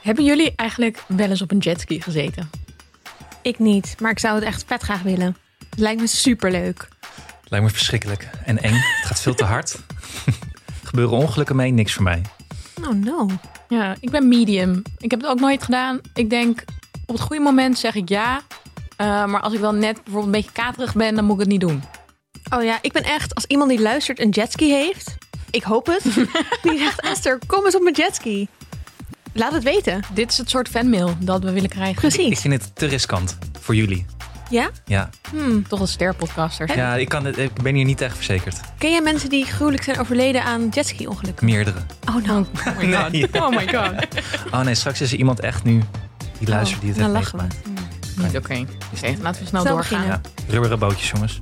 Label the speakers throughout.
Speaker 1: Hebben jullie eigenlijk wel eens op een jetski gezeten?
Speaker 2: Ik niet, maar ik zou het echt vet graag willen. Het lijkt me superleuk.
Speaker 3: Het lijkt me verschrikkelijk en eng. Het gaat veel te hard. Gebeuren ongelukken mee, niks voor mij.
Speaker 2: Oh no.
Speaker 1: Ja, ik ben medium. Ik heb het ook nooit gedaan. Ik denk, op het goede moment zeg ik ja. Eh, maar als ik wel net bijvoorbeeld een beetje katerig ben, dan moet ik het niet doen.
Speaker 2: Oh ja, ik ben echt, als iemand die luistert een jetski heeft, ik hoop het, die zegt Esther, kom eens op mijn jetski. Laat het weten.
Speaker 1: Dit is het soort fanmail dat we willen krijgen.
Speaker 3: Ik
Speaker 2: Precies.
Speaker 3: vind het te riskant voor jullie.
Speaker 2: Ja?
Speaker 3: Ja,
Speaker 2: Hmm.
Speaker 1: Toch als sterpodcaster.
Speaker 3: ja ik, kan, het- ik ben hier niet echt verzekerd.
Speaker 2: Ken jij mensen die gruwelijk zijn overleden aan jetski-ongelukken?
Speaker 3: Meerdere.
Speaker 2: Oh nou,
Speaker 1: Oh my god.
Speaker 3: Nee.
Speaker 1: Oh my god.
Speaker 3: Oh nee, straks is er iemand echt nu die luistert die het
Speaker 2: Oh, dan
Speaker 3: heeft
Speaker 2: lachen we.
Speaker 3: meegemaakt.
Speaker 1: Niet Oké, Oké, laten we snel
Speaker 2: Snel
Speaker 1: doorgaan.
Speaker 2: beginnen.
Speaker 3: Ja, rubberen bootjes jongens.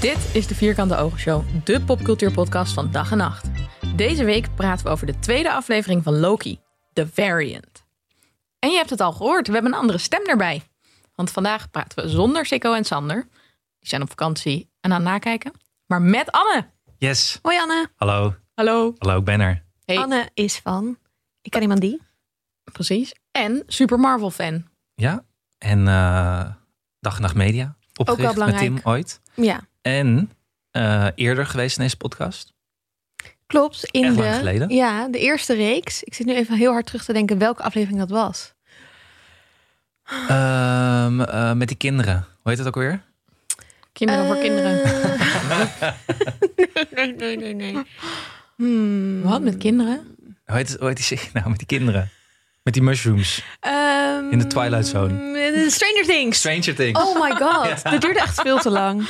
Speaker 1: Dit is de Vierkante Ogen Show, de popcultuurpodcast van dag en nacht. Deze week praten we over de tweede aflevering van Loki, The Variant. En je hebt het al gehoord, we hebben een andere stem erbij. Want vandaag praten we zonder Sikko en Sander. Die zijn op vakantie en aan het nakijken. Maar met Anne.
Speaker 3: Yes.
Speaker 2: hoi Anne.
Speaker 3: Hallo.
Speaker 1: Hallo.
Speaker 3: Hallo, ik ben er.
Speaker 1: Hey.
Speaker 2: Anne is van, ik ken iemand die.
Speaker 1: Precies. En Super Marvel fan.
Speaker 3: Ja. En eh Dag en Nacht Media. Opgericht met
Speaker 2: belangrijk.
Speaker 3: Tim ooit.
Speaker 2: Ja,
Speaker 3: En eh, eerder geweest in deze podcast.
Speaker 2: klopt. In
Speaker 3: Echt
Speaker 2: de,
Speaker 3: lang geleden?
Speaker 2: Ja, de eerste reeks. Ik zit nu even heel hard terug te denken welke aflevering dat was.
Speaker 3: Ehm, eh, met die kinderen. Hoe heet dat ook weer?
Speaker 1: Kinderen voor
Speaker 2: Eh,
Speaker 1: kinderen.
Speaker 2: nee, nee, nee, nee. Hmm.
Speaker 1: Wat met kinderen?
Speaker 3: Hoe heet, hoe heet die serie nou? Met die kinderen. Met die mushrooms.
Speaker 2: Ehm,
Speaker 3: In de Twilight Zone.
Speaker 2: eh, Stranger Things.
Speaker 3: Stranger Things.
Speaker 2: Oh my god, dat duurde echt veel te lang.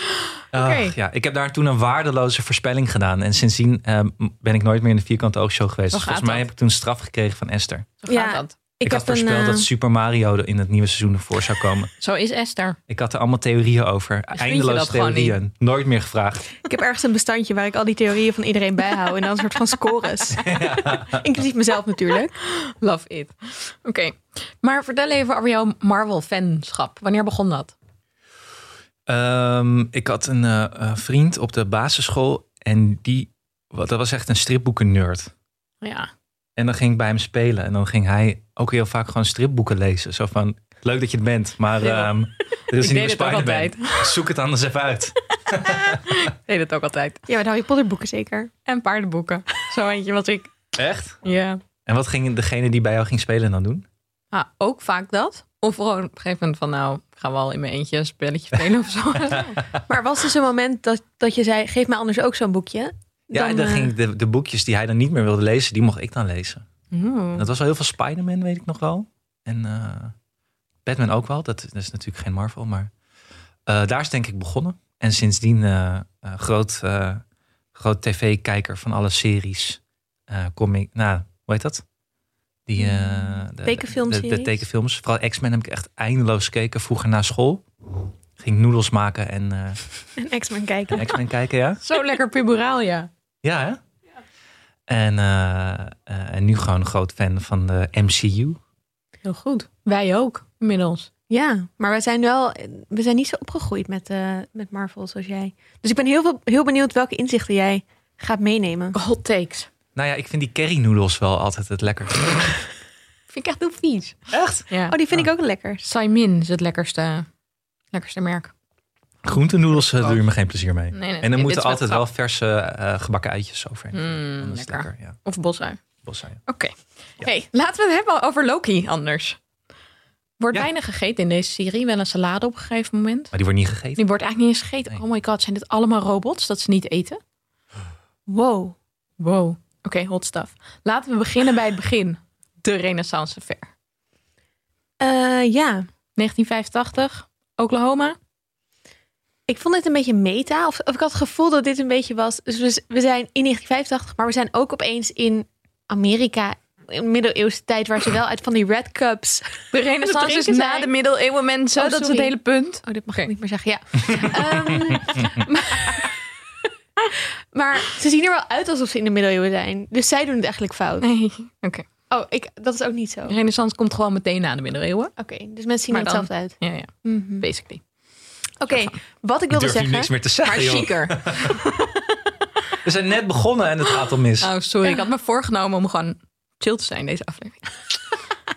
Speaker 3: Ach,
Speaker 1: oké.
Speaker 3: ja, ik heb daar toen een waardeloze voorspelling gedaan. En sindsdien ehm, ben ik nooit meer in de vierkante oogshow geweest.
Speaker 1: Zo
Speaker 3: Dus volgens
Speaker 1: gaat
Speaker 3: mij
Speaker 1: dat.
Speaker 3: heb ik toen straf gekregen van Esther. Ik,
Speaker 1: Zo gaat
Speaker 2: Ja.
Speaker 1: dat.
Speaker 2: Ik,
Speaker 3: had
Speaker 2: heb een.
Speaker 3: voorspeld dat
Speaker 2: eh,
Speaker 3: Super Mario er in het nieuwe seizoen voor zou komen.
Speaker 1: Zo is Esther.
Speaker 3: Ik had er allemaal theorieën over.
Speaker 1: je
Speaker 3: Eindeloos
Speaker 1: dat gewoon
Speaker 3: theorieën. Nooit meer gevraagd.
Speaker 2: ik heb ergens een bestandje waar ik al die theorieën van iedereen bijhoud. En dan een soort van scores. Inclusief mezelf natuurlijk.
Speaker 1: Love it. Oké. Maar vertel even over jouw Marvel fanschap. Wanneer begon dat?
Speaker 3: Ehm, ik had een eh, eh, vriend op de basisschool. En die, wat, dat was echt een stripboeken-nerd.
Speaker 1: Ja.
Speaker 3: En dan ging ik bij hem spelen. En dan ging hij ook heel vaak gewoon stripboeken lezen. Zo van, leuk dat je er bent. Maar
Speaker 1: Ja.
Speaker 3: ehm er is
Speaker 1: Ik
Speaker 3: een nieuwe
Speaker 1: deed het ook
Speaker 3: Spider-Man. Zoek het anders even uit.
Speaker 1: Deed het ook altijd.
Speaker 2: Ja, met Harry Potter boeken zeker.
Speaker 1: En paardenboeken. Zo eentje was ik.
Speaker 3: Echt?
Speaker 1: Ja.
Speaker 3: En wat ging degene die bij jou ging spelen dan doen?
Speaker 1: Ah, ook vaak dat. Of gewoon op een gegeven moment van nou, gaan we al in mijn eentje een spelletje spelen of zo.
Speaker 2: Maar was dus een moment dat, dat je zei: geef mij anders ook zo'n boekje?
Speaker 3: Ja, dan,
Speaker 2: eh,
Speaker 3: ging ik de, de boekjes die hij dan niet meer wilde lezen, die mocht ik dan lezen.
Speaker 1: Hmm.
Speaker 3: Dat was wel heel veel Spider-Man, weet ik nog wel. En eh, Batman ook wel. Dat, dat is natuurlijk geen Marvel, maar eh, daar is denk ik begonnen. En sindsdien eh, eh, groot, eh, groot tv-kijker van alle series, eh comic, nou, hoe heet dat? Die, eh, de,
Speaker 2: Tekenfilmseries?
Speaker 3: De, de tekenfilms. Vooral X-Men heb ik echt eindeloos gekeken vroeger na school. Ging noedels maken en eh,
Speaker 2: Een X-Men kijken.
Speaker 3: X-Men kijken, ja.
Speaker 1: Zo lekker puberaal, ja.
Speaker 3: Ja, hè? En, eh, eh, en nu gewoon een groot fan van de MCU.
Speaker 1: Heel goed. Wij ook, inmiddels.
Speaker 2: Ja, maar we zijn wel, we zijn niet zo opgegroeid met, eh, met Marvel zoals jij. Dus ik ben heel, veel, heel benieuwd welke inzichten jij gaat meenemen.
Speaker 1: Hot takes.
Speaker 3: Nou ja, ik vind die curry noedels wel altijd het lekkerste.
Speaker 1: Vind ik echt heel vies.
Speaker 3: Echt?
Speaker 1: Ja.
Speaker 2: Oh, die vind ik ook lekker.
Speaker 1: Saimin is het lekkerste, lekkerste merk.
Speaker 3: Groentenoedels eh, doe je me geen plezier mee.
Speaker 1: Oh. Nee, nee,
Speaker 3: en
Speaker 1: dit
Speaker 3: dan
Speaker 1: is
Speaker 3: moeten
Speaker 1: wel
Speaker 3: altijd
Speaker 1: grap.
Speaker 3: wel verse eh, gebakken uitjes overheen.
Speaker 1: Mm,
Speaker 3: Anders
Speaker 1: lekker.
Speaker 3: lekker. Ja,
Speaker 1: Of bosuin.
Speaker 3: bosuien.
Speaker 1: Oké.
Speaker 3: Ja.
Speaker 1: Hey, laten we het hebben over Loki anders. Wordt
Speaker 3: Ja.
Speaker 1: weinig gegeten in deze serie. Wel een salade op een gegeven moment.
Speaker 3: Maar die wordt niet gegeten.
Speaker 1: Die wordt eigenlijk niet eens gegeten.
Speaker 3: Nee.
Speaker 1: Oh my god, zijn dit allemaal robots dat ze niet eten?
Speaker 2: Wow.
Speaker 1: Wow. Oké, hot stuff. Laten we beginnen bij het begin. De Renaissance Fair.
Speaker 2: Eh, ja,
Speaker 1: 1985, Oklahoma.
Speaker 2: ik vond dit een beetje meta. Of, of ik had het gevoel dat dit een beetje was. Dus we, z- we zijn in 1985, maar we zijn ook opeens in Amerika. In middeleeuwse tijd, waar ze wel uit van die red cups.
Speaker 1: De Renaissance is
Speaker 2: drinken
Speaker 1: na
Speaker 2: zij.
Speaker 1: de middeleeuwen mensen.
Speaker 2: Oh,
Speaker 1: dat is het
Speaker 2: sorry.
Speaker 1: hele punt.
Speaker 2: Oh, dit mag
Speaker 1: Oké.
Speaker 2: ik niet meer zeggen. Ja. Ehm, maar- maar ze zien er wel uit alsof ze in de middeleeuwen zijn. Dus zij doen het eigenlijk fout.
Speaker 1: Nee. Oké.
Speaker 2: Oh, ik, dat is ook niet zo.
Speaker 1: De Renaissance komt gewoon meteen na de middeleeuwen.
Speaker 2: Oké, dus mensen zien
Speaker 1: Maar
Speaker 2: er
Speaker 1: dan-
Speaker 2: hetzelfde uit. Mhm.
Speaker 1: Ja, ja. Basically.
Speaker 2: Oké, wat ik wilde
Speaker 3: durf nu
Speaker 2: zeggen.
Speaker 3: niks meer te
Speaker 1: Maar
Speaker 3: zeggen, joh.
Speaker 1: chiquer.
Speaker 3: We zijn net begonnen en het gaat al mis.
Speaker 1: Oh, sorry. Ik had me voorgenomen om gewoon chill te zijn deze aflevering.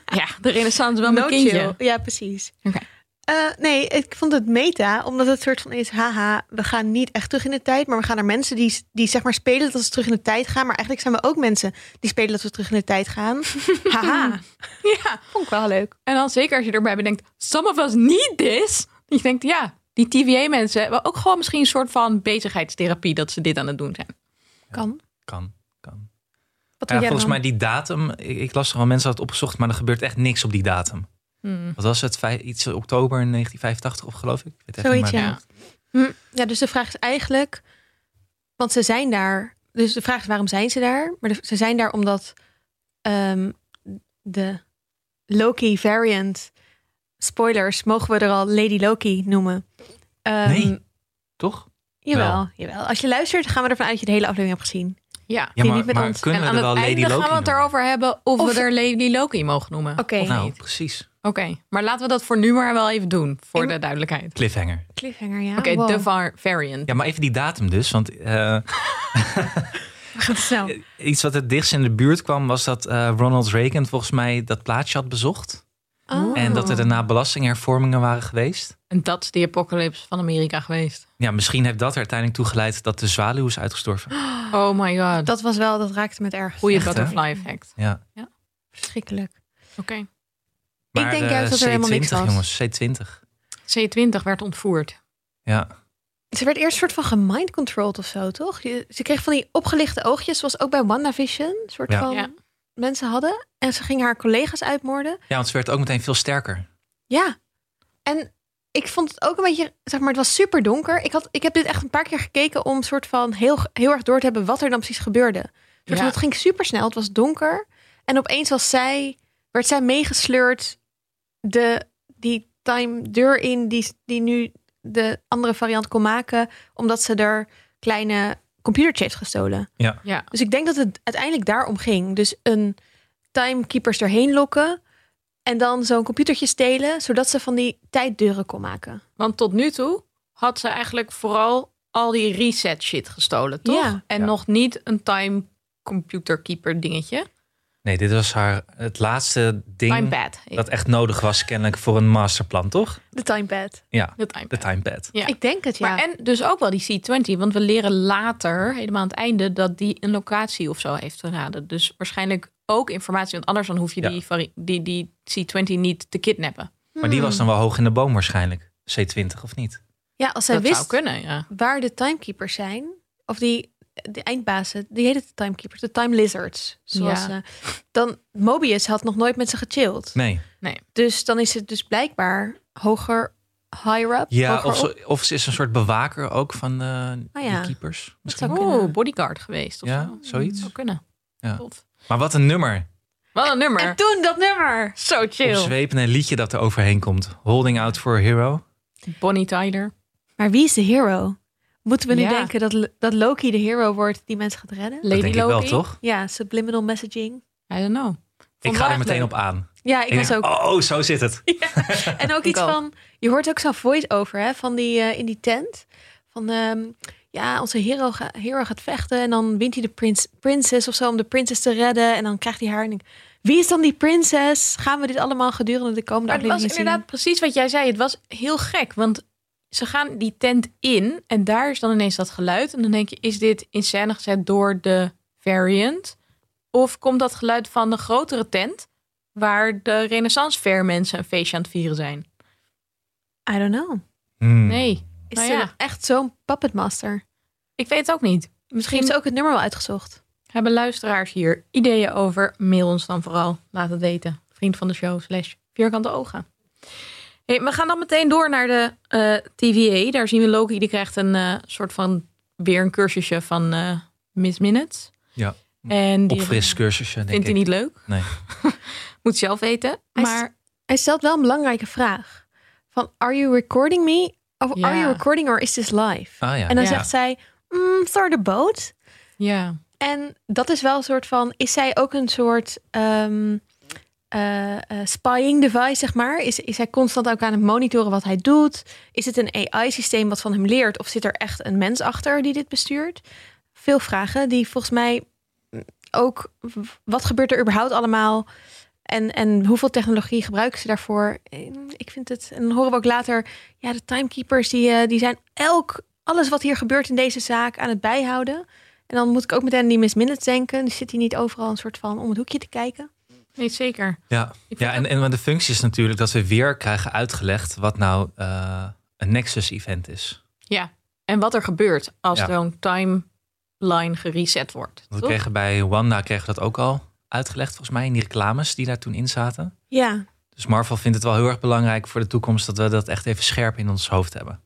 Speaker 1: ja, de renaissance wel mijn
Speaker 2: No
Speaker 1: kindje.
Speaker 2: chill. Ja, precies.
Speaker 1: Oké.
Speaker 2: Eh, nee, ik vond het meta, omdat het soort van is, haha, we gaan niet echt terug in de tijd, maar we gaan naar mensen die, die zeg maar spelen dat ze terug in de tijd gaan, maar eigenlijk zijn we ook mensen die spelen dat we terug in de tijd gaan. haha,
Speaker 1: Ja,
Speaker 2: vond ik wel leuk.
Speaker 1: en dan zeker als je erbij bedenkt, some of us need this. Dat je denkt, ja, die TVA-mensen hebben ook gewoon misschien een soort van bezigheidstherapie dat ze dit aan het doen zijn.
Speaker 2: Kan.
Speaker 3: Kan, kan.
Speaker 2: Wat
Speaker 3: Ja,
Speaker 2: doe jij
Speaker 3: volgens
Speaker 2: dan?
Speaker 3: mij die datum, ik, ik las er al mensen hadden het opgezocht, maar er gebeurt echt niks op die datum.
Speaker 1: Hmm,
Speaker 3: Wat was het? Vij- iets eh, oktober 1985 of geloof ik? ik weet even
Speaker 2: Zoiets,
Speaker 3: niet,
Speaker 2: ja. Hm, ja, dus de vraag is eigenlijk, want ze zijn daar, dus de vraag is waarom zijn ze daar? Maar de- ze zijn daar omdat ehm, de Loki variant, spoilers, mogen we er al Lady Loki noemen? Ehm,
Speaker 3: Nee. Toch?
Speaker 2: Jawel,
Speaker 3: Wel.
Speaker 2: jawel. Als je luistert, gaan we ervan uit dat je de hele aflevering hebt gezien.
Speaker 1: Ja.
Speaker 3: Ja,
Speaker 2: Die
Speaker 3: maar,
Speaker 2: niet met
Speaker 3: maar
Speaker 2: ons.
Speaker 3: kunnen
Speaker 1: en
Speaker 3: we
Speaker 1: aan
Speaker 3: er
Speaker 1: het
Speaker 3: wel Lady
Speaker 1: einde
Speaker 3: Loki
Speaker 1: gaan we het
Speaker 3: noemen?
Speaker 1: erover hebben of,
Speaker 2: Of-
Speaker 1: we er Lady Loki mogen noemen.
Speaker 2: Oké.
Speaker 1: Of
Speaker 3: Nou,
Speaker 1: niet.
Speaker 3: precies.
Speaker 1: Oké, maar laten we dat voor nu maar wel even doen, voor
Speaker 2: Ik-
Speaker 1: de duidelijkheid.
Speaker 3: Cliffhanger.
Speaker 2: Cliffhanger, ja.
Speaker 1: Oké,
Speaker 2: Wow.
Speaker 1: de var- variant.
Speaker 3: Ja, maar even die datum dus, want eh,
Speaker 2: We gaan snel.
Speaker 3: iets wat het dichtst in de buurt kwam was dat eh, Ronald Reagan volgens mij dat plaatsje had bezocht.
Speaker 2: Oh.
Speaker 3: En dat er daarna belastinghervormingen waren geweest.
Speaker 1: En dat is de apocalypse van Amerika geweest.
Speaker 3: Ja, misschien heeft dat er uiteindelijk toe geleid dat de zwaluw is uitgestorven.
Speaker 1: Oh my god.
Speaker 2: Dat was wel, dat raakte me het erg.
Speaker 1: Goede
Speaker 3: Echt, hè?
Speaker 1: butterfly effect.
Speaker 3: Ja.
Speaker 2: Verschrikkelijk.
Speaker 1: Oké.
Speaker 3: Maar
Speaker 2: denk
Speaker 3: de
Speaker 2: juist dat er helemaal niks
Speaker 3: C20,
Speaker 2: was.
Speaker 3: jongens, C20.
Speaker 1: C20 werd ontvoerd.
Speaker 3: Ja,
Speaker 2: Ze werd eerst soort van gemindcontrolled of zo, toch? Je- ze kreeg van die opgelichte oogjes, zoals ook bij WandaVision. soort
Speaker 3: Ja.
Speaker 2: van
Speaker 1: Ja.
Speaker 2: mensen hadden. En ze ging haar collega's uitmoorden.
Speaker 3: ja want ze werd ook meteen veel sterker.
Speaker 2: Ja. En ik vond het ook een beetje, zeg maar, het was super donker. Ik, had, ik heb dit echt een paar keer gekeken om soort van heel, heel erg door te hebben wat er dan precies gebeurde. Soort
Speaker 1: Ja.
Speaker 2: van, het ging super snel, het was donker. En opeens was zij, werd zij meegesleurd de, die time deur in die, die nu de andere variant kon maken. Omdat ze er kleine computertje heeft gestolen.
Speaker 3: Ja.
Speaker 1: Ja.
Speaker 2: Dus ik denk dat het uiteindelijk daarom ging. Dus een timekeepers erheen lokken. En dan zo'n computertje stelen, zodat ze van die tijddeuren kon maken.
Speaker 1: Want tot nu toe had ze eigenlijk vooral al die reset shit gestolen, toch?
Speaker 2: Ja.
Speaker 1: En
Speaker 3: Ja.
Speaker 1: nog niet een time computer keeper dingetje.
Speaker 3: Nee, dit was haar het laatste
Speaker 1: Time
Speaker 3: ding
Speaker 1: pad.
Speaker 3: dat echt nodig was kennelijk voor een masterplan, toch?
Speaker 2: De timepad.
Speaker 3: Ja,
Speaker 1: De time
Speaker 3: de
Speaker 1: pad.
Speaker 3: timepad.
Speaker 1: Ja.
Speaker 2: Ik denk het, ja.
Speaker 1: Maar en dus ook wel die C20, want we leren later, helemaal aan het einde, dat die een locatie of zo heeft geraden. Dus waarschijnlijk ook informatie, want anders dan hoef je
Speaker 3: Ja.
Speaker 1: die, vari- die, die C20 niet te kidnappen.
Speaker 3: Maar die was dan wel hoog in de boom waarschijnlijk. C20 of niet?
Speaker 2: Ja, als zij
Speaker 1: dat zou
Speaker 2: wist
Speaker 1: kunnen, ja.
Speaker 2: waar de timekeepers zijn, of die de eindbazen, die heette de timekeepers, de time lizards.
Speaker 1: Ja.
Speaker 2: Zoals ze- dan Mobius had nog nooit met ze gechilled.
Speaker 3: Nee.
Speaker 2: Dus dan is het dus blijkbaar hoger, higher up.
Speaker 3: Ja,
Speaker 2: hoger
Speaker 3: of
Speaker 2: op.
Speaker 3: ze, of ze is een soort bewaker ook van de
Speaker 2: Ah ja.
Speaker 3: keepers. Misschien.
Speaker 2: zou
Speaker 1: Oh,
Speaker 2: kunnen.
Speaker 1: bodyguard geweest of
Speaker 3: Ja,
Speaker 1: zo.
Speaker 3: zoiets.
Speaker 1: Zou kunnen.
Speaker 3: Ja.
Speaker 1: Tof.
Speaker 3: Maar wat een nummer.
Speaker 1: Wat een nummer.
Speaker 2: En toen dat nummer.
Speaker 1: Zo chill.
Speaker 3: Opzwepend een liedje dat er overheen komt. Holding out for a hero.
Speaker 1: Bonnie Tyler.
Speaker 2: Maar wie is de hero? Moeten we nu
Speaker 1: Ja.
Speaker 2: denken dat, dat Loki de hero wordt die mensen gaat redden?
Speaker 1: Lady
Speaker 3: dat denk
Speaker 1: Loki.
Speaker 3: ik wel, toch?
Speaker 2: Ja, subliminal messaging.
Speaker 1: I don't know.
Speaker 3: Ik
Speaker 1: Vond
Speaker 3: ga
Speaker 1: wel
Speaker 3: er
Speaker 1: echt
Speaker 3: meteen
Speaker 1: leuk.
Speaker 3: op aan.
Speaker 2: Ja, ik,
Speaker 3: Ik
Speaker 2: was
Speaker 3: denk,
Speaker 2: ook.
Speaker 3: Oh, oh, zo zit het.
Speaker 2: En ook
Speaker 1: Ik
Speaker 2: iets
Speaker 1: ook.
Speaker 2: van, je hoort ook zo'n voice-over hè, van die eh, in die tent. Van ehm, ja, onze hero, ga- hero gaat vechten en dan wint hij de prins, prinses of zo om de prinses te redden. En dan krijgt hij haar. En ik, wie is dan die prinses? Gaan we dit allemaal gedurende de komende
Speaker 1: Maar het was
Speaker 2: aflevering zien?
Speaker 1: inderdaad precies wat jij zei. Het was heel gek, want ze gaan die tent in en daar is dan ineens dat geluid. En dan denk je, is dit in scène gezet door de variant? Of komt dat geluid van de grotere tent waar de renaissance fair mensen een feestje aan het vieren zijn?
Speaker 2: I don't know.
Speaker 3: Hmm.
Speaker 1: Nee,
Speaker 2: Is
Speaker 1: Nou
Speaker 2: ze
Speaker 1: ja.
Speaker 2: echt zo'n puppetmaster?
Speaker 1: ik weet het ook niet.
Speaker 2: Misschien heeft
Speaker 1: Misschien
Speaker 2: ze ook het nummer wel uitgezocht.
Speaker 1: hebben luisteraars hier ideeën over. Mail ons dan vooral. Laat het weten. Vriend van de show slash vierkante ogen. Hey, we gaan dan meteen door naar de eh, TVA. Daar zien we Loki. Die krijgt een eh, soort van weer een cursusje van eh, Miss Minutes.
Speaker 3: Ja.
Speaker 1: En die
Speaker 3: Opfriscursusje, Hm, denk
Speaker 1: vindt
Speaker 3: ik.
Speaker 1: hij niet leuk.
Speaker 3: Nee.
Speaker 1: Moet zelf weten.
Speaker 2: Hij is-
Speaker 1: Maar
Speaker 2: Hij stelt wel een belangrijke vraag. Van, are you recording me? Of
Speaker 1: Ja.
Speaker 2: are you recording or is this live?
Speaker 3: Ah ja.
Speaker 2: En dan
Speaker 3: ja.
Speaker 2: zegt zij, mm, start the boat.
Speaker 1: ja,
Speaker 2: En dat is wel een soort van. Is zij ook een soort ehm, eh, eh, spying device, zeg maar? Is, is hij constant ook aan het monitoren wat hij doet? Is het een AI-systeem wat van hem leert? Of zit er echt een mens achter die dit bestuurt? Veel vragen die volgens mij mm, ook w- wat gebeurt er überhaupt allemaal en, en hoeveel technologie gebruiken ze daarvoor. En Ik vind het, en dan horen we ook later, ja, de timekeepers die, eh, die zijn elk, alles wat hier gebeurt in deze zaak aan het bijhouden. En dan moet ik ook meteen aan die Miss Minutes denken. Die zit hier niet overal een soort van om het hoekje te kijken.
Speaker 1: Nee, zeker.
Speaker 3: Ja,
Speaker 1: Ik
Speaker 3: ja
Speaker 1: vind
Speaker 3: en, en de functie is natuurlijk dat we weer krijgen uitgelegd wat nou eh, een Nexus-event is.
Speaker 1: En wat er gebeurt als
Speaker 3: Ja.
Speaker 1: zo'n timeline gereset wordt.
Speaker 3: Want we
Speaker 1: toch?
Speaker 3: kregen bij Wanda kregen we dat ook al uitgelegd, volgens mij, in die reclames die daar toen in zaten.
Speaker 2: Ja,
Speaker 3: Dus Marvel vindt het wel heel erg belangrijk voor de toekomst dat we dat echt even scherp in ons hoofd hebben.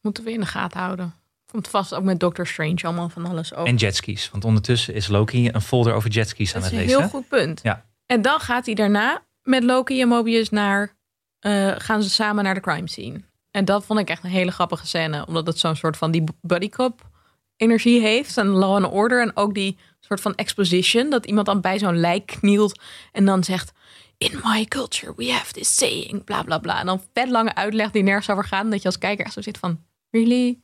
Speaker 1: Moeten we in de gaten houden. Komt vast ook met Doctor Strange allemaal van alles over.
Speaker 3: En jetskis, want ondertussen is Loki een folder over jetskis
Speaker 1: Oh.
Speaker 3: aan
Speaker 1: Dat is een
Speaker 3: het lezen.
Speaker 1: heel
Speaker 3: hè?
Speaker 1: goed punt.
Speaker 3: Ja.
Speaker 1: En dan gaat hij daarna met Loki en Mobius naar... eh, gaan ze samen naar de crime scene. En dat vond ik echt een hele grappige scène. Omdat het zo'n soort van die buddycop energie heeft. En law and order. En ook die soort van exposition. Dat iemand dan bij zo'n lijk knielt. En dan zegt... In my culture we have this saying. Bla bla bla. En dan vet lange uitleg die nergens over gaat. en Dat je als kijker echt zo zit van... Really?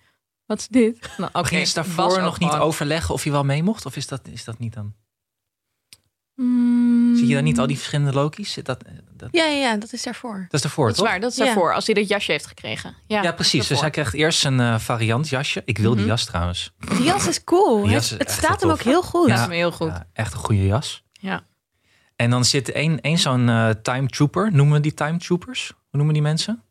Speaker 1: Wat is dit? Nou, oké,
Speaker 3: Maar Gingen ze
Speaker 1: was
Speaker 3: daarvoor
Speaker 1: ook
Speaker 3: nog niet
Speaker 1: gewoon-
Speaker 3: overleggen of hij wel mee mocht? Of is dat, is dat niet dan?
Speaker 1: Hmm.
Speaker 3: Zie je dan niet al die verschillende Loki's? Zit Dat, dat,
Speaker 2: ja, ja, ja, dat is daarvoor.
Speaker 3: dat is daarvoor,
Speaker 1: Dat is
Speaker 3: toch?
Speaker 1: waar, dat is
Speaker 2: Ja.
Speaker 1: daarvoor. Als hij dat jasje heeft gekregen. Ja,
Speaker 3: Ja, precies. Dus hij krijgt eerst een eh, variant jasje. Ik wil die
Speaker 1: Mhm.
Speaker 3: jas trouwens.
Speaker 2: Die jas is cool.
Speaker 3: Die
Speaker 2: hè?
Speaker 3: jas is
Speaker 2: het
Speaker 3: echt
Speaker 2: staat hem
Speaker 3: heel
Speaker 2: ook
Speaker 3: tof.
Speaker 2: heel goed.
Speaker 1: Dat
Speaker 3: Ja.
Speaker 1: is me heel goed.
Speaker 3: Ja, echt een goede jas.
Speaker 1: Ja.
Speaker 3: En dan zit één, één zo'n eh, time trooper. Noemen we die time troopers? Hoe noemen die mensen?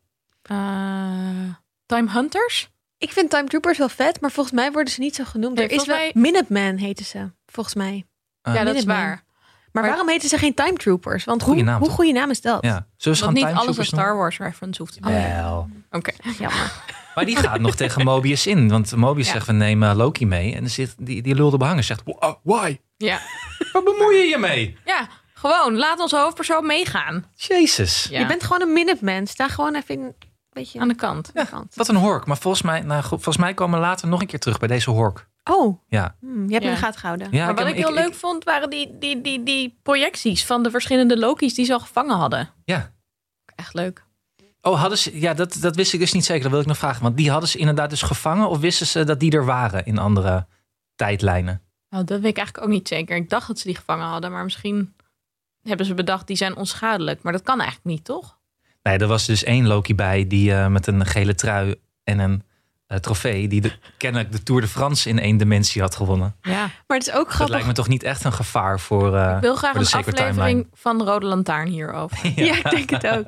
Speaker 1: Eh, time Hunters?
Speaker 2: Ik vind Time Troopers wel vet, maar volgens mij worden ze niet zo genoemd.
Speaker 1: Nee,
Speaker 2: er is wel...
Speaker 1: volgens
Speaker 2: Minuteman heten ze, volgens mij.
Speaker 3: Eh,
Speaker 1: ja, dat is
Speaker 2: Minuteman.
Speaker 1: waar.
Speaker 2: Maar,
Speaker 1: Maar-
Speaker 2: waarom heten ze geen Time Troopers? Want
Speaker 3: Goeie
Speaker 2: hoe,
Speaker 3: naam,
Speaker 2: hoe
Speaker 3: toch?
Speaker 2: goede naam is dat?
Speaker 3: Ja. Zullen ze
Speaker 1: Want
Speaker 3: gaan
Speaker 1: niet
Speaker 3: time
Speaker 1: alles een
Speaker 3: troopers noemen?
Speaker 1: Star Wars reference hoeft. Oh,
Speaker 3: Wel.
Speaker 1: Oké.
Speaker 2: Jammer.
Speaker 3: Maar die gaat nog tegen Mobius in. Want Mobius
Speaker 1: Ja.
Speaker 3: zegt, we nemen Loki mee. En dan zit die, die lulde behanger zegt, "Wa- ah, why?
Speaker 1: Ja.
Speaker 3: Waar bemoei je je mee?
Speaker 1: ja, gewoon. Laat onze hoofdpersoon meegaan.
Speaker 3: Jezus.
Speaker 1: Ja.
Speaker 2: Je bent gewoon een Minuteman. Sta gewoon even in, een beetje
Speaker 1: Aan de kant.
Speaker 2: aan de kant.
Speaker 3: Wat een hork. Maar volgens mij, nou, goed, volgens mij komen we later nog een keer terug bij deze hork.
Speaker 2: Oh,
Speaker 3: Ja.
Speaker 2: hmm, je hebt me
Speaker 1: Ja.
Speaker 2: in de gaten gehouden.
Speaker 3: ja
Speaker 1: maar wat
Speaker 3: heb-
Speaker 1: ik, heel leuk vond, waren die, die, die, die projecties van de verschillende Loki's die ze al gevangen hadden.
Speaker 3: Ja.
Speaker 1: Echt leuk.
Speaker 3: Oh, hadden ze, ja, dat, dat wist ik dus niet zeker. Dat wil ik nog vragen. Want die hadden ze inderdaad dus gevangen. Of wisten ze dat die er waren in andere tijdlijnen?
Speaker 1: Nou, dat weet ik eigenlijk ook niet zeker. Ik dacht dat ze die gevangen hadden, maar misschien hebben ze bedacht die zijn onschadelijk. Maar dat kan eigenlijk niet, toch?
Speaker 3: Nee, er was dus één Loki bij die eh, met een gele trui en een eh, trofee. die de, kennelijk de Tour de France in één dimensie had gewonnen.
Speaker 1: Ja.
Speaker 2: Maar het is ook
Speaker 3: Dat
Speaker 2: grappig.
Speaker 3: lijkt me toch niet echt een gevaar voor. eh,
Speaker 1: Ik wil graag
Speaker 3: voor de
Speaker 1: een
Speaker 3: sacred
Speaker 1: aflevering
Speaker 3: timeline.
Speaker 1: van Rode Lantaarn hierover.
Speaker 2: Ja. ik denk het ook.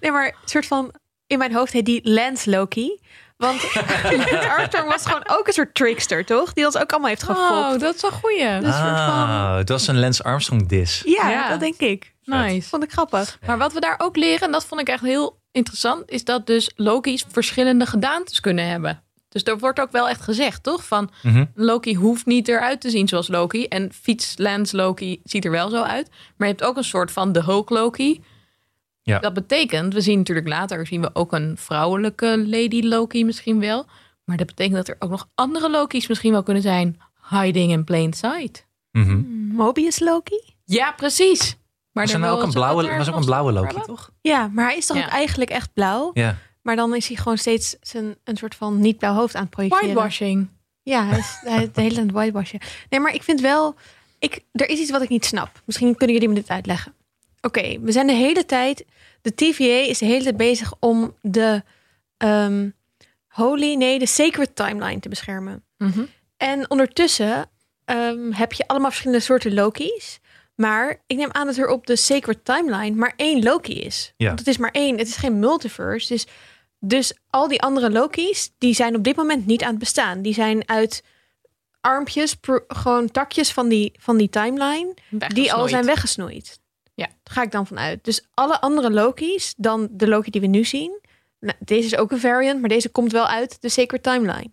Speaker 2: Nee, maar een soort van... In mijn hoofd heet die Lance Loki. Want Lance Armstrong was gewoon ook een soort trickster, toch? Die ons ook allemaal heeft gefopt.
Speaker 1: Oh, dat is een goeie.
Speaker 2: Dus een soort van-
Speaker 3: Ah, dat is een Lance Armstrong dis.
Speaker 2: Ja,
Speaker 1: Ja.
Speaker 2: dat denk ik.
Speaker 1: nice.
Speaker 2: Vond ik grappig.
Speaker 1: Maar wat we daar ook leren, en dat vond ik echt heel interessant, is dat dus Loki's verschillende gedaantes kunnen hebben. Dus er wordt ook wel echt gezegd, toch? Van
Speaker 3: Mhm.
Speaker 1: Loki hoeft niet eruit te zien zoals Loki. En fietslands Loki ziet er wel zo uit. Maar je hebt ook een soort van de Hulk Loki.
Speaker 3: Ja.
Speaker 1: Dat betekent, we zien natuurlijk later zien we ook een vrouwelijke Lady Loki misschien wel. Maar dat betekent dat er ook nog andere Loki's misschien wel kunnen zijn. Hiding in plain sight.
Speaker 3: Mhm.
Speaker 1: Mm.
Speaker 2: Mobius Loki?
Speaker 1: Ja, precies. Maar
Speaker 3: Was er
Speaker 1: daar
Speaker 3: nou ook
Speaker 1: wil- zullen
Speaker 3: een
Speaker 1: we
Speaker 3: blauwe,
Speaker 1: het
Speaker 3: was
Speaker 1: daar
Speaker 3: ook een blauwe
Speaker 1: nog
Speaker 3: Loki,
Speaker 1: over
Speaker 3: toch?
Speaker 2: Ja, maar hij is toch
Speaker 1: Ja.
Speaker 2: ook eigenlijk echt blauw?
Speaker 3: Ja.
Speaker 2: Maar dan is hij gewoon steeds zijn, een soort van niet-blauw hoofd aan het
Speaker 1: hebben?
Speaker 2: projecteren.
Speaker 1: Whitewashing.
Speaker 2: Ja, hij is hij is de hele tijd aan het whitewashen. Nee, maar ik vind wel... Ik, er is iets wat ik niet snap. Misschien kunnen jullie me dit uitleggen. Oké, we zijn de hele tijd... De TVA is de hele tijd bezig om de... ehm, holy, nee, de sacred timeline te beschermen.
Speaker 1: Mhm.
Speaker 2: En ondertussen ehm, heb je allemaal verschillende soorten Loki's. Maar ik neem aan dat er op de Sacred Timeline maar één Loki is.
Speaker 3: Ja.
Speaker 2: Want het is maar één, het is geen multiverse. Dus, dus al die andere Loki's, die zijn op dit moment niet aan het bestaan. Die zijn uit armpjes, pro- gewoon takjes van die, van die timeline, die al
Speaker 1: Weggesnoeid.
Speaker 2: zijn weggesnoeid.
Speaker 1: Ja.
Speaker 2: Daar ga ik dan vanuit. Dus alle andere Loki's dan de Loki die we nu zien. Nou, deze is ook een variant, maar deze komt wel uit de Sacred Timeline.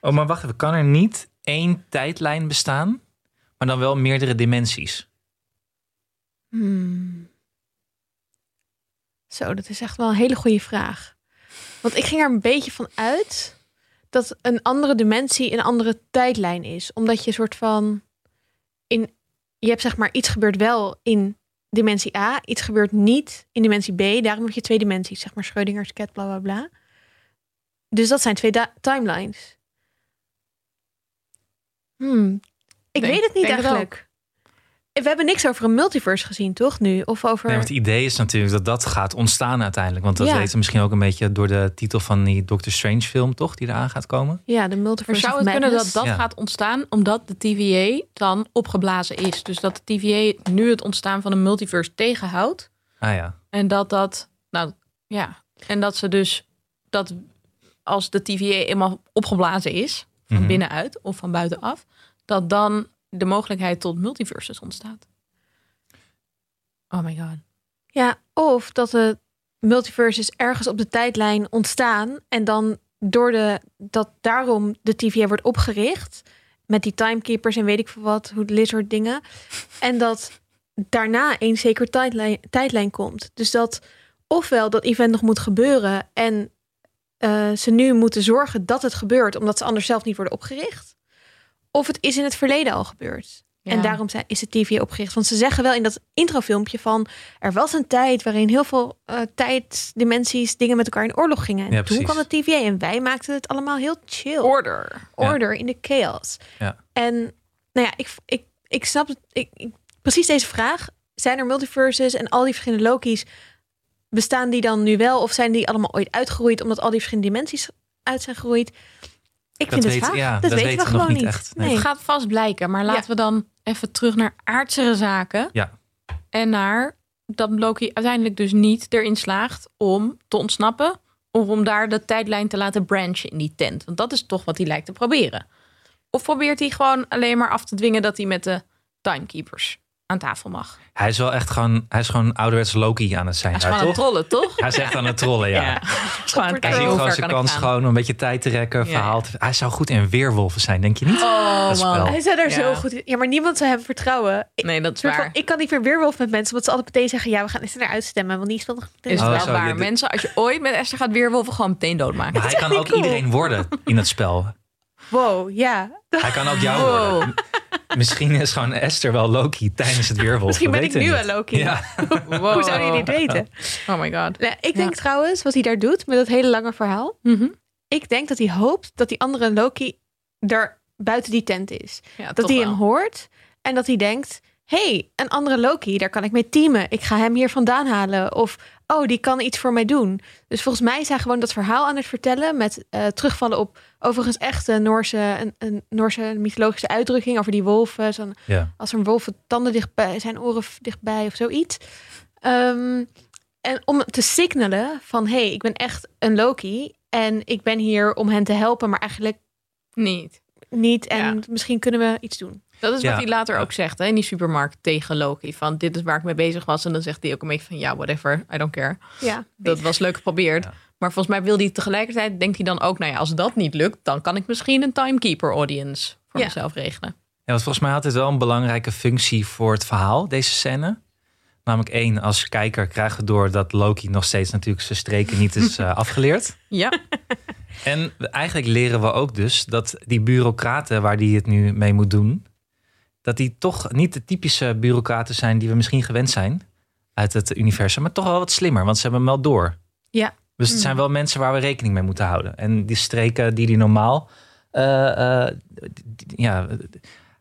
Speaker 3: Oh, maar wacht even. Kan er niet één tijdlijn bestaan, maar dan wel meerdere dimensies?
Speaker 2: Hmm. Zo, dat is echt wel een hele goede vraag. Want ik ging er een beetje van uit dat een andere dimensie een andere tijdlijn is. Omdat je een soort van in je hebt zeg maar iets gebeurt wel in dimensie A, iets gebeurt niet in dimensie B. Daarom heb je twee dimensies, zeg maar Schrödinger's cat, bla bla bla. Dus dat zijn twee da- timelines. Hmm. Ik
Speaker 1: Denk-
Speaker 2: Hmm, weet het niet
Speaker 1: denk het
Speaker 2: eigenlijk. We hebben niks over een multiverse gezien, toch nu? Of over.
Speaker 3: Nee, want het idee is natuurlijk dat dat gaat ontstaan uiteindelijk. Want dat
Speaker 2: Ja.
Speaker 3: weten we misschien ook een beetje door de titel van die Doctor Strange film, toch? Die eraan gaat komen.
Speaker 2: Ja, de
Speaker 1: Maar
Speaker 2: multiverse.
Speaker 1: zou
Speaker 2: of
Speaker 1: het kunnen dat
Speaker 2: Madness.
Speaker 1: dat
Speaker 3: Ja.
Speaker 1: gaat ontstaan omdat de TVA dan opgeblazen is? Dus dat de TVA nu het ontstaan van een multiverse tegenhoudt.
Speaker 3: Ah ja.
Speaker 1: En dat dat, nou ja, en dat ze dus dat als de TVA eenmaal opgeblazen is, van
Speaker 3: Mhm.
Speaker 1: binnenuit of van buitenaf, dat dan de mogelijkheid tot multiverses ontstaat. Oh my god.
Speaker 2: Ja, of dat de multiverses ergens op de tijdlijn ontstaan en dan door de dat daarom de TVA wordt opgericht met die timekeepers en weet ik veel wat, hoe dit soort dingen. En dat daarna een zekere tijdlijn, tijdlijn komt. Dus dat ofwel dat event nog moet gebeuren en eh, ze nu moeten zorgen dat het gebeurt, omdat ze anders zelf niet worden opgericht. Of het is in het verleden al gebeurd. En
Speaker 1: Ja.
Speaker 2: daarom zijn- is de TVA opgericht. Want ze zeggen wel in dat introfilmpje van... er was een tijd waarin heel veel eh tijdsdimensies... dingen met elkaar in oorlog gingen. En
Speaker 3: Ja,
Speaker 2: toen
Speaker 3: precies.
Speaker 2: kwam de TVA en wij maakten het allemaal heel chill.
Speaker 1: Order.
Speaker 2: Order in de chaos.
Speaker 3: Ja.
Speaker 2: En nou ja, ik, ik, ik snap het. Ik, ik- precies deze vraag. Zijn er multiverses en al die verschillende Loki's... bestaan die dan nu wel? Of zijn die allemaal ooit uitgeroeid... omdat al die verschillende dimensies uit zijn geroeid? Ik vind het
Speaker 3: weet-
Speaker 2: vaag.
Speaker 3: ja,
Speaker 2: dat,
Speaker 3: dat
Speaker 2: weten
Speaker 3: weten
Speaker 2: we
Speaker 3: we nog
Speaker 2: gewoon
Speaker 3: niet
Speaker 2: niet.
Speaker 3: echt. Nee.
Speaker 2: Nee.
Speaker 1: Het gaat vast blijken, maar laten
Speaker 2: Ja.
Speaker 1: we dan even terug naar aardsere zaken.
Speaker 3: Ja.
Speaker 1: En naar dat Loki uiteindelijk dus niet erin slaagt om te ontsnappen. Of om daar de tijdlijn te laten branchen in die tent. Want dat is toch wat hij lijkt te proberen. Of probeert hij gewoon alleen maar af te dwingen dat hij met de timekeepers aan tafel mag.
Speaker 3: Hij is wel echt gewoon, hij is gewoon ouderwets Loki aan het zijn.
Speaker 1: Hij is
Speaker 3: daar,
Speaker 1: gewoon aan het trollen,
Speaker 3: toch?
Speaker 1: toch?
Speaker 3: Hij is echt aan het trollen, ja.
Speaker 1: Ja. Hij is gewoon aan het kijken
Speaker 3: Hij ziet
Speaker 1: hoe
Speaker 3: gewoon
Speaker 1: ver
Speaker 3: zijn
Speaker 1: kan ik
Speaker 3: kans
Speaker 1: gaan.
Speaker 3: gewoon om een beetje tijd te rekken,
Speaker 1: Ja.
Speaker 3: verhaal. te- Hij zou goed in weerwolven zijn, denk je niet?
Speaker 1: Oh,
Speaker 3: Dat spel.
Speaker 1: man.
Speaker 2: Hij zei daar
Speaker 1: Ja.
Speaker 2: zo goed in. Ja, maar niemand zou hem vertrouwen. Ik,
Speaker 1: Nee, dat is
Speaker 2: soort van,
Speaker 1: waar.
Speaker 2: ik kan niet meer weerwolf met mensen, want ze altijd meteen zeggen: ja, we gaan Esther eruit stemmen, want die is wel nog.
Speaker 1: Is
Speaker 3: Oh,
Speaker 1: wel
Speaker 3: zo,
Speaker 1: waar.
Speaker 3: dit-
Speaker 1: Mensen, als je ooit met Esther gaat weerwolven, gewoon meteen doodmaken.
Speaker 3: Maar hij kan ook
Speaker 2: cool.
Speaker 3: iedereen worden in het spel.
Speaker 2: Wow, ja.
Speaker 3: Hij kan ook jou
Speaker 1: Wow.
Speaker 3: worden. M- Misschien is gewoon Esther wel Loki tijdens het weerwolven.
Speaker 2: Misschien ben
Speaker 3: we
Speaker 2: ik
Speaker 3: weten
Speaker 2: nu
Speaker 3: het
Speaker 2: wel
Speaker 3: niet.
Speaker 2: Loki.
Speaker 3: Ja.
Speaker 1: Wow.
Speaker 2: Hoe zouden jullie dit weten?
Speaker 1: Oh my god.
Speaker 2: Nou, ik denk trouwens, wat hij daar doet met dat hele lange verhaal.
Speaker 1: Mhm.
Speaker 2: Ik denk dat hij hoopt dat die andere Loki er buiten die tent is.
Speaker 1: Ja,
Speaker 2: Dat
Speaker 1: toch
Speaker 2: hij
Speaker 1: wel.
Speaker 2: hem hoort en dat hij denkt: hey, een andere Loki, daar kan ik mee teamen. Ik ga hem hier vandaan halen. Of oh, die kan iets voor mij doen. Dus volgens mij is hij gewoon dat verhaal aan het vertellen met eh, terugvallen op overigens echt een Noorse, een, een Noorse mythologische uitdrukking over die wolven. Zo'n
Speaker 3: Ja.
Speaker 2: als er een wolf het tanden dichtbij, zijn oren f- dichtbij of zoiets. Ehm, en om te signalen van, hé, hey, ik ben echt een Loki en ik ben hier om hen te helpen, maar eigenlijk
Speaker 1: Niet.
Speaker 2: niet. En
Speaker 1: Ja.
Speaker 2: misschien kunnen we iets doen.
Speaker 1: Dat is
Speaker 3: Ja.
Speaker 1: wat hij later ook zegt hè, in die supermarkt tegen Loki. Van dit is waar ik mee bezig was. En dan zegt hij ook een beetje van ja, whatever, I don't care.
Speaker 2: Ja,
Speaker 1: Dat was leuk geprobeerd.
Speaker 3: Ja.
Speaker 1: Maar volgens mij wil hij tegelijkertijd, denkt hij dan ook, nou ja, als dat niet lukt, dan kan ik misschien een timekeeper audience voor
Speaker 2: Ja.
Speaker 1: mezelf regelen.
Speaker 3: Ja, want volgens mij had het wel een belangrijke functie voor het verhaal, deze scène. Namelijk één, als kijker krijgen we door dat Loki nog steeds natuurlijk zijn streken niet is eh, afgeleerd.
Speaker 1: Ja,
Speaker 3: En we- eigenlijk leren we ook dus dat die bureaucraten waar die het nu mee moet doen, dat die toch niet de typische bureaucraten zijn die we misschien gewend zijn uit het universum, maar toch wel wat slimmer, want ze hebben hem wel door.
Speaker 1: Ja. Hmm.
Speaker 3: Dus het zijn wel mensen waar we rekening mee moeten houden. En die streken die die normaal, eh, eh, d- d- ja,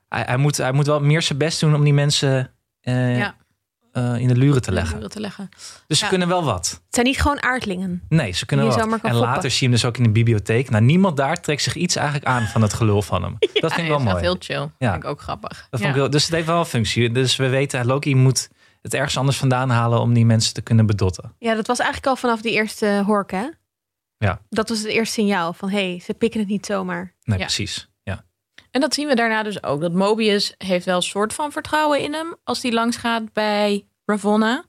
Speaker 3: hij, hij moet, hij moet wel meer zijn best doen om die mensen eh,
Speaker 1: Ja.
Speaker 3: eh, in de luren te leggen.
Speaker 1: Te leggen.
Speaker 3: Dus ze
Speaker 1: Ja.
Speaker 3: kunnen wel wat.
Speaker 2: het zijn niet gewoon aardlingen.
Speaker 3: Nee, ze kunnen
Speaker 2: Die
Speaker 3: wel.
Speaker 2: je zomaar
Speaker 3: wat.
Speaker 2: kan
Speaker 3: En later
Speaker 2: foppen.
Speaker 3: zie je hem dus ook in de bibliotheek. Nou, niemand daar trekt zich iets eigenlijk aan van het gelul van hem. dat vind ik wel
Speaker 1: Ja,
Speaker 3: mooi.
Speaker 1: dat is echt heel chill.
Speaker 3: Ja.
Speaker 1: Vind ik ook grappig.
Speaker 3: Dat
Speaker 1: Ja.
Speaker 3: vond ik wel- dus het heeft wel een functie. Dus we weten, Loki moet het ergens anders vandaan halen om die mensen te kunnen bedotten.
Speaker 2: Ja, dat was eigenlijk al vanaf die eerste hork, hè?
Speaker 3: Ja.
Speaker 2: Dat was het eerste signaal van, hé, hey, ze pikken het niet zomaar.
Speaker 3: Nee,
Speaker 1: Ja.
Speaker 3: precies. Ja.
Speaker 1: En dat zien we daarna dus ook. Dat Mobius heeft wel een soort van vertrouwen in hem als hij langs gaat bij Ravonna.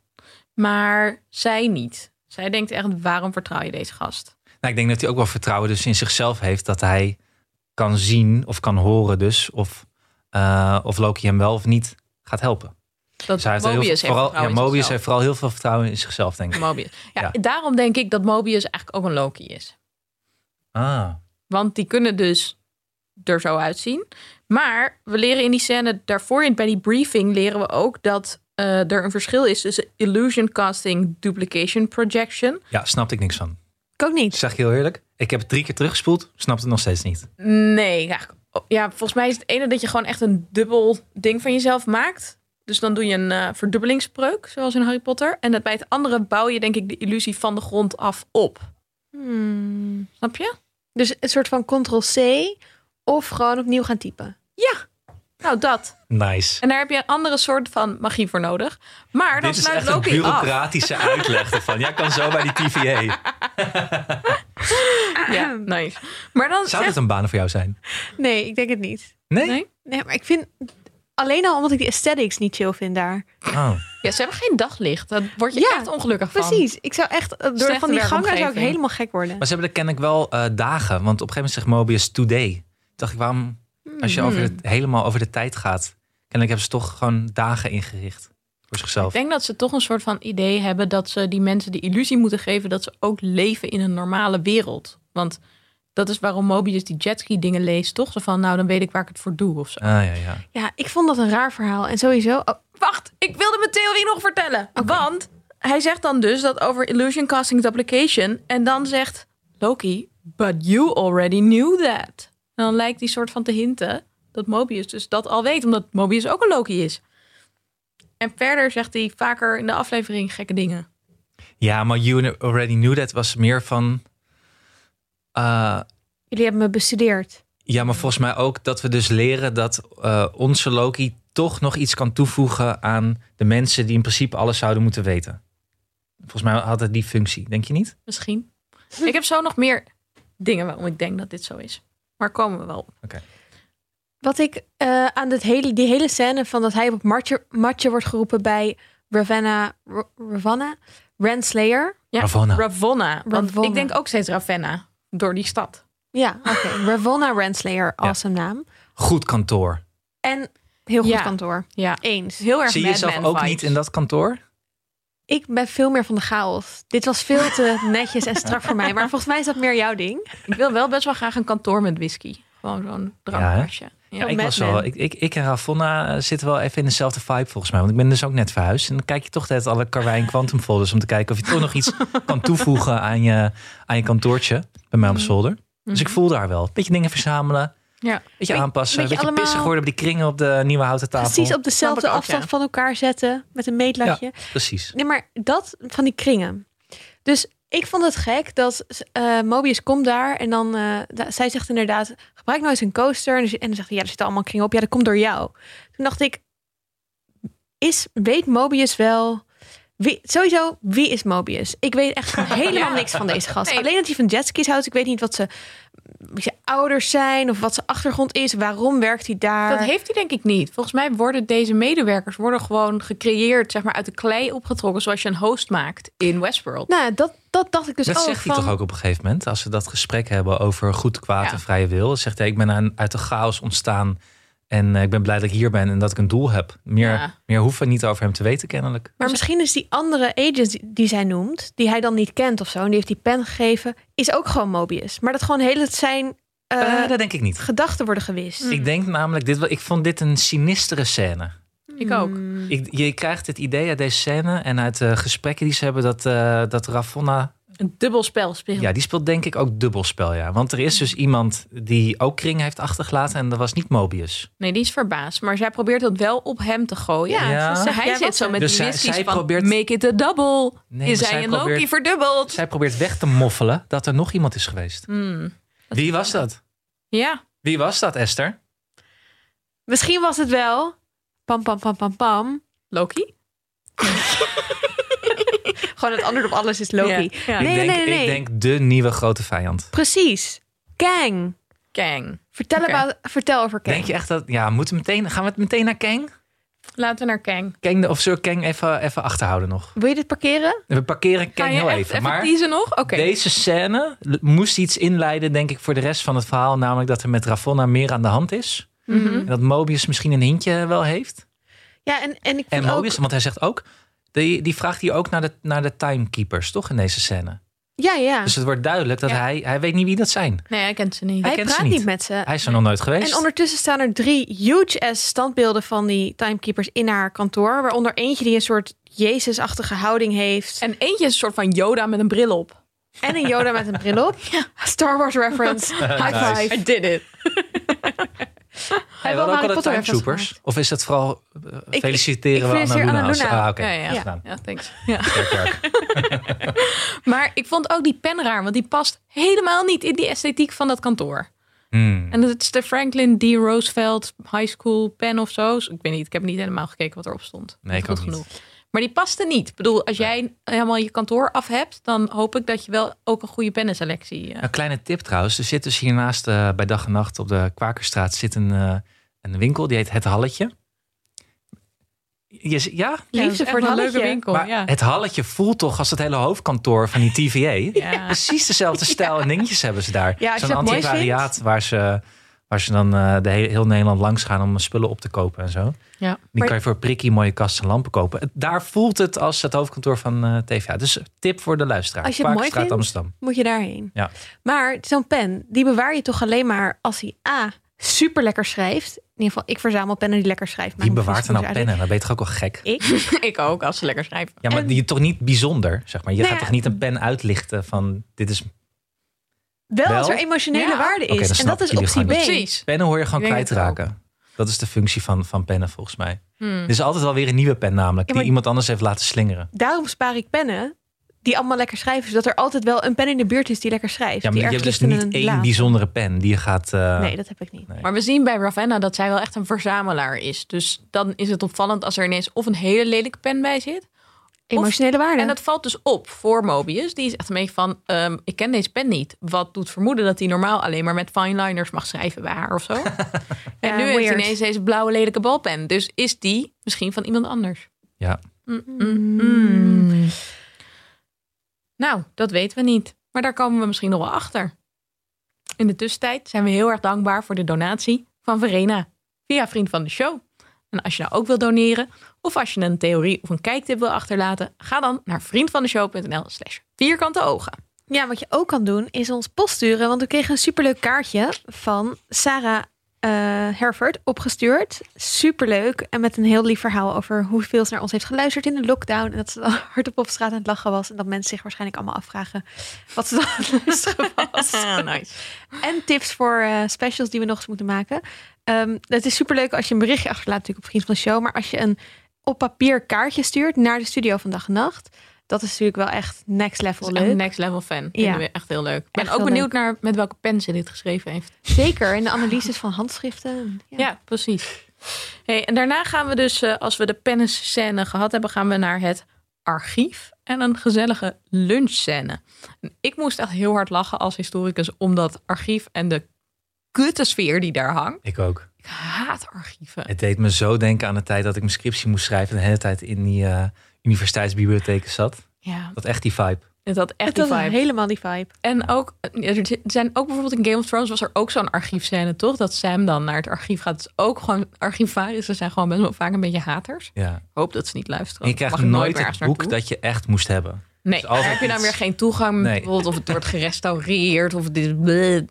Speaker 1: Maar zij niet. Zij denkt echt, waarom vertrouw je deze gast?
Speaker 3: Nou, ik denk dat hij ook wel vertrouwen dus in zichzelf heeft dat hij kan zien of kan horen dus of, eh, of Loki hem wel of niet gaat helpen.
Speaker 1: Dat
Speaker 3: Dus hij heeft er heel
Speaker 1: Mobius
Speaker 3: veel-
Speaker 1: heeft
Speaker 3: vooral, ja,
Speaker 1: vertrouwen in
Speaker 3: Mobius
Speaker 1: zichzelf.
Speaker 3: heeft vooral heel veel vertrouwen in zichzelf, denk ik.
Speaker 1: Mobius. Ja,
Speaker 3: Ja.
Speaker 1: Daarom denk ik dat Mobius eigenlijk ook een Loki is.
Speaker 3: Ah,
Speaker 1: Want die kunnen dus er zo uitzien. Maar we leren in die scène daarvoor, in- bij die briefing, leren we ook dat eh, er een verschil is tussen illusion casting, duplication projection.
Speaker 3: ja, snapte ik niks van.
Speaker 2: Ik ook niet.
Speaker 3: Zeg ik heel eerlijk, ik heb het drie keer teruggespoeld, snapte het nog steeds niet.
Speaker 1: Nee, ja, ja, volgens mij is het ene dat je gewoon echt een dubbel ding van jezelf maakt. Dus dan doe je een eh verdubbelingspreuk, zoals in Harry Potter. En dat bij het andere bouw je denk ik de illusie van de grond af op.
Speaker 2: Hmm.
Speaker 1: Snap je?
Speaker 2: Dus een soort van ctrl-c of gewoon opnieuw gaan typen.
Speaker 1: Ja. Nou, dat.
Speaker 3: Nice.
Speaker 1: En daar heb je een andere soort van magie voor nodig. Maar dan
Speaker 3: Dit is
Speaker 1: sluit
Speaker 3: echt een
Speaker 1: Loki af.
Speaker 3: bureaucratische uitleg ervan. Jij kan zo bij die TVA.
Speaker 1: Ja, nice. Maar dan
Speaker 3: Zou
Speaker 1: zegt...
Speaker 3: dit een baan voor jou zijn?
Speaker 2: Nee, ik denk het niet.
Speaker 3: Nee?
Speaker 1: Nee?
Speaker 2: Nee, maar ik vind... Alleen al omdat ik die aesthetics niet chill vind daar.
Speaker 3: Oh.
Speaker 1: Ja, ze hebben geen daglicht. Daar word je
Speaker 2: Ja,
Speaker 1: echt ongelukkig van.
Speaker 2: Precies. Ik zou echt... eh, Door
Speaker 1: Slechte
Speaker 2: van die gangen zou ik
Speaker 1: werkomgeving.
Speaker 2: helemaal gek worden.
Speaker 3: Maar ze hebben er kennelijk wel eh, dagen. Want op een gegeven moment zegt Mobius today. Toen dacht ik, waarom... Als
Speaker 1: Hmm.
Speaker 3: je over de- helemaal over de tijd gaat. Kennelijk hebben ze toch gewoon dagen ingericht. Voor
Speaker 1: Ik
Speaker 3: zichzelf.
Speaker 1: denk dat ze toch een soort van idee hebben dat ze die mensen de illusie moeten geven dat ze ook leven in een normale wereld. Want dat is waarom Mobius die jetski dingen leest, toch? Zo van, nou dan weet ik waar ik het voor doe of zo.
Speaker 3: Ah, ja, ja.
Speaker 2: Ja, ik vond dat een raar verhaal. En sowieso... oh,
Speaker 1: Wacht, ik wilde mijn theorie nog vertellen. Want hij zegt dan dus dat over illusion casting duplication. En dan zegt Loki, but you already knew that. En dan lijkt die soort van te hinten dat Mobius dus dat al weet. Omdat Mobius ook een Loki is. En verder zegt hij vaker in de aflevering gekke dingen.
Speaker 3: Ja, maar You Already Knew That was meer van... eh,
Speaker 2: jullie hebben me bestudeerd.
Speaker 3: ja, maar volgens mij ook dat we dus leren dat eh, onze Loki toch nog iets kan toevoegen aan de mensen die in principe alles zouden moeten weten. Volgens mij had het die functie, denk je niet?
Speaker 1: Misschien. Ik heb zo nog meer dingen waarom ik denk dat dit zo is. Maar komen we wel op.
Speaker 2: Wat ik eh, aan dit hele, die hele scène van dat hij op het matje, matje wordt geroepen bij Ravenna, R- Ravenna, Renslayer.
Speaker 1: Ja,
Speaker 3: Ravonna.
Speaker 1: Ravonna. Want
Speaker 2: Ravonna.
Speaker 1: ik denk ook steeds Ravenna. Door die stad.
Speaker 2: Ja, oké. Ravenna Renslayer, awesome naam.
Speaker 3: Goed kantoor.
Speaker 2: En heel goed
Speaker 1: Ja.
Speaker 2: kantoor.
Speaker 1: Ja.
Speaker 2: Eens.
Speaker 1: Heel erg
Speaker 3: Zie je
Speaker 1: Mad
Speaker 3: jezelf
Speaker 1: Men
Speaker 3: ook
Speaker 1: vibes.
Speaker 3: niet in dat kantoor?
Speaker 2: Ik ben veel meer van de chaos. Dit was veel te netjes en strak voor mij. Maar volgens mij is dat meer jouw ding.
Speaker 1: Ik wil wel best wel graag een kantoor met whisky. Gewoon zo'n drankbasje. Ja,
Speaker 3: Ja,
Speaker 1: ja.
Speaker 3: ik,
Speaker 2: Mad
Speaker 3: was
Speaker 2: Men.
Speaker 3: wel, ik, ik, ik en Ravonna eh, zitten wel even in dezelfde vibe volgens mij. Want ik ben dus ook net verhuisd. En dan kijk je toch net alle Carwijn Quantum folders om te kijken of je toch nog iets kan toevoegen aan je, aan je kantoortje bij mij op
Speaker 2: Mm.
Speaker 3: zolder. Dus ik voel daar wel. Beetje dingen verzamelen.
Speaker 1: Ja.
Speaker 3: Beetje
Speaker 2: Mm-hmm. Beetje-
Speaker 3: aanpassen.
Speaker 2: beetje
Speaker 3: Beetje, beetje pissig
Speaker 2: allemaal-
Speaker 3: worden op die kringen op de nieuwe houten tafel.
Speaker 2: Precies op dezelfde
Speaker 1: ik ook,
Speaker 2: afstand
Speaker 1: ja.
Speaker 2: van elkaar zetten. Met een meetlatje.
Speaker 3: Precies.
Speaker 2: Nee, maar dat van die kringen. Dus ik vond het gek dat eh, Mobius komt daar en dan... eh, da- zij zegt inderdaad, gebruik nou eens een coaster. En, ze- en dan zegt hij, ja, er zitten allemaal kringen op. Ja, dat komt door jou. Toen dacht ik, is, weet Mobius wel... Wie, sowieso, wie is Mobius? Ik weet echt helemaal
Speaker 1: Ja.
Speaker 2: niks van deze gast.
Speaker 1: Nee.
Speaker 2: Alleen dat hij van jetskis houdt. Ik weet niet wat ze, wie ze ouders zijn of wat zijn achtergrond is. Waarom werkt hij daar?
Speaker 1: Dat heeft hij denk ik niet. Volgens mij worden deze medewerkers worden gewoon gecreëerd, zeg maar, uit de klei opgetrokken, zoals je een host maakt in Westworld.
Speaker 2: nou, dat, dat dacht ik dus
Speaker 3: dat
Speaker 2: ook.
Speaker 3: zegt
Speaker 2: van,
Speaker 3: hij toch ook op een gegeven moment. Als we dat gesprek hebben over goed, kwaad
Speaker 1: Ja.
Speaker 3: en vrije wil. Dan Zegt hij, ik ben aan- uit de chaos ontstaan. En eh, ik ben blij dat ik hier ben en dat ik een doel heb. Meer,
Speaker 1: Ja.
Speaker 3: meer hoeven we niet over hem te weten kennelijk.
Speaker 2: Maar misschien is die andere agent die- die zij noemt, die hij dan niet kent of zo, en die heeft die pen gegeven, is ook gewoon Mobius. Maar dat gewoon heel het zijn eh, mm.
Speaker 3: Eh, dat denk ik niet.
Speaker 2: gedachten worden gewist.
Speaker 3: Ik denk namelijk, dit, wel- ik vond dit een sinistere scène.
Speaker 2: Mm.
Speaker 1: Ik ook.
Speaker 3: Ik, je krijgt het idee uit deze scène en uit de gesprekken die ze hebben dat, eh dat Ravonna
Speaker 1: Een dubbel spel spelen.
Speaker 3: Ja, die speelt denk ik ook dubbelspel, ja. Want er is dus
Speaker 2: Mm.
Speaker 3: iemand die ook kring heeft achtergelaten en dat was niet Mobius.
Speaker 1: Nee, die is verbaasd. Maar zij probeert dat wel op hem te gooien.
Speaker 2: Ja,
Speaker 3: Ja.
Speaker 2: ze zegt,
Speaker 1: Hij
Speaker 2: jij
Speaker 1: zit
Speaker 2: was
Speaker 1: zo
Speaker 2: het.
Speaker 1: met
Speaker 3: Dus
Speaker 1: die
Speaker 3: zij-
Speaker 1: whisky's
Speaker 3: zij
Speaker 1: van
Speaker 3: probeert-
Speaker 1: make it a double.
Speaker 3: Nee,
Speaker 1: is
Speaker 3: maar
Speaker 1: hij
Speaker 3: zij
Speaker 1: een Loki
Speaker 3: probeert-
Speaker 1: verdubbeld?
Speaker 3: Zij probeert weg te moffelen dat er nog iemand is
Speaker 2: Mm.
Speaker 3: geweest.
Speaker 1: Hmm.
Speaker 3: Wie was dat?
Speaker 1: Ja,
Speaker 3: Wie was dat, Esther?
Speaker 2: Misschien was het wel. Pam, pam, pam, pam, pam.
Speaker 1: Loki.
Speaker 2: Gewoon het antwoord op alles is Loki.
Speaker 1: Ja, ja.
Speaker 2: Nee,
Speaker 3: ik,
Speaker 2: nee,
Speaker 3: denk,
Speaker 2: nee, nee.
Speaker 3: ik denk de nieuwe grote vijand.
Speaker 2: Precies. Kang.
Speaker 1: Kang.
Speaker 2: Vertel,
Speaker 1: Oké.
Speaker 2: about- vertel over Kang.
Speaker 3: Denk je echt dat... Ja, moeten we meteen, gaan we het meteen naar Kang?
Speaker 1: Laten we naar Kang.
Speaker 3: Kang de, of zullen we Kang even, even achterhouden nog?
Speaker 2: Wil je dit parkeren?
Speaker 3: We parkeren
Speaker 1: Kan
Speaker 3: Kang
Speaker 1: je
Speaker 3: heel
Speaker 1: echt
Speaker 3: even.
Speaker 1: even
Speaker 3: maar
Speaker 1: teasen nog? Oké.
Speaker 3: deze scène l- moest iets inleiden, denk ik, voor de rest van het verhaal. Namelijk dat er met Ravonna meer aan de hand is.
Speaker 1: Mhm.
Speaker 3: En dat Mobius misschien een hintje wel heeft.
Speaker 2: Ja, en, en ik
Speaker 3: En
Speaker 2: vond
Speaker 3: Mobius,
Speaker 2: ook...
Speaker 3: want hij zegt ook... Die, die vraagt hij ook naar de, naar de timekeepers, toch? In deze scène.
Speaker 2: Ja, ja.
Speaker 3: Dus het wordt duidelijk dat
Speaker 1: Ja.
Speaker 3: hij... Hij weet niet wie dat zijn.
Speaker 1: Nee, hij kent ze niet.
Speaker 2: hij
Speaker 3: kent ze
Speaker 2: praat
Speaker 3: niet.
Speaker 2: niet met ze.
Speaker 3: Hij is er nog nooit geweest.
Speaker 2: En ondertussen staan er drie huge-ass standbeelden van die timekeepers in haar kantoor. Waaronder eentje die een soort Jezus-achtige houding heeft. En,
Speaker 1: En eentje is een soort van Yoda met een bril op.
Speaker 2: een Yoda met een bril op. Star Wars reference. High
Speaker 3: Nice.
Speaker 2: five.
Speaker 1: I did it.
Speaker 2: Hij
Speaker 3: we
Speaker 2: wil
Speaker 3: hadden
Speaker 2: Harry
Speaker 3: ook altijd
Speaker 2: Potter
Speaker 3: Timetroopers.
Speaker 2: referenties
Speaker 3: Of is dat vooral eh,
Speaker 2: ik-
Speaker 3: feliciteren
Speaker 2: ik
Speaker 3: we Anna
Speaker 2: feliciteer
Speaker 3: Luna?
Speaker 2: Anna
Speaker 3: als-
Speaker 2: Luna.
Speaker 3: Ah, oké.
Speaker 1: Ja, ja.
Speaker 3: goed gedaan.
Speaker 1: ja, thanks. Ja.
Speaker 3: Sterk werk.
Speaker 1: Maar ik vond ook die pen raar, want die past helemaal niet in die esthetiek van dat kantoor.
Speaker 3: Hmm.
Speaker 1: En dat is de Franklin D. Roosevelt High School pen of zo. Dus Ik weet niet, ik heb niet helemaal gekeken wat erop stond.
Speaker 3: Nee, ik
Speaker 1: Goed
Speaker 3: ook niet.
Speaker 1: Maar die paste niet. Ik bedoel, als jij helemaal je kantoor af hebt, dan hoop ik dat je wel ook een goede pennenselectie eh
Speaker 3: Een kleine tip trouwens. Er zit dus hiernaast eh, bij dag en nacht op de Kwakerstraat zit een, eh, een winkel. Die heet Het Halletje. Je, z- ja,
Speaker 2: Ja, dat is
Speaker 1: Liefde
Speaker 2: echt
Speaker 1: voor
Speaker 2: wel
Speaker 1: een
Speaker 2: een
Speaker 1: leuke
Speaker 2: leuke.
Speaker 1: winkel.
Speaker 3: maar
Speaker 1: ja.
Speaker 3: Het Halletje voelt toch als het hele hoofdkantoor van die TVA.
Speaker 1: Ja.
Speaker 3: Precies dezelfde stijl en dingetjes hebben ze daar.
Speaker 2: Ja, als je
Speaker 3: Zo'n
Speaker 2: dat mooi
Speaker 3: antiquariaat waar ze, waar ze dan eh, de hele, heel Nederland langs gaan om spullen op te kopen en zo.
Speaker 1: Ja.
Speaker 3: Die
Speaker 2: Maar-
Speaker 3: kan je voor prikkie mooie kasten en lampen kopen. Het- Daar voelt het als het hoofdkantoor van eh, TVA. Dus tip voor de luisteraar.
Speaker 2: Als je het mooi
Speaker 3: Kwakerstraat
Speaker 2: vindt.
Speaker 3: Amsterdam.
Speaker 2: Moet je daarheen.
Speaker 3: Ja.
Speaker 2: Maar zo'n pen, die bewaar je toch alleen maar als hij A, super lekker schrijft. In ieder geval, ik verzamel pennen die lekker schrijven.
Speaker 3: Wie bewaart er nou
Speaker 2: Eigenlijk-
Speaker 3: pennen? Dan ben je toch ook wel gek.
Speaker 2: Ik?
Speaker 1: ik ook, als ze lekker schrijven.
Speaker 3: Ja, maar
Speaker 2: En-
Speaker 3: die toch niet bijzonder, zeg maar. Je
Speaker 2: Nou
Speaker 3: gaat
Speaker 2: ja.
Speaker 3: toch niet een pen uitlichten van dit is
Speaker 2: Wel,
Speaker 3: Wel?
Speaker 2: als er emotionele
Speaker 1: Ja.
Speaker 2: waarde
Speaker 3: Oké,
Speaker 2: is.
Speaker 3: dan
Speaker 2: en
Speaker 3: snap
Speaker 2: dat
Speaker 3: ik
Speaker 2: is optie
Speaker 3: jullie
Speaker 2: B.
Speaker 3: gang.
Speaker 1: Precies.
Speaker 3: pennen hoor je gewoon
Speaker 1: Ik denk het
Speaker 3: kwijtraken. Dat is de functie van, van pennen volgens mij.
Speaker 1: Hmm.
Speaker 3: Er is altijd wel weer een nieuwe pen namelijk
Speaker 2: Ja,
Speaker 3: die
Speaker 2: maar-
Speaker 3: iemand anders heeft laten slingeren.
Speaker 2: Daarom spaar ik pennen die allemaal lekker schrijven. Zodat er altijd wel een pen in de buurt is die lekker schrijft.
Speaker 3: Ja, maar
Speaker 2: die
Speaker 3: je hebt
Speaker 2: ergens
Speaker 3: dus
Speaker 2: ligt in
Speaker 3: niet
Speaker 2: een
Speaker 3: één
Speaker 2: la.
Speaker 3: bijzondere pen die je gaat. eh,
Speaker 2: Nee, dat heb ik niet.
Speaker 1: Maar we zien bij Ravenna dat zij wel echt een verzamelaar is. Dus dan is het opvallend als er ineens of een hele lelijke pen bij zit.
Speaker 2: Emotionele waarde.
Speaker 1: En dat valt dus op voor Mobius. Die is echt een beetje van, ehm, ik ken deze pen niet. Wat doet vermoeden dat hij normaal alleen maar met fineliners mag schrijven bij haar of zo. en
Speaker 2: Ja,
Speaker 1: nu heeft hij
Speaker 2: weird.
Speaker 1: ineens deze blauwe lelijke balpen. Dus is die misschien van iemand anders.
Speaker 3: Ja.
Speaker 1: Mm, mm, mm. Nou, dat weten we niet. Maar daar komen we misschien nog wel achter. In de tussentijd zijn we heel erg dankbaar voor de donatie van Verena via Vriend van de Show. En als je nou ook wil doneren, of als je een theorie of een kijktip wil achterlaten, ga dan naar vriendvandeshow.nl/slash vierkante ogen.
Speaker 2: Ja, wat je ook kan doen is ons post sturen. Want we kregen een superleuk kaartje van Sarah eh Herford opgestuurd. Superleuk. En met een heel lief verhaal over hoeveel ze naar ons heeft geluisterd in de lockdown. En dat ze dan hardop op straat aan het lachen was. En dat mensen zich waarschijnlijk allemaal afvragen wat ze dan aan het luisteren was.
Speaker 1: nice.
Speaker 2: En tips voor eh, specials die we nog eens moeten maken. Ehm, het is superleuk als je een berichtje achterlaat natuurlijk op Vriend van de Show. Maar als je een op papier kaartje stuurt naar de studio van Dag en Nacht. Dat is natuurlijk wel echt next level leuk.
Speaker 1: Een next level fan. Vinden
Speaker 2: Ja.
Speaker 1: we echt heel leuk. Ik ben
Speaker 2: Echt
Speaker 1: ook
Speaker 2: heel
Speaker 1: benieuwd naar met welke pen ze dit geschreven heeft.
Speaker 2: Zeker, en de analyses van handschriften. Ja.
Speaker 1: Ja, precies. Hey, en daarna gaan we dus, eh, als we de pennenscène gehad hebben, gaan we naar het archief en een gezellige lunchscène. En ik moest echt heel hard lachen als historicus om dat archief en de kutte sfeer die daar hangt.
Speaker 3: Ik ook.
Speaker 1: Ik haat archieven.
Speaker 3: Het deed me zo denken aan de tijd dat ik mijn scriptie moest schrijven. En de hele tijd in die eh, universiteitsbibliotheken zat.
Speaker 1: Ja,
Speaker 3: Dat echt die vibe.
Speaker 1: het had echt
Speaker 2: Het
Speaker 1: die
Speaker 2: was
Speaker 1: vibe.
Speaker 2: helemaal die vibe.
Speaker 1: En ook, eh, er zijn ook bijvoorbeeld in Game of Thrones was er ook zo'n archiefscène, toch? Dat Sam dan naar het archief gaat. Dus ook gewoon archivarissen zijn gewoon best wel vaak een beetje haters.
Speaker 3: Ja.
Speaker 1: Ik hoop dat ze niet luisteren.
Speaker 3: En je krijgt
Speaker 1: Mag ik
Speaker 3: nooit
Speaker 1: meer
Speaker 3: het
Speaker 1: ergens
Speaker 3: boek
Speaker 1: naartoe.
Speaker 3: dat je echt moest hebben.
Speaker 1: Nee,
Speaker 3: Dus altijd
Speaker 1: daar heb je dan
Speaker 3: iets-
Speaker 1: weer geen toegang.
Speaker 3: Nee.
Speaker 1: Bijvoorbeeld of het wordt gerestaureerd. Of dit,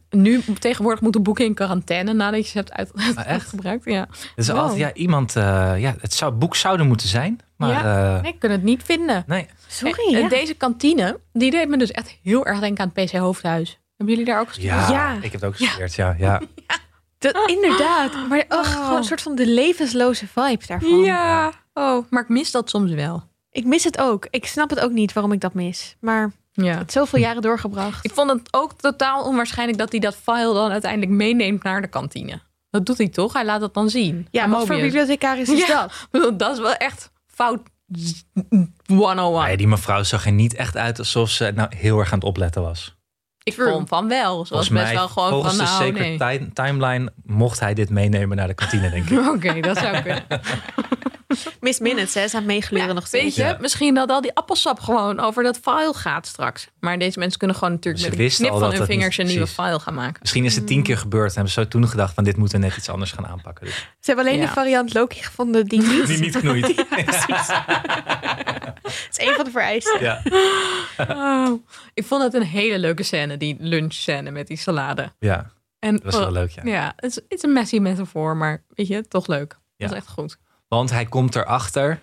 Speaker 1: Nu tegenwoordig moeten boeken in quarantaine nadat je ze hebt uit,
Speaker 3: Ah, echt? Ah.
Speaker 1: uitgebruikt. Ja.
Speaker 3: Het is
Speaker 2: Wow.
Speaker 3: altijd, ja, iemand, eh, ja, het zou, boek zouden moeten zijn. Maar eh,
Speaker 1: Nee, ik kan het niet vinden.
Speaker 3: nee.
Speaker 2: Sorry.
Speaker 1: En- en
Speaker 2: ja.
Speaker 1: Deze kantine, die deed me dus echt heel erg denken aan het PC Hoofdhuis. Hebben jullie daar ook gestuurd?
Speaker 3: Ja,
Speaker 2: Ja.
Speaker 3: ik heb het ook geleerd. Ja, ja.
Speaker 2: Dat, inderdaad. Maar ach,
Speaker 1: Oh.
Speaker 2: gewoon een soort van de levensloze vibe daarvan.
Speaker 1: Ja. Oh, maar ik mis dat soms wel.
Speaker 2: Ik mis het ook. Ik snap het ook niet waarom ik dat mis. Maar
Speaker 1: Ja.
Speaker 2: het zoveel jaren doorgebracht.
Speaker 1: Ik vond het ook totaal onwaarschijnlijk dat hij dat file dan uiteindelijk meeneemt naar de kantine. Dat doet hij toch? Hij laat dat dan zien.
Speaker 2: Ja,
Speaker 1: Aan
Speaker 2: wat voor
Speaker 1: Mobius.
Speaker 2: bibliothecaris is
Speaker 1: Ja.
Speaker 2: dat?
Speaker 1: Ik bedoel, Dat is wel echt fout 101.
Speaker 3: Nee, die mevrouw zag er niet echt uit alsof ze nou heel erg aan het opletten was.
Speaker 1: Ik
Speaker 2: True.
Speaker 1: vond van wel. Ze was
Speaker 3: Volgens
Speaker 1: best
Speaker 3: mij,
Speaker 1: wel gewoon
Speaker 3: volgens
Speaker 1: van
Speaker 3: de
Speaker 1: nou, nee.
Speaker 3: secret ti- timeline, mocht hij dit meenemen naar de kantine, denk ik.
Speaker 1: Oké, dat zou kunnen.
Speaker 2: Miss Minutes, hè, is aan het meegleuren nog steeds.
Speaker 1: Weet je,
Speaker 3: Ja.
Speaker 1: misschien dat al die appelsap gewoon over dat file gaat straks. Maar deze mensen kunnen gewoon natuurlijk
Speaker 3: Ze
Speaker 1: met een
Speaker 3: wisten
Speaker 1: knip
Speaker 3: al
Speaker 1: van
Speaker 3: dat
Speaker 1: hun
Speaker 3: dat niet-
Speaker 1: vingers een nieuwe
Speaker 3: precies.
Speaker 1: file gaan maken.
Speaker 3: Misschien is het
Speaker 1: Mm.
Speaker 3: tien keer gebeurd en hebben ze zo toen gedacht van dit moeten we net iets anders gaan aanpakken. Dus
Speaker 2: Ze hebben alleen
Speaker 1: Ja.
Speaker 2: de variant Loki gevonden die niet.
Speaker 3: die niet knoeit.
Speaker 2: Dat is een van de vereisten.
Speaker 3: Ja.
Speaker 1: Oh, ik vond het een hele leuke scène, die lunchscène met die salade.
Speaker 3: ja,
Speaker 1: En oh,
Speaker 3: dat was wel leuk, ja.
Speaker 1: Ja, het is- het is een messy metafoor, maar weet je, toch leuk. Dat
Speaker 3: Ja.
Speaker 1: is echt goed.
Speaker 3: Want hij komt erachter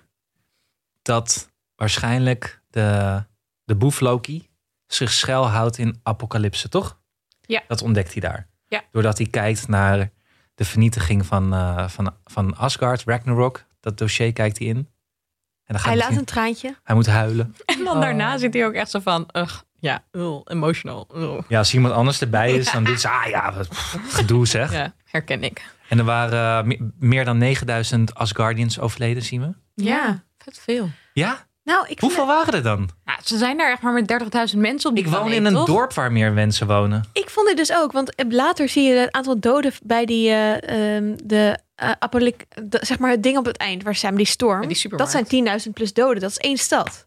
Speaker 3: dat waarschijnlijk de, de boef Loki zich schuilhoudt in Apocalypse, toch?
Speaker 1: Ja.
Speaker 3: Dat ontdekt hij daar.
Speaker 1: Ja.
Speaker 3: Doordat hij kijkt naar de vernietiging van, eh, van, van Asgard, Ragnarok. Dat dossier kijkt hij in. En dan gaat
Speaker 2: Hij laat
Speaker 3: misschien-
Speaker 2: een traantje.
Speaker 3: hij moet huilen.
Speaker 1: En dan
Speaker 3: Oh.
Speaker 1: daarna zit hij ook echt zo van, ugh, ja, ugh, emotional, ugh.
Speaker 3: Ja, als iemand anders erbij is, dan doet ze, ah ja, wat pff, gedoe zeg.
Speaker 1: Ja, herken ik.
Speaker 3: En er waren eh, me- meer dan 9000 Asgardians overleden, zien we.
Speaker 1: Ja, vet veel.
Speaker 3: Ja?
Speaker 2: Nou, ik vind,
Speaker 3: Hoeveel waren er dan?
Speaker 1: Nou, ze zijn daar echt maar met 30.000 mensen op die
Speaker 3: Ik woon
Speaker 1: planeet,
Speaker 3: in een
Speaker 1: toch?
Speaker 3: dorp waar meer mensen wonen.
Speaker 2: ik vond dit dus ook. Want later zie je het aantal doden bij die, eh, ehm, de, eh, apocalyp- de- zeg maar het ding op het eind waar Sam die storm.
Speaker 1: Ja, die
Speaker 2: dat
Speaker 1: supermarkt.
Speaker 2: zijn 10.000 plus doden. Dat is één stad.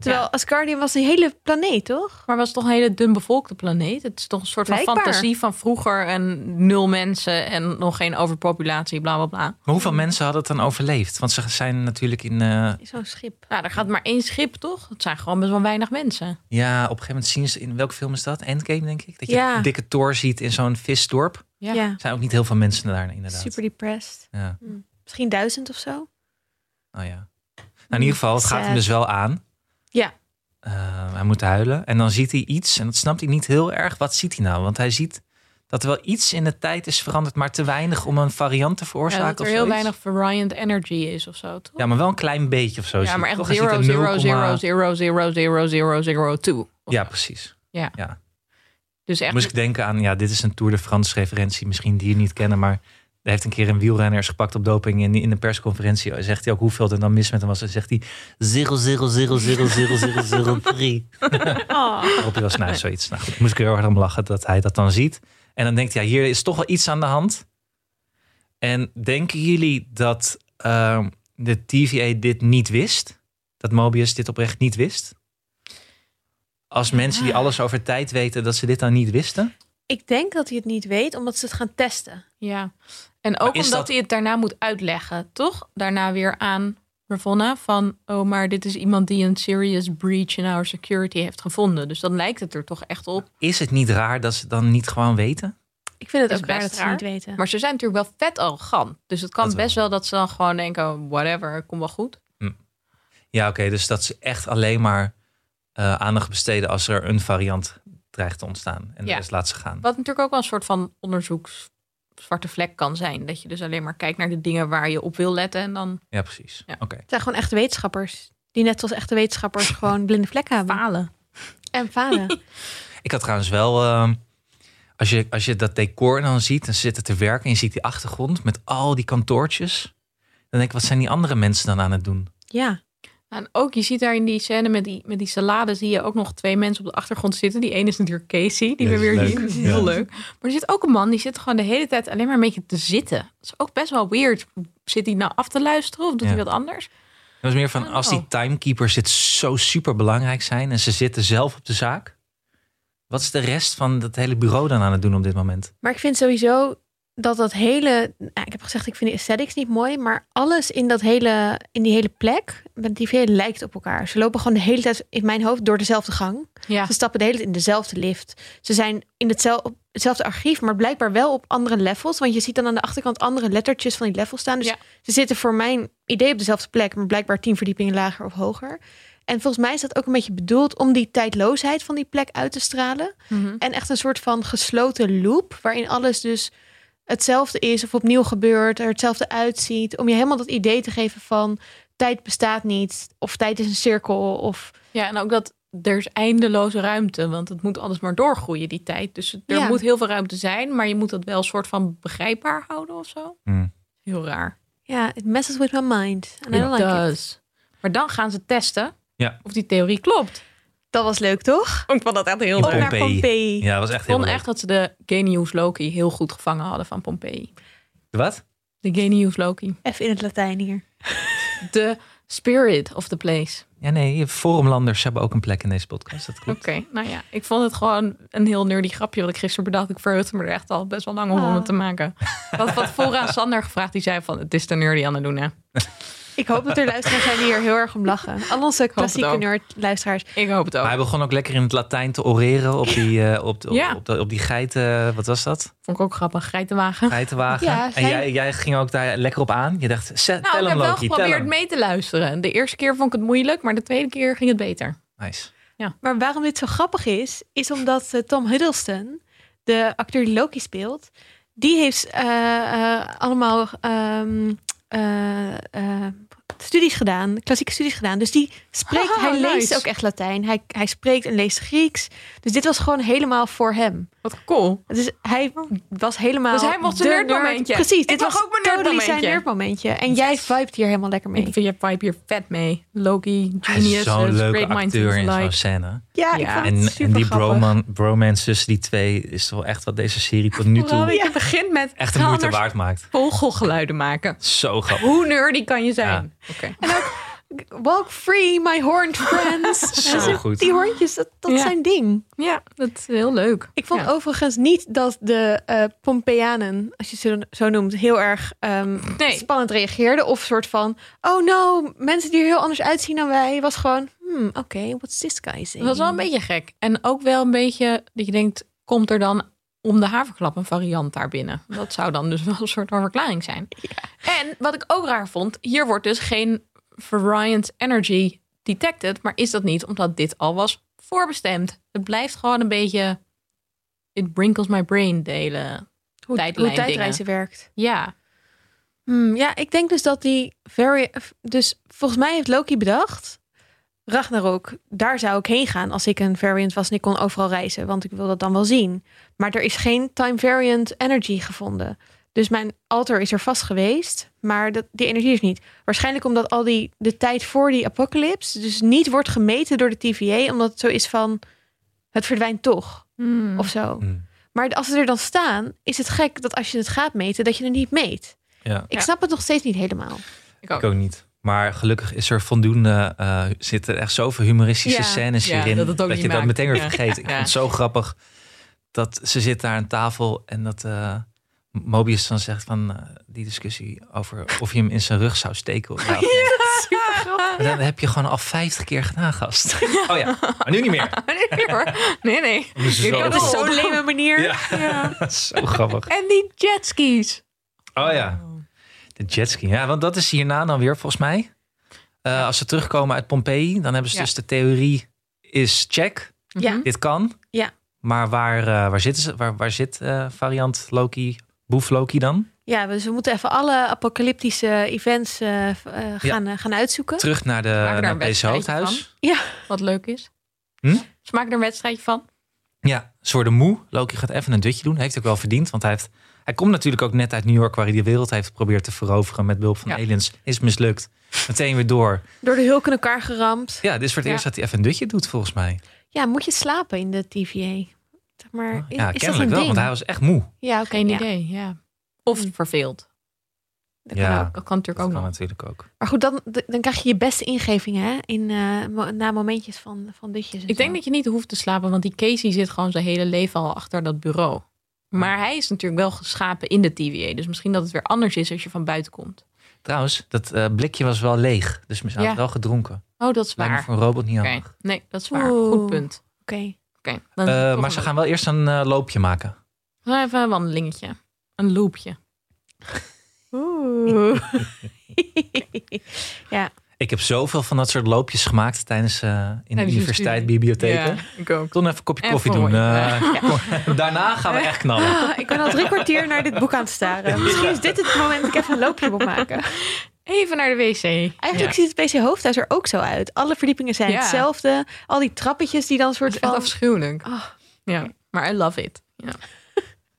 Speaker 2: Terwijl Asgardian was een hele planeet, toch?
Speaker 1: Maar het was toch een hele dun bevolkte planeet? Het is toch een soort van
Speaker 2: Blijkbaar.
Speaker 1: fantasie van vroeger en nul mensen en nog geen overpopulatie, bla bla bla.
Speaker 3: Maar hoeveel mensen hadden het dan overleefd? Want ze zijn natuurlijk in... eh,
Speaker 2: Zo'n schip.
Speaker 1: Nou, daar gaat maar één schip, toch? Het zijn gewoon best wel weinig mensen.
Speaker 3: ja, op een gegeven moment zien ze... In welke film is dat? Endgame, denk ik? Dat je
Speaker 2: Ja.
Speaker 3: een dikke Thor ziet in zo'n visdorp. Er
Speaker 1: Ja.
Speaker 3: zijn ook niet heel veel mensen daar, inderdaad.
Speaker 2: Super depressed.
Speaker 3: Ja.
Speaker 2: Misschien duizend of zo.
Speaker 3: Oh, ja. Nou, in ieder geval, het gaat
Speaker 2: Sad.
Speaker 3: hem dus wel aan.
Speaker 2: Ja.
Speaker 3: Eh, hij moet huilen. En dan ziet hij iets. En dat snapt hij niet heel erg. Wat ziet hij nou? Want hij ziet dat er wel iets in de tijd is veranderd. Maar te weinig om een variant te
Speaker 1: Ja,
Speaker 3: veroorzaken.
Speaker 1: dat er
Speaker 3: of
Speaker 1: heel
Speaker 3: zoiets.
Speaker 1: weinig variant energy is of zo, toch?
Speaker 3: Ja, maar wel een klein beetje of zo.
Speaker 1: Ja,
Speaker 3: zie
Speaker 1: maar
Speaker 3: ik
Speaker 1: echt
Speaker 3: toch? Hij ziet een 0,0.
Speaker 1: 0,00000002.
Speaker 3: Ja, precies.
Speaker 1: Dus echt
Speaker 3: Moest ik denken aan, ja, dit is een Tour de France referentie, misschien die je niet kennen, maar hij heeft een keer een wielrenner is gepakt op doping en in de persconferentie zegt hij ook hoeveel er dan mis met hem was. Dan zegt hij 0,0000003.
Speaker 2: Oh.
Speaker 3: Op je was nou zoiets. Nou goed, moest ik er heel hard om lachen dat hij dat dan ziet. En dan denkt hij, ja, hier is toch wel iets aan de hand. En denken jullie dat ehm, de TVA dit niet wist? Dat Mobius dit oprecht niet wist? Als mensen die alles over tijd weten, dat ze dit dan niet wisten?
Speaker 2: Ik denk dat hij het niet weet, omdat ze het gaan testen.
Speaker 1: Ja, en ook
Speaker 3: is
Speaker 1: omdat
Speaker 3: dat-
Speaker 1: hij het daarna moet uitleggen, toch? Daarna weer aan Ravonna van, oh, maar dit is iemand die een serious breach in our security heeft gevonden. Dus dan lijkt het er toch echt op.
Speaker 3: Is het niet raar dat ze het dan niet gewoon weten?
Speaker 2: Ik vind het
Speaker 1: Is
Speaker 2: ook raar
Speaker 1: best
Speaker 2: dat ze
Speaker 1: raar.
Speaker 2: het niet weten.
Speaker 1: Maar ze zijn natuurlijk wel vet arrogant. Dus het kan
Speaker 3: Dat wel.
Speaker 1: best wel dat ze dan gewoon denken, oh, whatever, kom wel goed.
Speaker 3: Ja, oké, dus dat ze echt alleen maar eh, aandacht besteden als er een variant dreigt te ontstaan. En de
Speaker 1: Ja.
Speaker 3: rest laat ze gaan.
Speaker 1: Wat natuurlijk ook wel een soort van onderzoeks zwarte vlek kan zijn. Dat je dus alleen maar kijkt naar de dingen waar je op wil letten en dan
Speaker 3: Ja, precies.
Speaker 1: Ja.
Speaker 3: Oké.
Speaker 2: Het zijn gewoon echte wetenschappers. Die net als echte wetenschappers gewoon blinde vlekken hebben.
Speaker 1: falen.
Speaker 2: En falen.
Speaker 3: Ik had trouwens wel, ehm, als, je, als je dat decor dan ziet, dan zit het te werken en je ziet die achtergrond met al die kantoortjes. Dan denk ik, wat zijn die andere mensen dan aan het doen?
Speaker 2: Ja.
Speaker 1: En ook, je ziet daar in die scène met die, met die salade, zie je ook nog twee mensen op de achtergrond zitten. Die ene is natuurlijk Casey, die we
Speaker 3: Ja, dat is
Speaker 1: weer
Speaker 3: leuk.
Speaker 1: zien. Dat is
Speaker 3: Ja.
Speaker 1: Heel leuk. Maar er zit ook een man, die zit gewoon de hele tijd alleen maar een beetje te zitten. Dat is ook best wel weird. Zit hij nou af te luisteren of doet
Speaker 3: Ja.
Speaker 1: hij wat anders?
Speaker 3: Het was meer van, als die
Speaker 1: Oh.
Speaker 3: timekeepers dit zo super belangrijk zijn en ze zitten zelf op de zaak. Wat is de rest van dat hele bureau dan aan het doen op dit moment?
Speaker 2: Maar ik vind sowieso dat dat hele... Nou, ik heb gezegd, ik vind de aesthetics niet mooi. Maar alles in, dat hele, in die hele plek, met die veel lijkt op elkaar. Ze lopen gewoon de hele tijd in mijn hoofd door dezelfde gang.
Speaker 1: Ja.
Speaker 2: Ze stappen de hele tijd in dezelfde lift. Ze zijn in hetzelfde, op hetzelfde archief, maar blijkbaar wel op andere levels. Want je ziet dan aan de achterkant andere lettertjes van die levels staan. Dus
Speaker 1: Ja.
Speaker 2: ze zitten voor mijn idee op dezelfde plek, maar blijkbaar tien verdiepingen lager of hoger. En volgens mij is dat ook een beetje bedoeld om die tijdloosheid van die plek uit te stralen.
Speaker 1: Mhm.
Speaker 2: En echt een soort van gesloten loop, waarin alles dus hetzelfde is of opnieuw gebeurt, er hetzelfde uitziet. Om je helemaal dat idee te geven van tijd bestaat niet, of tijd is een cirkel, of
Speaker 1: ja, en ook dat er is eindeloze ruimte, want het moet alles maar doorgroeien, die tijd. Dus er
Speaker 2: Ja.
Speaker 1: moet heel veel ruimte zijn, maar je moet dat wel een soort van begrijpbaar houden of zo.
Speaker 3: Hmm.
Speaker 1: Heel raar.
Speaker 2: Ja, it messes with my mind. En I
Speaker 3: Ja.
Speaker 2: don't like it.
Speaker 1: Dus. Maar dan gaan ze testen
Speaker 3: Ja.
Speaker 1: of die theorie klopt.
Speaker 2: Dat was leuk, toch?
Speaker 1: Ik vond dat echt heel
Speaker 3: In
Speaker 2: Ook naar
Speaker 3: Pompeii.
Speaker 2: Pompeii.
Speaker 3: Ja, dat was echt
Speaker 1: Ik
Speaker 3: heel
Speaker 1: vond
Speaker 3: leuk.
Speaker 1: echt dat ze de Genius Loki heel goed gevangen hadden van Pompeii.
Speaker 3: Wat?
Speaker 1: De Genius Loki.
Speaker 2: Even in het Latijn hier.
Speaker 1: De spirit of the place.
Speaker 3: Ja, nee, forumlanders hebben ook een plek in deze podcast. Dat
Speaker 1: Oké,
Speaker 3: klopt.
Speaker 1: nou ja. Ik vond het gewoon een heel nerdy grapje wat ik gisteren bedacht. Ik verheugde me er echt al best wel lang om om het te maken. Wat wat vooraan Sander gevraagd. Die zei van, het is de nerdy aan het doen hè.
Speaker 2: Ik hoop dat er luisteraars zijn die hier heel erg om lachen. Al onze klassieke
Speaker 1: ook.
Speaker 2: nerd-luisteraars.
Speaker 1: Ik hoop het ook.
Speaker 3: Maar hij begon ook lekker in het Latijn te oreren op die, eh, op, de- op,
Speaker 1: Ja.
Speaker 3: op, de- op die geiten. eh, Wat was dat?
Speaker 1: Vond ik ook grappig. Geitenwagen.
Speaker 3: Geitenwagen.
Speaker 2: Ja,
Speaker 3: En
Speaker 2: geit-
Speaker 3: jij, jij ging ook daar lekker op aan. Je dacht, zet,
Speaker 1: Nou,
Speaker 3: tel
Speaker 1: ik heb
Speaker 3: hem
Speaker 1: wel
Speaker 3: Loki, tel
Speaker 1: geprobeerd
Speaker 3: hem.
Speaker 1: mee te luisteren. De eerste keer vond ik het moeilijk, maar de tweede keer ging het beter.
Speaker 3: Nice.
Speaker 2: Maar waarom dit zo grappig is, is omdat eh, Tom Hiddleston, de acteur die Loki speelt, Die heeft eh, eh, allemaal ehm, eh, eh, studies gedaan, klassieke studies gedaan. Dus die spreekt,
Speaker 1: Oh,
Speaker 2: hij
Speaker 1: nice.
Speaker 2: leest ook echt Latijn. Hij, hij spreekt en leest Grieks. Dus dit was gewoon helemaal voor hem.
Speaker 1: Wat cool.
Speaker 2: Dus hij was helemaal.
Speaker 1: Oh. Dus hij mocht zijn
Speaker 2: de
Speaker 1: nerdmomentje.
Speaker 2: nerd. Precies,
Speaker 1: Ik
Speaker 2: dit
Speaker 1: mag
Speaker 2: was
Speaker 1: ook mijn
Speaker 2: totally
Speaker 1: nerdmomentje.
Speaker 2: zijn nerdmomentje. En jij vibet hier helemaal lekker mee.
Speaker 1: Ik vind je vibe hier vet mee. Loki,
Speaker 3: Hij is
Speaker 1: genius,
Speaker 3: zo'n
Speaker 1: there's
Speaker 3: leuke
Speaker 1: great minds
Speaker 3: acteur in
Speaker 1: think
Speaker 3: zo'n
Speaker 1: alike.
Speaker 3: scène.
Speaker 2: ja,
Speaker 1: Ja.
Speaker 2: ik
Speaker 3: En,
Speaker 2: vond het
Speaker 3: en
Speaker 2: super
Speaker 3: die
Speaker 2: grappig.
Speaker 3: broman, bromance tussen die twee is wel echt wat deze serie tot nu
Speaker 1: Vooral,
Speaker 3: toe
Speaker 1: je begint met
Speaker 3: echt de
Speaker 1: ga
Speaker 3: moeite
Speaker 1: anders
Speaker 3: waard maakt.
Speaker 1: vogelgeluiden maken.
Speaker 3: Zo grappig.
Speaker 1: Hoe nerdy kan je zijn? Oké.
Speaker 2: Walk free, my horned friends.
Speaker 3: Zo
Speaker 2: En ze-
Speaker 3: goed.
Speaker 2: Die hoortjes, dat, dat
Speaker 1: Ja.
Speaker 2: zijn ding.
Speaker 1: Ja, dat is heel leuk.
Speaker 2: Ik vond
Speaker 1: Ja.
Speaker 2: overigens niet dat de eh Pompeianen, als je ze zo noemt, heel erg ehm,
Speaker 1: Nee.
Speaker 2: spannend reageerden. Of soort van, oh no, mensen die er heel anders uitzien dan wij. Was gewoon, hmm, oké, what's this guy saying?
Speaker 1: Dat was wel een beetje gek. En ook wel een beetje dat je denkt, komt er dan om de haverklap een variant daar binnen? Dat zou dan dus wel een soort van verklaring zijn. En wat ik ook raar vond, hier wordt dus geen variant energy detected. Maar is dat niet omdat dit al was voorbestemd? Het blijft gewoon een beetje, it wrinkles my brain delen.
Speaker 2: hoe,
Speaker 1: tijdlijn
Speaker 2: hoe tijdreizen werkt.
Speaker 1: Ja,
Speaker 2: Hmm, ja, ik denk dus dat die, very, dus volgens mij heeft Loki bedacht... Ragnarok, daar zou ik heen gaan als ik een variant was en ik kon overal reizen, want ik wil dat dan wel zien. Maar er is geen time variant energy gevonden. Dus mijn alter is er vast geweest, maar dat, die energie is niet. Waarschijnlijk omdat al die de tijd voor die apocalypse dus niet wordt gemeten door de TVA, omdat het zo is van het verdwijnt toch
Speaker 1: Hmm.
Speaker 2: of zo.
Speaker 3: Hmm.
Speaker 2: Maar als ze er dan staan, is het gek dat als je het gaat meten, dat je het niet meet.
Speaker 3: Ja,
Speaker 2: Ik
Speaker 1: Ja.
Speaker 2: snap het nog steeds niet helemaal.
Speaker 1: ik ook.
Speaker 3: ik ook niet. Maar gelukkig is er voldoende, eh zitten er echt zoveel humoristische
Speaker 2: Ja.
Speaker 3: scènes
Speaker 1: Ja,
Speaker 3: hierin.
Speaker 1: dat het ook niet
Speaker 3: je dat
Speaker 1: maakt.
Speaker 3: meteen weer
Speaker 1: Ja.
Speaker 3: vergeet. Ik
Speaker 1: Ja.
Speaker 3: vond het zo grappig dat ze zit daar aan tafel en dat eh, Mobius dan zegt van eh, die discussie over of je hem in zijn rug zou steken. Of ja, of nee.
Speaker 2: Super grappig.
Speaker 3: Maar Dan heb je gewoon al 50 keer gedaan, gast. Oh ja, maar nu niet meer.
Speaker 1: Nee hoor. Nee, nee.
Speaker 3: Dat is
Speaker 1: Ik
Speaker 3: zo,
Speaker 1: heb
Speaker 2: Dat is
Speaker 1: Oh.
Speaker 2: zo'n leme manier.
Speaker 3: Ja. zo grappig.
Speaker 1: En die jetskis. Mhm.
Speaker 3: Oh ja, de jetski. Ja, want dat is hierna dan weer volgens mij. Eh, als ze terugkomen uit Pompeii, dan hebben ze
Speaker 1: Ja.
Speaker 3: dus de theorie is check.
Speaker 2: Ja.
Speaker 1: Mhm.
Speaker 3: Dit kan.
Speaker 2: Ja.
Speaker 3: Maar waar, eh, waar zitten ze? Waar, waar zit eh, variant Loki, boef Loki dan?
Speaker 2: Ja, dus we moeten even alle apocalyptische events eh, v- eh, gaan, eh, gaan uitzoeken.
Speaker 3: Terug naar de
Speaker 1: daar
Speaker 3: naar
Speaker 1: een
Speaker 3: PC
Speaker 1: wedstrijdje
Speaker 3: Hoofdhuis.
Speaker 1: Wat leuk is.
Speaker 3: Hm?
Speaker 1: Ze maken er een wedstrijdje van.
Speaker 3: Ja, ze worden moe. Loki gaat even een dutje doen. Heeft ook wel verdiend, want hij, heeft, hij komt natuurlijk ook net uit New York... waar hij de wereld heeft geprobeerd te veroveren met behulp van
Speaker 1: Ja.
Speaker 3: aliens. Is mislukt. Meteen weer door.
Speaker 2: Door de hulk in elkaar geramd.
Speaker 3: Ja, dit is voor het
Speaker 1: Ja.
Speaker 3: eerst dat hij even een dutje doet volgens mij.
Speaker 2: Ja, moet je slapen in de TVA? Zeg maar, is,
Speaker 3: Oh, ja,
Speaker 2: is dat een
Speaker 3: kennelijk wel,
Speaker 2: ding?
Speaker 3: want hij was echt moe.
Speaker 2: Ja, oké,
Speaker 1: Geen
Speaker 2: ja,
Speaker 1: idee, ja. Hm. Of verveeld.
Speaker 2: dat kan
Speaker 3: Ja.
Speaker 2: ook.
Speaker 1: Dat kan natuurlijk
Speaker 3: Dat
Speaker 1: ook
Speaker 3: kan
Speaker 1: nog.
Speaker 3: natuurlijk ook.
Speaker 2: Maar goed, dan, d- dan krijg je je beste ingevingen hè? In, eh, mo- na momentjes van, van ditjes. en
Speaker 1: Ik denk
Speaker 2: zo.
Speaker 1: dat je niet hoeft te slapen, want die Casey zit gewoon zijn hele leven al achter dat bureau. Maar
Speaker 3: Hm.
Speaker 1: hij is natuurlijk wel geschapen in de TVA. Dus misschien dat het weer anders is als je van buiten komt.
Speaker 3: Trouwens, dat eh, blikje was wel leeg. Dus misschien had
Speaker 1: Ja.
Speaker 3: wel gedronken.
Speaker 1: Oh, dat is
Speaker 3: Lijkt me
Speaker 1: waar.
Speaker 3: voor een robot niet
Speaker 1: Oké.
Speaker 3: handig.
Speaker 1: Nee, dat is waar.
Speaker 2: Oeh.
Speaker 1: Goed punt.
Speaker 2: Oké.
Speaker 1: Oké. dan
Speaker 3: Eh,
Speaker 1: toch
Speaker 3: maar
Speaker 1: een-
Speaker 3: ze gaan wel eerst een eh, loopje maken.
Speaker 1: We gaan Even een wandelingetje. Een loopje.
Speaker 2: Oeh.
Speaker 3: Ik heb zoveel van dat soort loopjes gemaakt tijdens eh, in de
Speaker 1: Tijdens je
Speaker 3: universiteit,
Speaker 1: studie.
Speaker 3: bibliotheken.
Speaker 1: Ja, ik ook.
Speaker 3: Ik kon even een kopje
Speaker 1: En
Speaker 3: koffie doen.
Speaker 1: vermoeid,
Speaker 3: eh, kom- Daarna gaan we echt knallen.
Speaker 2: ik ben al drie kwartier naar dit boek aan het staren. Misschien is dit het moment dat ik even een loopje moet maken.
Speaker 1: Even naar de wc.
Speaker 2: Eigenlijk ziet het PC Hoofdhuis er ook zo uit. Alle verdiepingen zijn
Speaker 1: Ja.
Speaker 2: hetzelfde. Al die trappetjes die dan soort
Speaker 1: Het is echt
Speaker 2: van...
Speaker 1: afschuwelijk.
Speaker 2: Ah.
Speaker 1: Ja, maar I love it. Ja.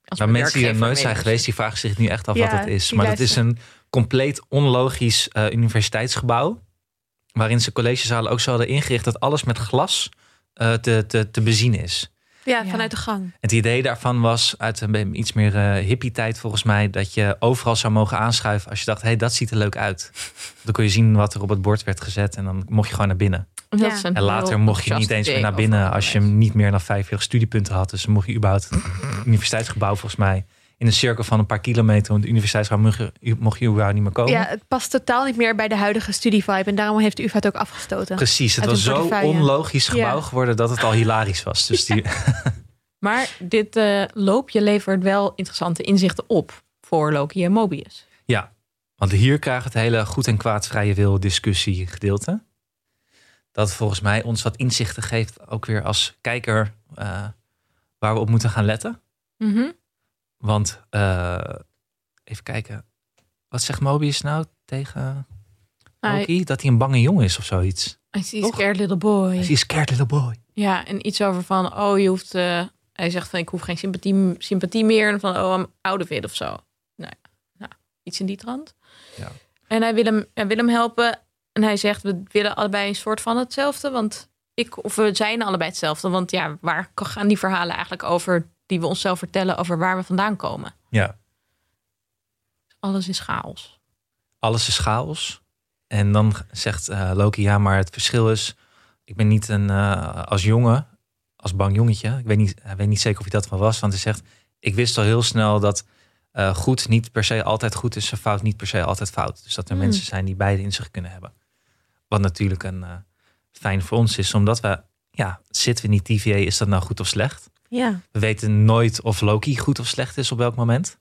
Speaker 1: Als
Speaker 3: Maar
Speaker 1: mijn
Speaker 3: mensen die er
Speaker 1: werkgever
Speaker 3: nooit zijn
Speaker 1: mee-
Speaker 3: geweest, die vragen zich nu echt af
Speaker 2: Ja,
Speaker 3: wat het is.
Speaker 2: die
Speaker 3: Maar dat is
Speaker 2: luisteren.
Speaker 3: een compleet onlogisch eh, universiteitsgebouw. Waarin ze collegezalen ook zo hadden ingericht dat alles met glas eh, te, te, te bezien is.
Speaker 2: Ja,
Speaker 1: Ja.
Speaker 2: vanuit de gang.
Speaker 3: Het idee daarvan was uit een be- iets meer eh hippie tijd volgens mij... dat je overal zou mogen aanschuiven als je dacht... hé, hey, dat ziet er leuk uit. Dan kon je zien wat er op het bord werd gezet... en dan mocht je gewoon naar binnen.
Speaker 1: Dat
Speaker 2: Ja.
Speaker 1: is een
Speaker 3: En later
Speaker 1: heel
Speaker 3: mocht je niet
Speaker 1: enthousiast
Speaker 3: eens meer
Speaker 1: idee
Speaker 3: naar binnen...
Speaker 1: over
Speaker 3: als je hem niet meer dan 45 studiepunten had. Dus dan mocht je überhaupt het universiteitsgebouw volgens mij... in een cirkel van een paar kilometer... want de universiteitsgebouw mocht je, mocht je überhaupt niet meer komen.
Speaker 2: Ja, het past totaal niet meer bij de huidige studievibe. En daarom heeft de UvA het ook afgestoten.
Speaker 3: Precies, het
Speaker 2: Uit
Speaker 3: was
Speaker 2: een
Speaker 3: zo
Speaker 2: portefeuille.
Speaker 3: onlogisch gebouw
Speaker 2: Ja.
Speaker 3: geworden... dat het al hilarisch was. Dus die,
Speaker 1: Maar dit eh, loopje levert wel interessante inzichten op voor Loki en Mobius.
Speaker 3: Ja, want hier krijgt het hele goed en kwaad vrije wil discussie gedeelte. Dat volgens mij ons wat inzichten
Speaker 1: Mhm.
Speaker 3: geeft, ook weer als kijker, eh, waar we op moeten gaan letten. Want, eh, even kijken. Wat zegt Mobius nou tegen
Speaker 1: Hij-
Speaker 3: Loki? Dat hij een bange jongen is of zoiets.
Speaker 1: I see
Speaker 3: Toch?
Speaker 1: scared little boy.
Speaker 3: Hij is scared little boy.
Speaker 1: Ja, en iets over van, oh, je hoeft... eh, hij zegt van, ik hoef geen sympathie, sympathie meer. En van, oh, I'm out of it of zo. Nou ja, nou, iets in die trant.
Speaker 3: Ja.
Speaker 1: En hij wil, hem, hij wil hem helpen. En hij zegt, we willen allebei een soort van hetzelfde. Want ik, of we zijn allebei hetzelfde. Want ja, waar gaan die verhalen eigenlijk over... die we onszelf vertellen over waar we vandaan komen?
Speaker 3: Ja.
Speaker 1: Alles is chaos.
Speaker 3: alles is chaos. En dan g- zegt eh, Loki, ja, maar het verschil is, ik ben niet een, eh, als jongen, als bang jongetje. Ik weet niet, hij weet niet zeker of hij dat van was, want hij zegt, ik wist al heel snel dat eh, goed niet per se altijd goed is en fout niet per se altijd fout. Dus dat er
Speaker 1: Hmm.
Speaker 3: mensen zijn die beide in zich kunnen hebben. Wat natuurlijk een eh, fijn voor ons is, omdat we, ja, zitten we in die TVA, is dat nou goed of slecht?
Speaker 2: Ja.
Speaker 3: We weten nooit of Loki goed of slecht is op welk moment.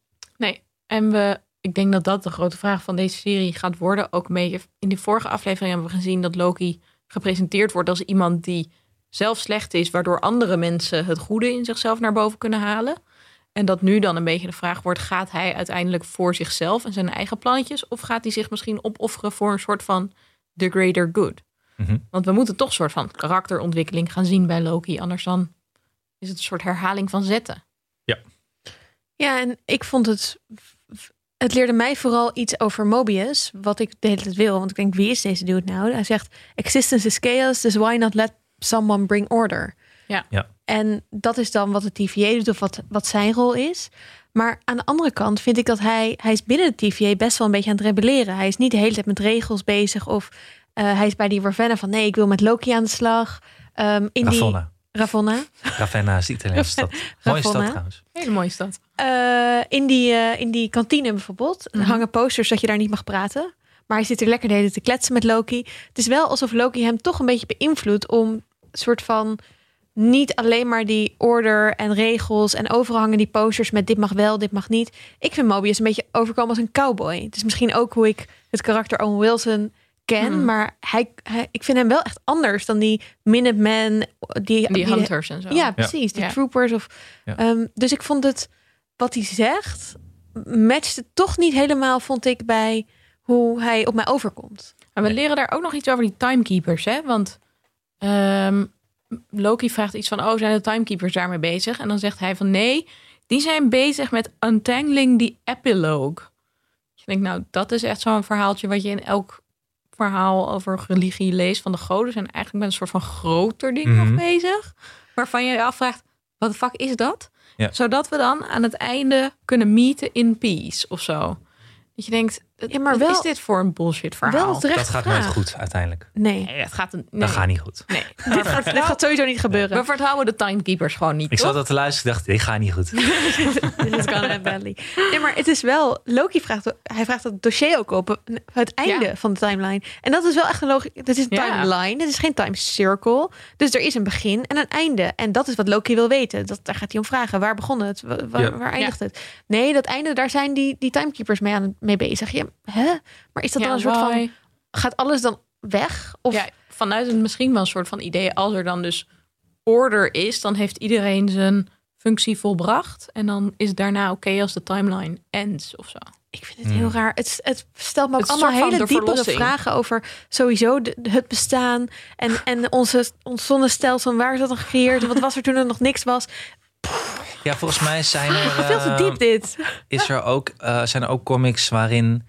Speaker 1: En we, ik denk dat dat de grote vraag van deze serie gaat worden. Ook mee. In de vorige aflevering hebben we gezien dat Loki gepresenteerd wordt als iemand die zelf slecht is, waardoor andere mensen het goede in zichzelf naar boven kunnen halen. En dat nu dan een beetje de vraag wordt: gaat hij uiteindelijk voor zichzelf en zijn eigen plannetjes? Of gaat hij zich misschien opofferen voor een soort van the greater good?
Speaker 3: Mhm.
Speaker 1: Want we moeten toch een soort van karakterontwikkeling gaan zien bij Loki. Anders dan is het een soort herhaling van zetten.
Speaker 2: Ja, en ik vond het. Het leerde mij vooral iets over Mobius, wat ik de hele tijd wil. Want ik denk, wie is deze dude nou? Hij zegt, existence is chaos, dus why not let someone bring order?
Speaker 1: Ja.
Speaker 3: Ja.
Speaker 2: En dat is dan wat de TVA doet of wat, wat zijn rol is. Maar aan de andere kant vind ik dat hij, hij is binnen de TVA best wel een beetje aan het rebelleren. Hij is niet de hele tijd met regels bezig of eh, hij is bij die Ravenna van, nee, ik wil met Loki aan de slag. Ehm, in
Speaker 3: Ravonna.
Speaker 2: Die, Ravonna.
Speaker 3: Ravenna is de Italiaanse stad. Mooie stad
Speaker 2: Ravonna.
Speaker 3: trouwens.
Speaker 1: Hele mooie stad.
Speaker 2: Eh, in, die, eh, in die kantine bijvoorbeeld
Speaker 1: Mhm.
Speaker 2: hangen posters dat je daar niet mag praten. Maar hij zit er lekker de hele tijd te kletsen met Loki. Het is wel alsof Loki hem toch een beetje beïnvloedt om een soort van niet alleen maar die order en regels en overal hangen die posters met dit mag wel, dit mag niet. Ik vind Mobius een beetje overkomen als een cowboy. Het is misschien ook hoe ik het karakter Owen Wilson ken,
Speaker 1: Mhm.
Speaker 2: maar hij, hij, ik vind hem wel echt anders dan die Minutemen die,
Speaker 1: En die
Speaker 2: die de-
Speaker 1: hunters en zo.
Speaker 2: ja, precies. De
Speaker 1: Ja.
Speaker 2: troopers. Of,
Speaker 3: Ja.
Speaker 2: Ehm, dus ik vond het, wat hij zegt, matchte toch niet helemaal, vond ik, bij hoe hij op mij overkomt.
Speaker 1: Maar we
Speaker 3: Nee.
Speaker 1: leren daar ook nog iets over die timekeepers, hè? Want ehm, Loki vraagt iets van: Oh, zijn de timekeepers daarmee bezig? En dan zegt hij van: Nee, die zijn bezig met untangling the epilogue. Dus ik denk, nou, dat is echt zo'n verhaaltje wat je in elk verhaal over religie leest van de goden. Zijn eigenlijk met een soort van groter ding
Speaker 3: Mhm.
Speaker 1: nog bezig, waarvan je je afvraagt: Wat de fuck is dat?
Speaker 3: Ja.
Speaker 1: Zodat we dan aan het einde kunnen meeten in peace of zo. Dat je denkt,
Speaker 2: Ja,
Speaker 1: ja,
Speaker 2: maar
Speaker 1: maar wat
Speaker 2: wel-
Speaker 1: is dit voor een bullshit verhaal?
Speaker 2: Wel terecht
Speaker 3: Dat gaat
Speaker 2: vraag.
Speaker 3: nooit goed uiteindelijk.
Speaker 2: Ah. Nee,
Speaker 1: Nee, dat gaat een. Nee.
Speaker 3: Dat gaat niet goed.
Speaker 1: Nee.
Speaker 2: dit gaat, dit gaat sowieso niet gebeuren.
Speaker 1: We vertrouwen de timekeepers gewoon niet.
Speaker 3: Ik
Speaker 1: toch?
Speaker 3: zat dat te luisteren, ik dacht, dit gaat niet goed.
Speaker 2: Dit is gonna end badly. Nee, maar het is wel, Loki vraagt, hij vraagt dat dossier ook op, het einde
Speaker 1: Ja.
Speaker 2: van de timeline. En dat is wel echt een logisch, dit is een
Speaker 1: Ja.
Speaker 2: timeline, dit is geen time circle. Dus er is een begin en een einde. En dat is wat Loki wil weten. Dat, daar gaat hij om vragen. Waar begon het? Wa- wa- Waar,
Speaker 3: Ja.
Speaker 2: eindigt het? Nee, dat einde, daar zijn die, die timekeepers mee, aan, mee bezig. Ja, hè? Maar is dat
Speaker 1: Ja,
Speaker 2: dan een soort van,
Speaker 1: why?
Speaker 2: gaat alles dan weg? Of,
Speaker 1: Ja, vanuit een misschien wel een soort van idee. Als er dan dus order is, dan heeft iedereen zijn functie volbracht. En dan is het daarna oké als de timeline ends of zo.
Speaker 2: Ik vind het heel
Speaker 3: Hmm.
Speaker 2: raar. Het, het stelt me ook
Speaker 1: Het is
Speaker 2: allemaal
Speaker 1: soort van
Speaker 2: hele
Speaker 1: de
Speaker 2: diepere
Speaker 1: verlossing.
Speaker 2: vragen over sowieso de- het bestaan
Speaker 3: Ah.
Speaker 2: en, en onze, ons zonnestelsel. en Waar is dat dan gecreëerd? En Wat was er toen er nog niks was?
Speaker 3: Ja, volgens mij zijn er,
Speaker 2: Ah, Veel te
Speaker 3: eh,
Speaker 2: diep dit.
Speaker 3: is er ook, eh, zijn er ook comics waarin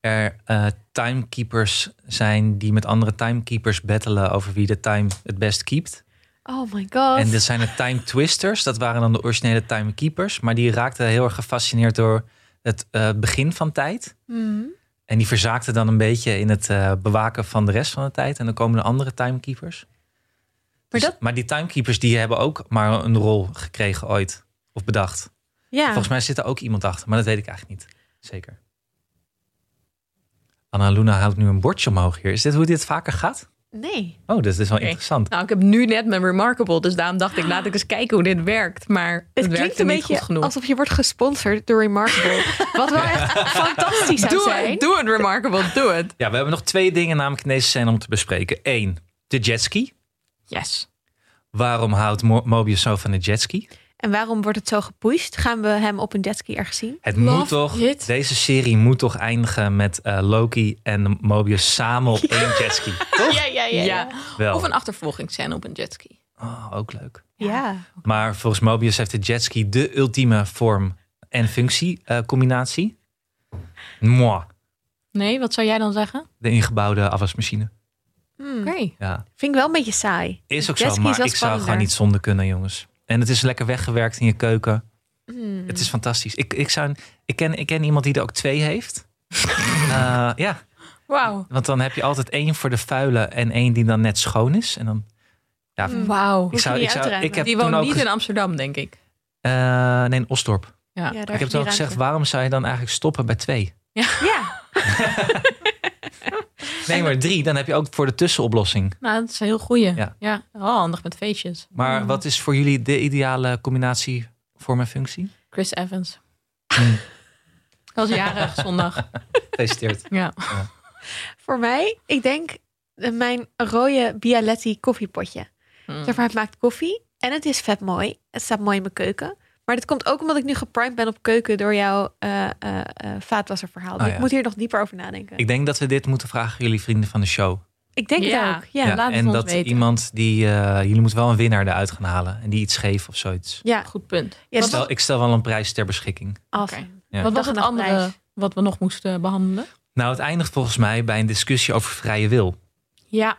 Speaker 3: er eh, timekeepers zijn die met andere timekeepers battelen over wie de time het best keept.
Speaker 2: Oh my god.
Speaker 3: En dus dit zijn de time twisters, dat waren dan de originele timekeepers, maar die raakten heel erg gefascineerd door het eh, begin van tijd.
Speaker 2: Hmm.
Speaker 3: En die verzaakte dan een beetje in het eh, bewaken van de rest van de tijd. En dan komen de andere timekeepers.
Speaker 2: Maar
Speaker 3: Dus-
Speaker 2: dat-
Speaker 3: maar die timekeepers die hebben ook maar een rol gekregen ooit. Of bedacht.
Speaker 2: Ja.
Speaker 3: Volgens mij zit er ook iemand achter. Maar dat weet ik eigenlijk niet. Zeker. Anna Luna houdt nu een bordje omhoog hier. Is dit hoe dit vaker gaat?
Speaker 2: Nee.
Speaker 3: Oh, dat is wel
Speaker 1: Oké.
Speaker 3: interessant.
Speaker 1: Nou, ik heb nu net mijn Remarkable. Dus daarom dacht ik, laat ik eens kijken hoe dit werkt. Maar het,
Speaker 2: Het, klinkt
Speaker 1: werkte
Speaker 2: een
Speaker 1: niet goed
Speaker 2: beetje
Speaker 1: genoeg.
Speaker 2: alsof je wordt gesponsord door Remarkable. Wat wel echt fantastisch zou
Speaker 1: Doe
Speaker 2: zijn.
Speaker 1: het, doe het, Remarkable, doe het.
Speaker 3: Ja, we hebben nog twee dingen namelijk in deze scène om te bespreken. Eén, de jetski.
Speaker 1: Yes.
Speaker 3: Waarom houdt Mo- Mobius zo van de jetski?
Speaker 2: En waarom wordt het zo gepusht? Gaan we hem op een jetski ergens zien?
Speaker 3: Het
Speaker 1: Love
Speaker 3: moet toch,
Speaker 1: it.
Speaker 3: deze serie moet toch eindigen met eh, Loki en Mobius samen op één jetski. Toch?
Speaker 2: Ja, ja,
Speaker 1: Ja.
Speaker 3: Wel.
Speaker 1: Of een achtervolgingsscène op een jetski.
Speaker 3: Oh, ook leuk.
Speaker 2: Ja.
Speaker 3: Maar volgens Mobius heeft de jetski de ultieme vorm en functiecombinatie. Mwah.
Speaker 1: Nee, wat zou jij dan zeggen?
Speaker 3: De ingebouwde afwasmachine.
Speaker 2: Hmm.
Speaker 1: Oké.
Speaker 3: Ja,
Speaker 2: Vind ik wel een beetje saai.
Speaker 3: is
Speaker 2: Jetski
Speaker 3: ook zo.
Speaker 2: is
Speaker 3: Maar
Speaker 2: wel
Speaker 3: ik zou gewoon
Speaker 2: spannender.
Speaker 3: niet zonder kunnen, jongens. En het is lekker weggewerkt in je keuken.
Speaker 2: Hmm.
Speaker 3: Het is fantastisch. Ik, ik, zou, een- ik, ken, ik ken iemand die er ook twee heeft. Eh, ja,
Speaker 1: Wauw.
Speaker 3: want dan heb je altijd één voor de vuile en één die dan net schoon is. En dan, ja,
Speaker 2: Mm.
Speaker 1: Wauw.
Speaker 3: ik,
Speaker 2: hoef je
Speaker 3: zou,
Speaker 2: niet
Speaker 3: ik,
Speaker 2: uit
Speaker 3: zou,
Speaker 2: te
Speaker 3: ik heb
Speaker 1: Die
Speaker 3: toen
Speaker 1: woont
Speaker 3: ook...
Speaker 1: niet
Speaker 3: gez-
Speaker 1: in Amsterdam, denk ik.
Speaker 3: Eh, nee, in Osdorp.
Speaker 1: Ja.
Speaker 2: daar
Speaker 3: Ik heb
Speaker 2: heb
Speaker 3: toen
Speaker 2: je
Speaker 3: ook gezegd,
Speaker 2: ruimte.
Speaker 3: waarom zou je dan eigenlijk stoppen bij twee?
Speaker 2: Ja.
Speaker 3: Nee, maar drie, dan heb je ook voor de tussenoplossing.
Speaker 1: Nou, dat is een heel goeie.
Speaker 3: Ja.
Speaker 1: Ja. Wel handig met feestjes.
Speaker 3: Maar wat is voor jullie de ideale combinatie voor mijn functie?
Speaker 1: Chris Evans.
Speaker 3: Hmm.
Speaker 1: Dat was jarig zondag.
Speaker 3: Gefeliciteerd.
Speaker 1: Ja.
Speaker 2: Voor mij, ik denk eh, mijn rode Bialetti koffiepotje.
Speaker 1: Hm.
Speaker 2: Zeg maar, het maakt koffie en het is vet mooi. Het staat mooi in mijn keuken. Maar dat komt ook omdat ik nu geprimed ben op keuken door jouw eh, eh, eh, vaatwasserverhaal. Dus
Speaker 3: ja.
Speaker 2: Ik moet hier nog dieper over nadenken. Ik,
Speaker 3: Ik denk dat we dit moeten vragen aan jullie vrienden van de show.
Speaker 2: denk
Speaker 1: Ja.
Speaker 2: het ook. Ja.
Speaker 1: Ja. laat het
Speaker 3: en
Speaker 1: ons
Speaker 3: dat
Speaker 1: weten.
Speaker 3: iemand die... eh, jullie moeten wel een winnaar eruit gaan halen. En die iets geeft of zoiets.
Speaker 2: Ja.
Speaker 1: Goed punt.
Speaker 2: Ja,
Speaker 3: Ik
Speaker 2: dat
Speaker 3: stel, ik stel wel een prijs ter beschikking.
Speaker 2: af.
Speaker 1: Oké.
Speaker 3: Ja.
Speaker 1: Wat was
Speaker 2: Dag en
Speaker 1: het
Speaker 2: nacht
Speaker 1: andere
Speaker 2: prijs.
Speaker 1: wat we nog moesten behandelen?
Speaker 3: Nou, het eindigt volgens mij bij een discussie over vrije wil.
Speaker 1: Ja.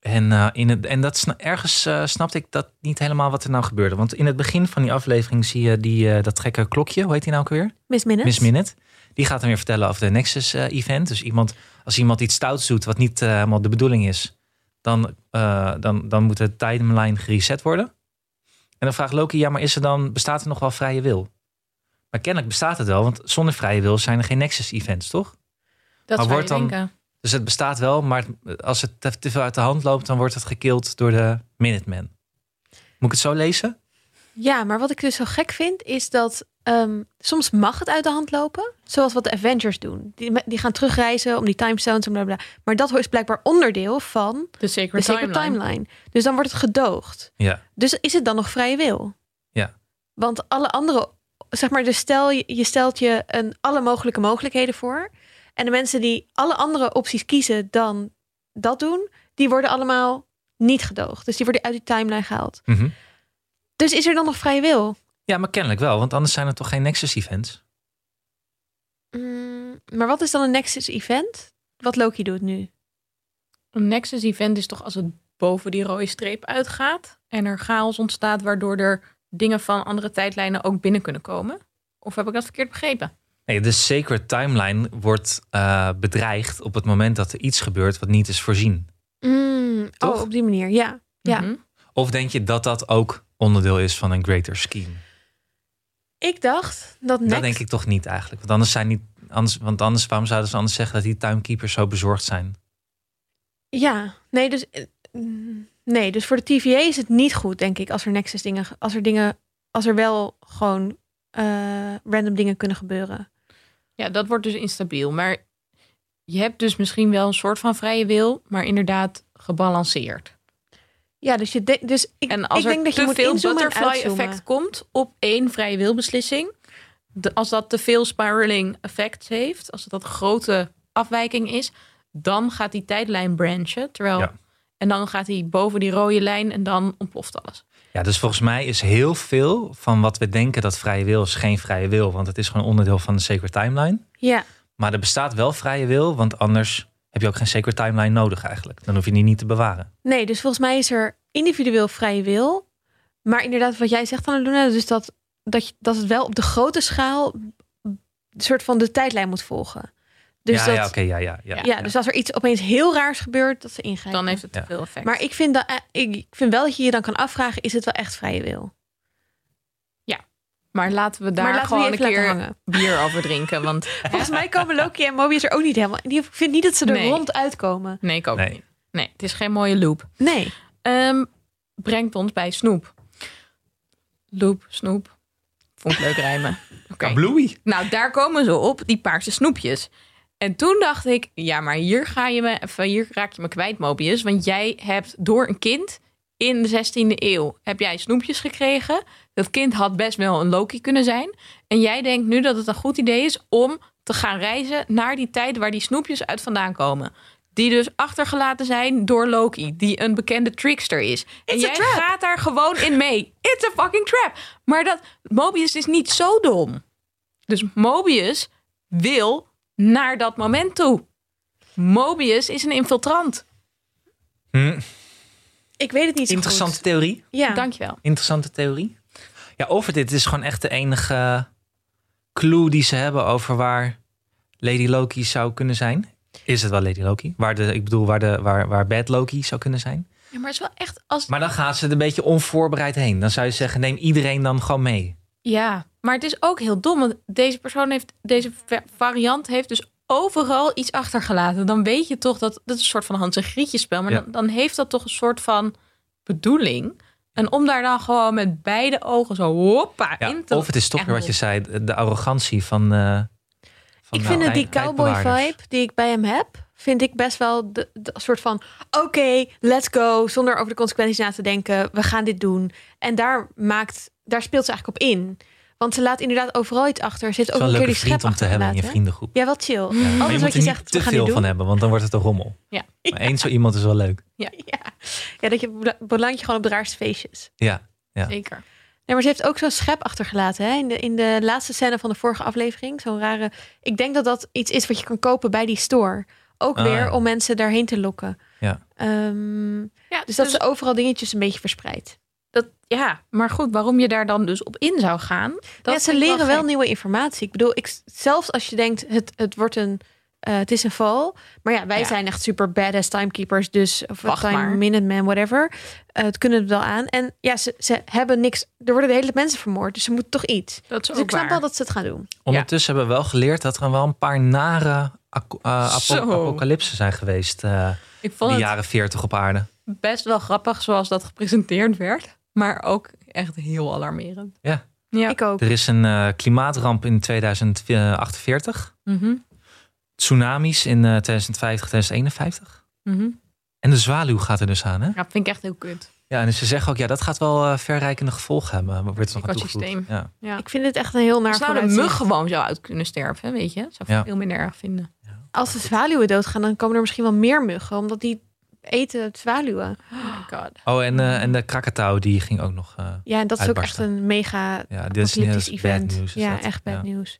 Speaker 3: En, eh, in het, en dat, sna- ergens eh, snapte ik dat niet helemaal wat er nou gebeurde. Want in het begin van die aflevering zie je die, eh, dat gekke klokje. Hoe heet die nou ook weer?
Speaker 2: Miss Minutes.
Speaker 3: Miss Minute. Die gaat dan weer vertellen over de Nexus-event. dus iemand, als iemand iets stouts doet wat niet eh, helemaal de bedoeling is... Dan, eh, dan, dan moet de timeline gereset worden. En dan vraagt Loki, ja, maar is er dan, bestaat er nog wel vrije wil? Maar kennelijk bestaat het wel, want zonder vrije wil zijn er geen Nexus-events, toch?
Speaker 1: Dat
Speaker 3: Maar
Speaker 1: zou
Speaker 3: wordt
Speaker 1: je
Speaker 3: dan-
Speaker 1: denken.
Speaker 3: Dus het bestaat wel, maar het- als het te- te veel uit de hand loopt, dan wordt het gekild door de Minutemen. Moet ik het zo lezen?
Speaker 2: Ja, maar wat ik dus zo gek vind is dat ehm, soms mag het uit de hand lopen. Zoals wat de Avengers doen. Die, die gaan terugreizen om die timestones en bla bla. Maar dat is blijkbaar onderdeel van
Speaker 1: De
Speaker 2: de
Speaker 1: Sacred,
Speaker 2: Sacred
Speaker 1: Timeline.
Speaker 2: Timeline. Dus dan wordt het gedoogd.
Speaker 3: Ja.
Speaker 2: Dus is het dan nog vrije wil?
Speaker 3: Ja.
Speaker 2: Want alle andere, zeg maar, dus stel je, je stelt je een, alle mogelijke mogelijkheden voor. En de mensen die alle andere opties kiezen dan dat doen, die worden allemaal niet gedoogd. Dus die worden uit die timeline gehaald.
Speaker 3: Mhm.
Speaker 2: Dus is er dan nog vrije wil?
Speaker 3: Ja, maar kennelijk wel, want anders zijn er toch geen Nexus-events?
Speaker 2: Mm, maar wat is dan een Nexus event? Wat Loki doet nu?
Speaker 1: Een Nexus event is toch als het boven die rode streep uitgaat en er chaos ontstaat waardoor er dingen van andere tijdlijnen ook binnen kunnen komen? Of heb ik dat verkeerd begrepen?
Speaker 3: Nee, de Sacred Timeline wordt eh, bedreigd op het moment dat er iets gebeurt wat niet is voorzien. Toch?
Speaker 2: oh, op die manier, ja. Ja.
Speaker 1: Mhm.
Speaker 3: Of denk je dat dat ook onderdeel is van een greater scheme?
Speaker 2: Ik dacht dat
Speaker 3: Dat
Speaker 2: Nex-
Speaker 3: denk ik toch niet eigenlijk. Want anders zijn niet. Anders, want anders, waarom zouden ze anders zeggen dat die timekeepers zo bezorgd zijn?
Speaker 2: Ja, nee, dus. eh, mm, Nee, dus voor de TVA is het niet goed, denk ik, als er Nexus dingen, als er dingen, als er wel gewoon eh, random dingen kunnen gebeuren.
Speaker 1: Ja, dat wordt dus instabiel. Maar je hebt dus misschien wel een soort van vrije wil, maar inderdaad gebalanceerd.
Speaker 2: Ja, dus je denkt, dus ik,
Speaker 1: En als
Speaker 2: ik
Speaker 1: er
Speaker 2: denk dat je
Speaker 1: te
Speaker 2: moet
Speaker 1: veel
Speaker 2: inzoomen en
Speaker 1: butterfly
Speaker 2: uitzoomen.
Speaker 1: effect komt op één vrije wilbeslissing, de- als dat te veel spiraling effects heeft, als dat grote afwijking is, dan gaat die tijdlijn branchen. Terwijl,
Speaker 3: Ja.
Speaker 1: En dan gaat hij boven die rode lijn en dan ontploft alles.
Speaker 3: Ja, dus volgens mij is heel veel van wat we denken dat vrije wil is geen vrije wil. Want het is gewoon onderdeel van de Sacred Timeline.
Speaker 2: Ja,
Speaker 3: Maar er bestaat wel vrije wil, want anders heb je ook geen Sacred Timeline nodig eigenlijk. Dan hoef je die niet te bewaren.
Speaker 2: nee, dus volgens mij is er individueel vrije wil, maar inderdaad wat jij zegt aan Luna, dus dat dat je, dat het wel op de grote schaal een soort van de tijdlijn moet volgen. Dus
Speaker 3: ja,
Speaker 2: dat,
Speaker 3: ja, oké, ja, ja, ja.
Speaker 2: ja, dus als er iets opeens heel raars gebeurt, dat ze ingrijpen.
Speaker 1: Dan heeft het
Speaker 3: Ja.
Speaker 1: te veel effect.
Speaker 2: Maar ik vind, dat, eh, ik vind wel dat je je dan kan afvragen: is het wel echt vrije wil?
Speaker 1: Maar laten we daar
Speaker 2: maar laten we
Speaker 1: gewoon
Speaker 2: die
Speaker 1: een
Speaker 2: even laten
Speaker 1: keer
Speaker 2: hangen.
Speaker 1: bier over drinken. Want
Speaker 2: Volgens mij komen Loki en Mobius er ook niet helemaal. die- Ik vind niet dat ze er
Speaker 1: Nee.
Speaker 2: rond uitkomen.
Speaker 1: nee, ik ook
Speaker 3: Nee.
Speaker 1: niet. Nee, het is geen mooie loop.
Speaker 2: Nee.
Speaker 1: Ehm, brengt ons bij Snoep. Loop, Snoep. Vond ik leuk rijmen. Oké.
Speaker 3: Bluey.
Speaker 1: Nou, daar komen ze op, die paarse snoepjes. En toen dacht ik, ja, maar hier ga je me even, hier raak je me kwijt, Mobius. Want jij hebt door een kind in de 16e eeuw heb jij snoepjes gekregen. Dat kind had best wel een Loki kunnen zijn. En jij denkt nu dat het een goed idee is om te gaan reizen naar die tijd waar die snoepjes uit vandaan komen. Die dus achtergelaten zijn door Loki, die een bekende trickster is. en
Speaker 2: It's a
Speaker 1: jij
Speaker 2: trap.
Speaker 1: gaat daar gewoon in mee. It's a fucking trap. Maar dat Mobius is niet zo dom. Dus Mobius wil naar dat moment toe. Mobius is een infiltrant.
Speaker 3: Hm,
Speaker 2: Ik weet het niet zo
Speaker 3: interessante
Speaker 2: goed.
Speaker 3: theorie.
Speaker 2: Ja.
Speaker 1: Dankjewel.
Speaker 3: Interessante theorie. Ja, over dit is gewoon echt de enige clue die ze hebben over waar Lady Loki zou kunnen zijn. Is het wel Lady Loki? Waar de, ik bedoel, waar, de, waar, waar Bad Loki zou kunnen zijn.
Speaker 1: Ja, maar het is wel echt als.
Speaker 3: Maar dan gaan ze er een beetje onvoorbereid heen. Dan zou je zeggen, neem iedereen dan gewoon mee.
Speaker 1: Ja, maar het is ook heel dom. Want deze persoon heeft, deze va- variant heeft dus overal iets achtergelaten. Dan weet je toch dat dat is een soort van Hans en Grietje spel. Maar
Speaker 3: Ja.
Speaker 1: dan, dan heeft dat toch een soort van bedoeling. En om daar dan gewoon met beide ogen zo hoppa
Speaker 3: Ja,
Speaker 1: in te
Speaker 3: of het is toch
Speaker 1: echt
Speaker 3: weer wat je
Speaker 1: dom.
Speaker 3: zei, de- de arrogantie van... eh, van nou,
Speaker 2: Ik
Speaker 3: de
Speaker 2: vind het die
Speaker 3: tijd- tijdbewaarders.
Speaker 2: cowboy-vibe die ik bij hem heb, vind ik best wel de, de soort van... oké, let's go, zonder over de consequenties na te denken. We gaan dit doen. En daar, maakt, daar speelt ze eigenlijk op in. Want ze laat inderdaad overal iets achter. Ze heeft
Speaker 3: Het is
Speaker 2: ook
Speaker 3: wel
Speaker 2: een
Speaker 3: een
Speaker 2: keer die
Speaker 3: leuke
Speaker 2: schep
Speaker 3: vriend om te hebben in je
Speaker 2: achtergelaten.
Speaker 3: vriendengroep.
Speaker 2: Ja, wel chill.
Speaker 3: Ja. Maar je
Speaker 2: Alles
Speaker 3: moet
Speaker 2: wat je
Speaker 3: er niet
Speaker 2: zegt,
Speaker 3: te
Speaker 2: we gaan dit
Speaker 3: veel van
Speaker 2: doen.
Speaker 3: hebben, want dan wordt het een rommel.
Speaker 1: Ja.
Speaker 3: Maar één zo iemand is wel leuk.
Speaker 2: Ja. ja, dat je bela- beland je gewoon op de raarste feestjes.
Speaker 3: Ja, Ja.
Speaker 1: Zeker.
Speaker 2: Nee, maar ze heeft ook zo'n schep achtergelaten. Hè? In, de, in de laatste scène van de vorige aflevering. Zo'n rare. Ik denk dat dat iets is wat je kan kopen bij die store. Ook
Speaker 3: Ah,
Speaker 2: weer
Speaker 3: ja.
Speaker 2: om mensen daarheen te lokken.
Speaker 3: Ja.
Speaker 2: Ehm,
Speaker 1: Ja,
Speaker 2: dus dat ze overal dingetjes een beetje verspreidt.
Speaker 1: dat, ja, maar goed, waarom je daar dan dus op in zou gaan. Dat
Speaker 2: Ja, ze
Speaker 1: vind ik
Speaker 2: leren wel,
Speaker 1: gek.
Speaker 2: nieuwe informatie. Ik bedoel, ik, zelfs als je denkt, het, het wordt een. eh, het is een val. Maar ja, wij
Speaker 1: Ja.
Speaker 2: zijn echt super badass timekeepers. Dus of
Speaker 1: Wacht
Speaker 2: time
Speaker 1: maar.
Speaker 2: minutemen, whatever. Eh, het kunnen we wel aan. En ja, ze, ze hebben niks. Er worden de hele mensen vermoord. Dus ze moeten toch iets.
Speaker 1: Dat is
Speaker 2: Dus
Speaker 1: ook
Speaker 2: ik snap
Speaker 1: waar.
Speaker 2: wel dat ze het gaan doen.
Speaker 3: Ondertussen hebben we wel geleerd dat er wel een paar nare aco- eh, apo-
Speaker 1: Zo.
Speaker 3: apocalypsen zijn geweest eh
Speaker 1: Ik vond
Speaker 3: de
Speaker 1: het
Speaker 3: jaren 40 op aarde.
Speaker 1: best wel grappig zoals dat gepresenteerd werd. Maar ook echt heel alarmerend.
Speaker 3: Ja.
Speaker 1: Ja.
Speaker 2: Ik ook.
Speaker 3: Er is een eh, klimaatramp in 2048.
Speaker 1: Mhm,
Speaker 3: Tsunamis in eh, 2050, 2051.
Speaker 1: mhm.
Speaker 3: En de zwaluw gaat er dus aan, hè?
Speaker 1: Ja, vind ik echt heel kut.
Speaker 3: Ja, en ze zeggen ook, ja, dat gaat wel eh, verrijkende gevolgen hebben. Maar wordt er nog aan toegevoegd.
Speaker 1: Ecosysteem.
Speaker 3: Ja.
Speaker 1: Ja.
Speaker 2: Ik vind het echt een heel naar
Speaker 1: Als nou de
Speaker 2: vooruitzicht.
Speaker 1: mug gewoon zo uit kunnen sterven, hè, weet je? Zou ik
Speaker 3: Ja.
Speaker 1: veel minder erg vinden.
Speaker 2: Als de zwaluwen doodgaan, dan komen er misschien wel meer muggen. Omdat die eten het zwaluwen.
Speaker 1: Oh my god.
Speaker 3: Oh, en, eh, en de krakatau, die ging ook nog... eh,
Speaker 2: Ja, en dat is ook echt
Speaker 3: Uitbarsten.
Speaker 2: een mega
Speaker 3: ja, dit is niet
Speaker 2: apocalyptisch
Speaker 3: dat is bad
Speaker 2: event.
Speaker 3: news. is
Speaker 2: ja,
Speaker 3: dat.
Speaker 2: echt bad
Speaker 3: Ja.
Speaker 2: nieuws.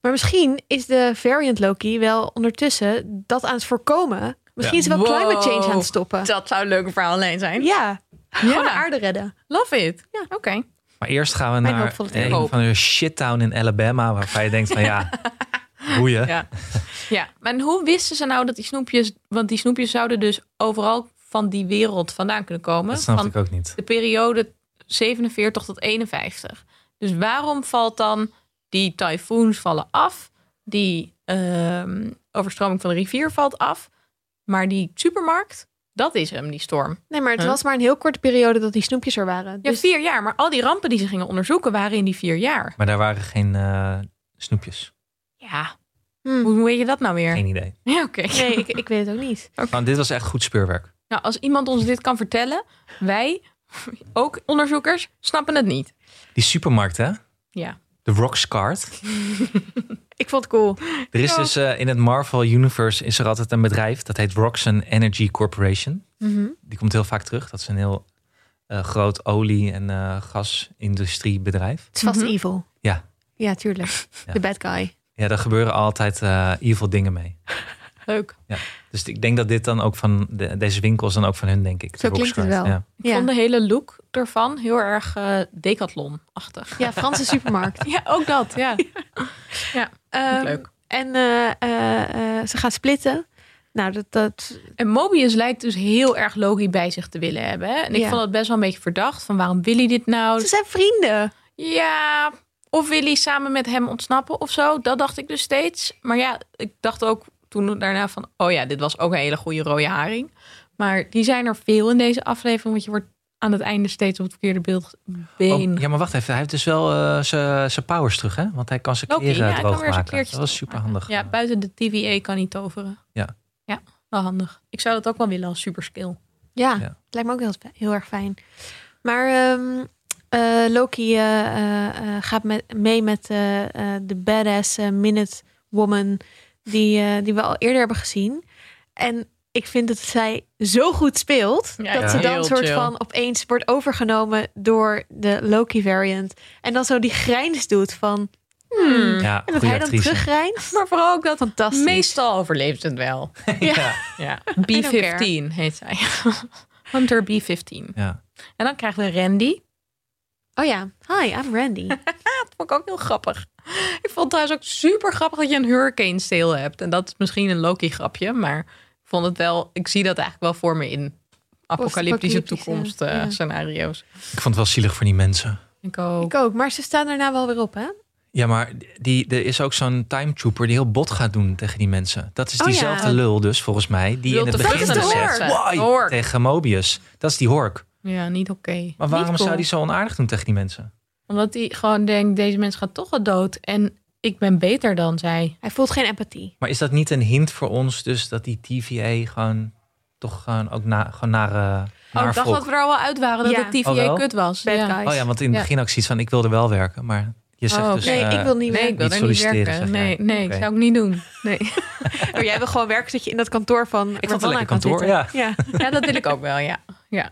Speaker 2: Maar misschien is de variant Loki wel ondertussen dat aan het voorkomen. Misschien
Speaker 3: Ja.
Speaker 2: is ze wel
Speaker 1: Wow.
Speaker 2: climate change aan het stoppen.
Speaker 1: Dat zou een leuke verhaal alleen zijn.
Speaker 2: Ja, gewoon de
Speaker 1: Ja.
Speaker 2: aarde redden.
Speaker 1: Love it. Ja, oké.
Speaker 3: Maar eerst gaan we
Speaker 2: Mijn
Speaker 3: naar
Speaker 2: hoopvolle theorie.
Speaker 3: een
Speaker 1: Hoop.
Speaker 3: van de shittown in Alabama, waarvan je denkt van ja, boeien.
Speaker 1: Ja. Ja, maar en hoe wisten ze nou dat die snoepjes... Want die snoepjes zouden dus overal van die wereld vandaan kunnen komen.
Speaker 3: Dat snap
Speaker 1: van
Speaker 3: ik ook niet.
Speaker 1: de periode 47 tot 51. Dus waarom valt dan die tyfoons vallen af, die ehm, overstroming van de rivier valt af, maar die supermarkt, dat is hem, die storm.
Speaker 2: Nee, maar het
Speaker 1: Huh?
Speaker 2: was maar een heel korte periode dat die snoepjes er waren.
Speaker 1: Ja,
Speaker 2: Dus
Speaker 1: vier jaar, maar al die rampen die ze gingen onderzoeken waren in die vier jaar.
Speaker 3: Maar daar waren geen eh, snoepjes.
Speaker 1: Ja,
Speaker 2: hmm,
Speaker 1: hoe weet je dat nou weer?
Speaker 3: Geen idee.
Speaker 1: Ja, oké.
Speaker 2: nee, ik, ik weet het ook niet.
Speaker 3: Want dit was echt goed speurwerk.
Speaker 1: Nou, als iemand ons dit kan vertellen, wij, ook onderzoekers, snappen het niet.
Speaker 3: Die supermarkt, hè?
Speaker 1: Ja.
Speaker 3: De Roxcart.
Speaker 2: Ik vond het cool.
Speaker 3: Er is dus eh, in het Marvel Universe is er altijd een bedrijf dat heet Roxxon Energy Corporation.
Speaker 2: Mhm.
Speaker 3: Die komt heel vaak terug. Dat is een heel eh, groot olie- en eh, gasindustriebedrijf.
Speaker 2: Het is vast
Speaker 1: Mhm.
Speaker 2: evil.
Speaker 3: Ja.
Speaker 2: Ja, tuurlijk.
Speaker 3: Ja.
Speaker 2: De bad guy.
Speaker 3: Ja, daar gebeuren altijd eh, evil dingen mee.
Speaker 1: Leuk.
Speaker 3: Dus ik denk dat dit dan ook van de- deze winkels dan ook van hun, denk ik. de
Speaker 2: Zo klinkt het
Speaker 3: Roxcart.
Speaker 2: wel.
Speaker 3: Ja.
Speaker 1: Ik vond de hele look ervan heel erg eh, decathlon-achtig.
Speaker 2: Ja, Franse supermarkt.
Speaker 1: Ja, ook dat, ja.
Speaker 2: Ehm,
Speaker 1: leuk.
Speaker 2: En eh, eh, eh, ze gaan splitten. Nou, dat, dat
Speaker 1: En Mobius lijkt dus heel erg Loki bij zich te willen hebben. Hè? En ik
Speaker 2: Ja.
Speaker 1: vond het best wel een beetje verdacht. Van waarom wil hij dit nou?
Speaker 2: ze zijn vrienden.
Speaker 1: Ja, of wil hij samen met hem ontsnappen of zo? Dat dacht ik dus steeds. Maar ja, ik dacht ook toen daarna van... Oh ja, dit was ook een hele goede rode haring. Maar die zijn er veel in deze aflevering. Want je wordt aan het einde steeds op het verkeerde beeld, been.
Speaker 3: Oh, ja, maar wacht even. Hij heeft dus wel eh, zijn zijn powers terug, hè? Want hij kan zijn
Speaker 1: Loki,
Speaker 3: kleren
Speaker 1: Oh, ja, hij kan
Speaker 3: droog
Speaker 1: weer zijn
Speaker 3: maken.
Speaker 1: kleertjes
Speaker 3: dat was super
Speaker 1: droog
Speaker 3: handig.
Speaker 1: ja, buiten de TVA E kan hij toveren.
Speaker 3: Ja.
Speaker 1: Ja, wel handig. Ik zou dat ook wel willen als superskill.
Speaker 2: Ja,
Speaker 3: Ja.
Speaker 2: het lijkt me ook heel, heel erg fijn. Maar ehm, eh, Loki eh, eh, eh, gaat met, mee met eh, eh, de badass eh, minute woman die, eh, die we al eerder hebben gezien. En ik vind dat zij zo goed speelt
Speaker 1: Ja,
Speaker 2: dat
Speaker 3: ja.
Speaker 2: ze dan
Speaker 1: Heel
Speaker 2: soort
Speaker 1: chill.
Speaker 2: van opeens wordt overgenomen door de Loki variant. En dan zo die grijns doet van. hmm.
Speaker 1: Hmm.
Speaker 3: Ja,
Speaker 2: En dat
Speaker 3: goede
Speaker 2: hij dan
Speaker 3: actrice.
Speaker 2: teruggrijnt.
Speaker 1: Maar vooral ook dat
Speaker 2: Fantastisch.
Speaker 1: meestal overleeft het wel.
Speaker 2: Ja.
Speaker 3: ja.
Speaker 1: Ja.
Speaker 2: don't care.
Speaker 1: B15 heet zij. Hunter B15.
Speaker 3: ja.
Speaker 1: En dan krijgen we Randy.
Speaker 2: Oh ja, hi, I'm Randy.
Speaker 1: Dat vond ik ook heel grappig. Ik vond het trouwens ook super grappig dat je een hurricane sale hebt. En dat is misschien een Loki grapje, maar ik vond het wel. Ik zie dat eigenlijk wel voor me in apocalyptische
Speaker 2: Post-apocalyptische,
Speaker 1: toekomst eh,
Speaker 2: ja.
Speaker 1: scenario's.
Speaker 3: Ik vond het wel zielig voor die mensen.
Speaker 1: Ik ook.
Speaker 2: ik ook, maar ze staan daarna wel weer op, hè?
Speaker 3: Ja, maar die, er is ook zo'n time trooper die heel bot gaat doen tegen die mensen. Dat is
Speaker 2: Oh ja.
Speaker 3: diezelfde lul dus, volgens mij, die in het begin
Speaker 2: vluchtende
Speaker 3: dus
Speaker 2: hork.
Speaker 3: zegt... "Why?"
Speaker 1: Hork.
Speaker 3: Tegen Mobius. Dat is die hork.
Speaker 1: Ja, niet oké.
Speaker 3: Maar waarom
Speaker 2: Niet cool.
Speaker 3: zou die zo onaardig doen tegen die mensen?
Speaker 1: Omdat hij gewoon denkt, deze mens gaat toch al dood. En ik ben beter dan zij.
Speaker 2: Hij voelt geen empathie.
Speaker 3: Maar is dat niet een hint voor ons dus dat die TVA gewoon toch gewoon ook na, gewoon nare,
Speaker 1: Oh,
Speaker 3: naar
Speaker 1: ik dacht
Speaker 3: volk-
Speaker 1: dat we er al wel uit waren dat
Speaker 2: Ja.
Speaker 1: het TVA
Speaker 3: Oh, wel?
Speaker 1: kut was.
Speaker 2: Bad
Speaker 1: ja.
Speaker 2: guys.
Speaker 3: Oh ja, want in het
Speaker 1: Ja.
Speaker 3: begin ook zoiets van ik wil er wel werken, maar je zegt
Speaker 1: Oh,
Speaker 3: dus...
Speaker 1: oké.
Speaker 2: Nee,
Speaker 3: eh,
Speaker 2: ik wil niet meer.
Speaker 1: Nee, ik wil
Speaker 3: Niet
Speaker 1: daar niet
Speaker 3: solliciteren,
Speaker 1: werken.
Speaker 3: zeg jij.
Speaker 1: Nee, nee,
Speaker 3: Oké.
Speaker 1: zou ik niet doen. Nee.
Speaker 2: Oh, jij wil gewoon werken dat je in dat kantoor van
Speaker 3: Ik vond het een lekker
Speaker 2: kan
Speaker 3: kantoor,
Speaker 2: zitten.
Speaker 3: ja.
Speaker 2: Ja.
Speaker 1: Ja, dat wil ik ook wel, ja. ja.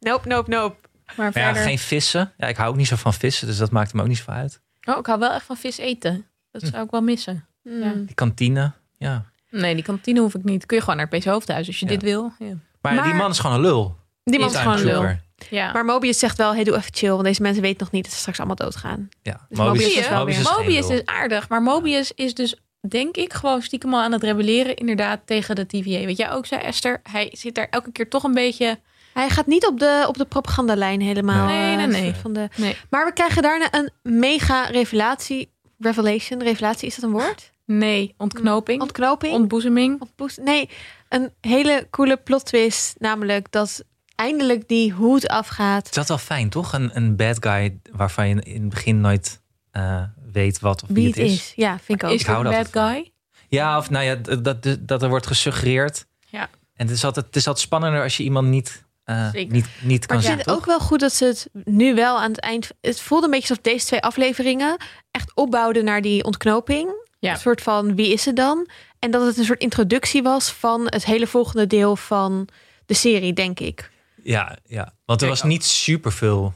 Speaker 2: Nope, nope, nope.
Speaker 1: Maar
Speaker 3: Maar ja,
Speaker 1: verder...
Speaker 3: geen vissen. Ja, ik hou ook niet zo van vissen, dus dat maakt me ook niet zoveel uit.
Speaker 1: Oh, ik hou wel echt van vis eten.
Speaker 3: Hm.
Speaker 1: Dat zou ik wel missen.
Speaker 2: Hmm.
Speaker 1: Ja.
Speaker 3: Die kantine, ja.
Speaker 1: Nee, die kantine hoef ik niet. Kun je gewoon naar het PC Hoofdhuis als je
Speaker 3: Ja.
Speaker 1: dit wil. Ja.
Speaker 3: Maar,
Speaker 2: Maar-
Speaker 3: die man is gewoon een lul.
Speaker 2: Die man
Speaker 1: Is daar
Speaker 2: is gewoon
Speaker 1: een
Speaker 2: een lul.
Speaker 1: lul. ja.
Speaker 2: Maar Mobius zegt wel, hey, doe even chill. Want deze mensen weten nog niet dat ze straks allemaal doodgaan.
Speaker 3: Ja,
Speaker 2: Dus
Speaker 3: Mobius,
Speaker 2: Mobius is wel
Speaker 3: Mobius
Speaker 2: weer-
Speaker 3: geen
Speaker 1: Mobius
Speaker 3: lul.
Speaker 1: is aardig, maar Mobius is dus denk ik gewoon stiekem al aan het rebelleren inderdaad tegen de TVA. Wat jij ook zei Esther, hij zit daar elke keer toch een beetje...
Speaker 2: Hij gaat niet op de, op de propagandalijn helemaal.
Speaker 1: Nee,
Speaker 2: eh,
Speaker 1: nee, nee.
Speaker 2: Van de...
Speaker 1: Nee.
Speaker 2: Maar we krijgen daarna een mega revelatie. Revelation, revelatie, is dat een woord?
Speaker 1: Nee, ontknoping,
Speaker 2: Ontknoping?
Speaker 1: ontboezeming.
Speaker 2: Ontpoest- Nee, een hele coole plot twist. Namelijk dat eindelijk die hoed afgaat.
Speaker 3: Is dat wel fijn, toch? Een, een bad guy waarvan je in het begin nooit eh, weet wat of wie,
Speaker 2: Wie het is.
Speaker 3: is.
Speaker 2: Ja, vind ik ook.
Speaker 1: Is
Speaker 3: Ik
Speaker 1: dat
Speaker 3: hou
Speaker 1: een bad
Speaker 3: daar altijd
Speaker 1: guy?
Speaker 3: Ja, of nou ja, d- dat, d- dat er wordt gesuggereerd.
Speaker 1: Ja.
Speaker 3: En het is, altijd, het is altijd spannender als je iemand niet, eh,
Speaker 1: Zeker.
Speaker 3: niet, niet
Speaker 2: Maar
Speaker 3: kan
Speaker 2: ik
Speaker 3: zien,
Speaker 2: vind het
Speaker 3: toch?
Speaker 2: ook wel goed dat ze het nu wel aan het eind. Het voelde een beetje alsof deze twee afleveringen echt opbouwden naar die ontknoping.
Speaker 1: Ja.
Speaker 2: Een soort van wie is het dan? En dat het een soort introductie was van het hele volgende deel van de serie, denk ik.
Speaker 3: Ja, ja, want er
Speaker 1: Ik
Speaker 3: was
Speaker 1: ook.
Speaker 3: niet superveel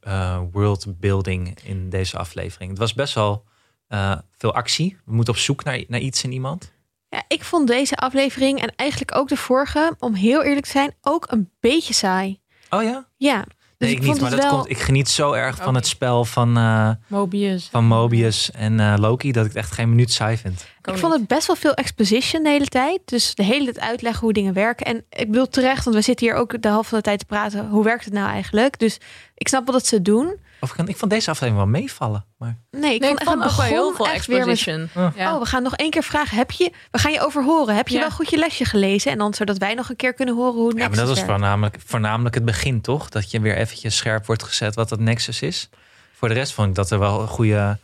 Speaker 3: eh worldbuilding in deze aflevering. Het was best wel eh, veel actie. We moeten op zoek naar, naar iets in iemand.
Speaker 2: Ja, ik vond deze aflevering en eigenlijk ook de vorige, om heel eerlijk te zijn, ook een beetje saai.
Speaker 3: Oh ja?
Speaker 2: Ja. Dus
Speaker 3: Nee,
Speaker 2: ik,
Speaker 3: ik,
Speaker 2: vond
Speaker 3: niet, maar
Speaker 2: het
Speaker 3: dat
Speaker 2: wel.
Speaker 3: komt, ik geniet zo erg
Speaker 1: Ook
Speaker 3: van het
Speaker 1: niet.
Speaker 3: spel van, eh,
Speaker 1: Mobius.
Speaker 3: van Mobius en eh, Loki dat ik het echt geen minuut saai vind.
Speaker 2: Ik vond het best wel veel exposition de hele tijd. Dus de hele tijd uitleggen hoe dingen werken. En ik bedoel terecht, want we zitten hier ook de helft van de tijd te praten. Hoe werkt het nou eigenlijk? Dus ik snap wel dat ze het doen.
Speaker 3: Of ik, ik vond deze aflevering wel meevallen. Maar
Speaker 2: Nee, ik
Speaker 1: Nee,
Speaker 2: vond echt het
Speaker 1: ook wel heel
Speaker 2: begon
Speaker 1: veel
Speaker 2: echt weer met...
Speaker 1: exposition.
Speaker 3: Oh.
Speaker 1: Ja.
Speaker 2: Oh, we gaan nog één keer vragen. Heb je, we gaan je overhoren. Heb je
Speaker 1: Ja.
Speaker 2: wel goed je lesje gelezen? En dan zodat wij nog een keer kunnen horen hoe het
Speaker 3: ja, maar
Speaker 2: Nexus
Speaker 3: dat was
Speaker 2: werkt.
Speaker 3: voornamelijk, voornamelijk het begin, toch? Dat je weer eventjes scherp wordt gezet wat dat Nexus is. Voor de rest vond ik dat er wel een goede...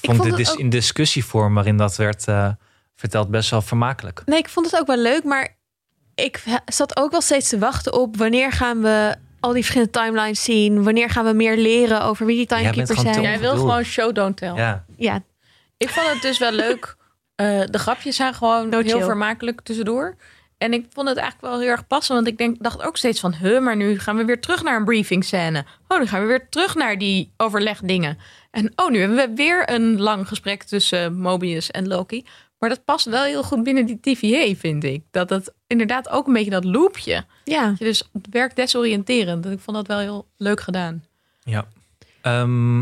Speaker 3: Vond
Speaker 2: vond
Speaker 3: dit
Speaker 2: het
Speaker 3: dis-
Speaker 2: ook-
Speaker 3: in discussievorm waarin dat werd eh, verteld best wel vermakelijk.
Speaker 2: Nee, ik vond het ook wel leuk. Maar ik he- zat ook wel steeds te wachten op wanneer gaan we al die verschillende timelines zien? Wanneer gaan we meer leren over wie die
Speaker 3: Jij bent
Speaker 2: timekeepers
Speaker 3: gewoon
Speaker 2: zijn?
Speaker 3: te-
Speaker 1: Jij wil
Speaker 3: Bedoel.
Speaker 1: gewoon show, don't tell.
Speaker 3: Ja,
Speaker 2: Ja,
Speaker 1: Ik vond het dus wel leuk. Eh, de grapjes zijn gewoon
Speaker 2: No
Speaker 1: heel
Speaker 2: chill.
Speaker 1: vermakelijk tussendoor. En ik vond het eigenlijk wel heel erg passend. Want ik denk, dacht ook steeds van... Huh, maar nu gaan we weer terug naar een briefing scène. Oh, nu gaan we weer terug naar die overlegdingen. En oh, nu hebben we weer een lang gesprek tussen Mobius en Loki. Maar dat past wel heel goed binnen die TVA, vind ik. Dat dat inderdaad ook een beetje dat loopje.
Speaker 2: ja.
Speaker 1: Dat je Dus het werkt desoriënterend. Ik vond dat wel heel leuk gedaan.
Speaker 3: ja. Ehm,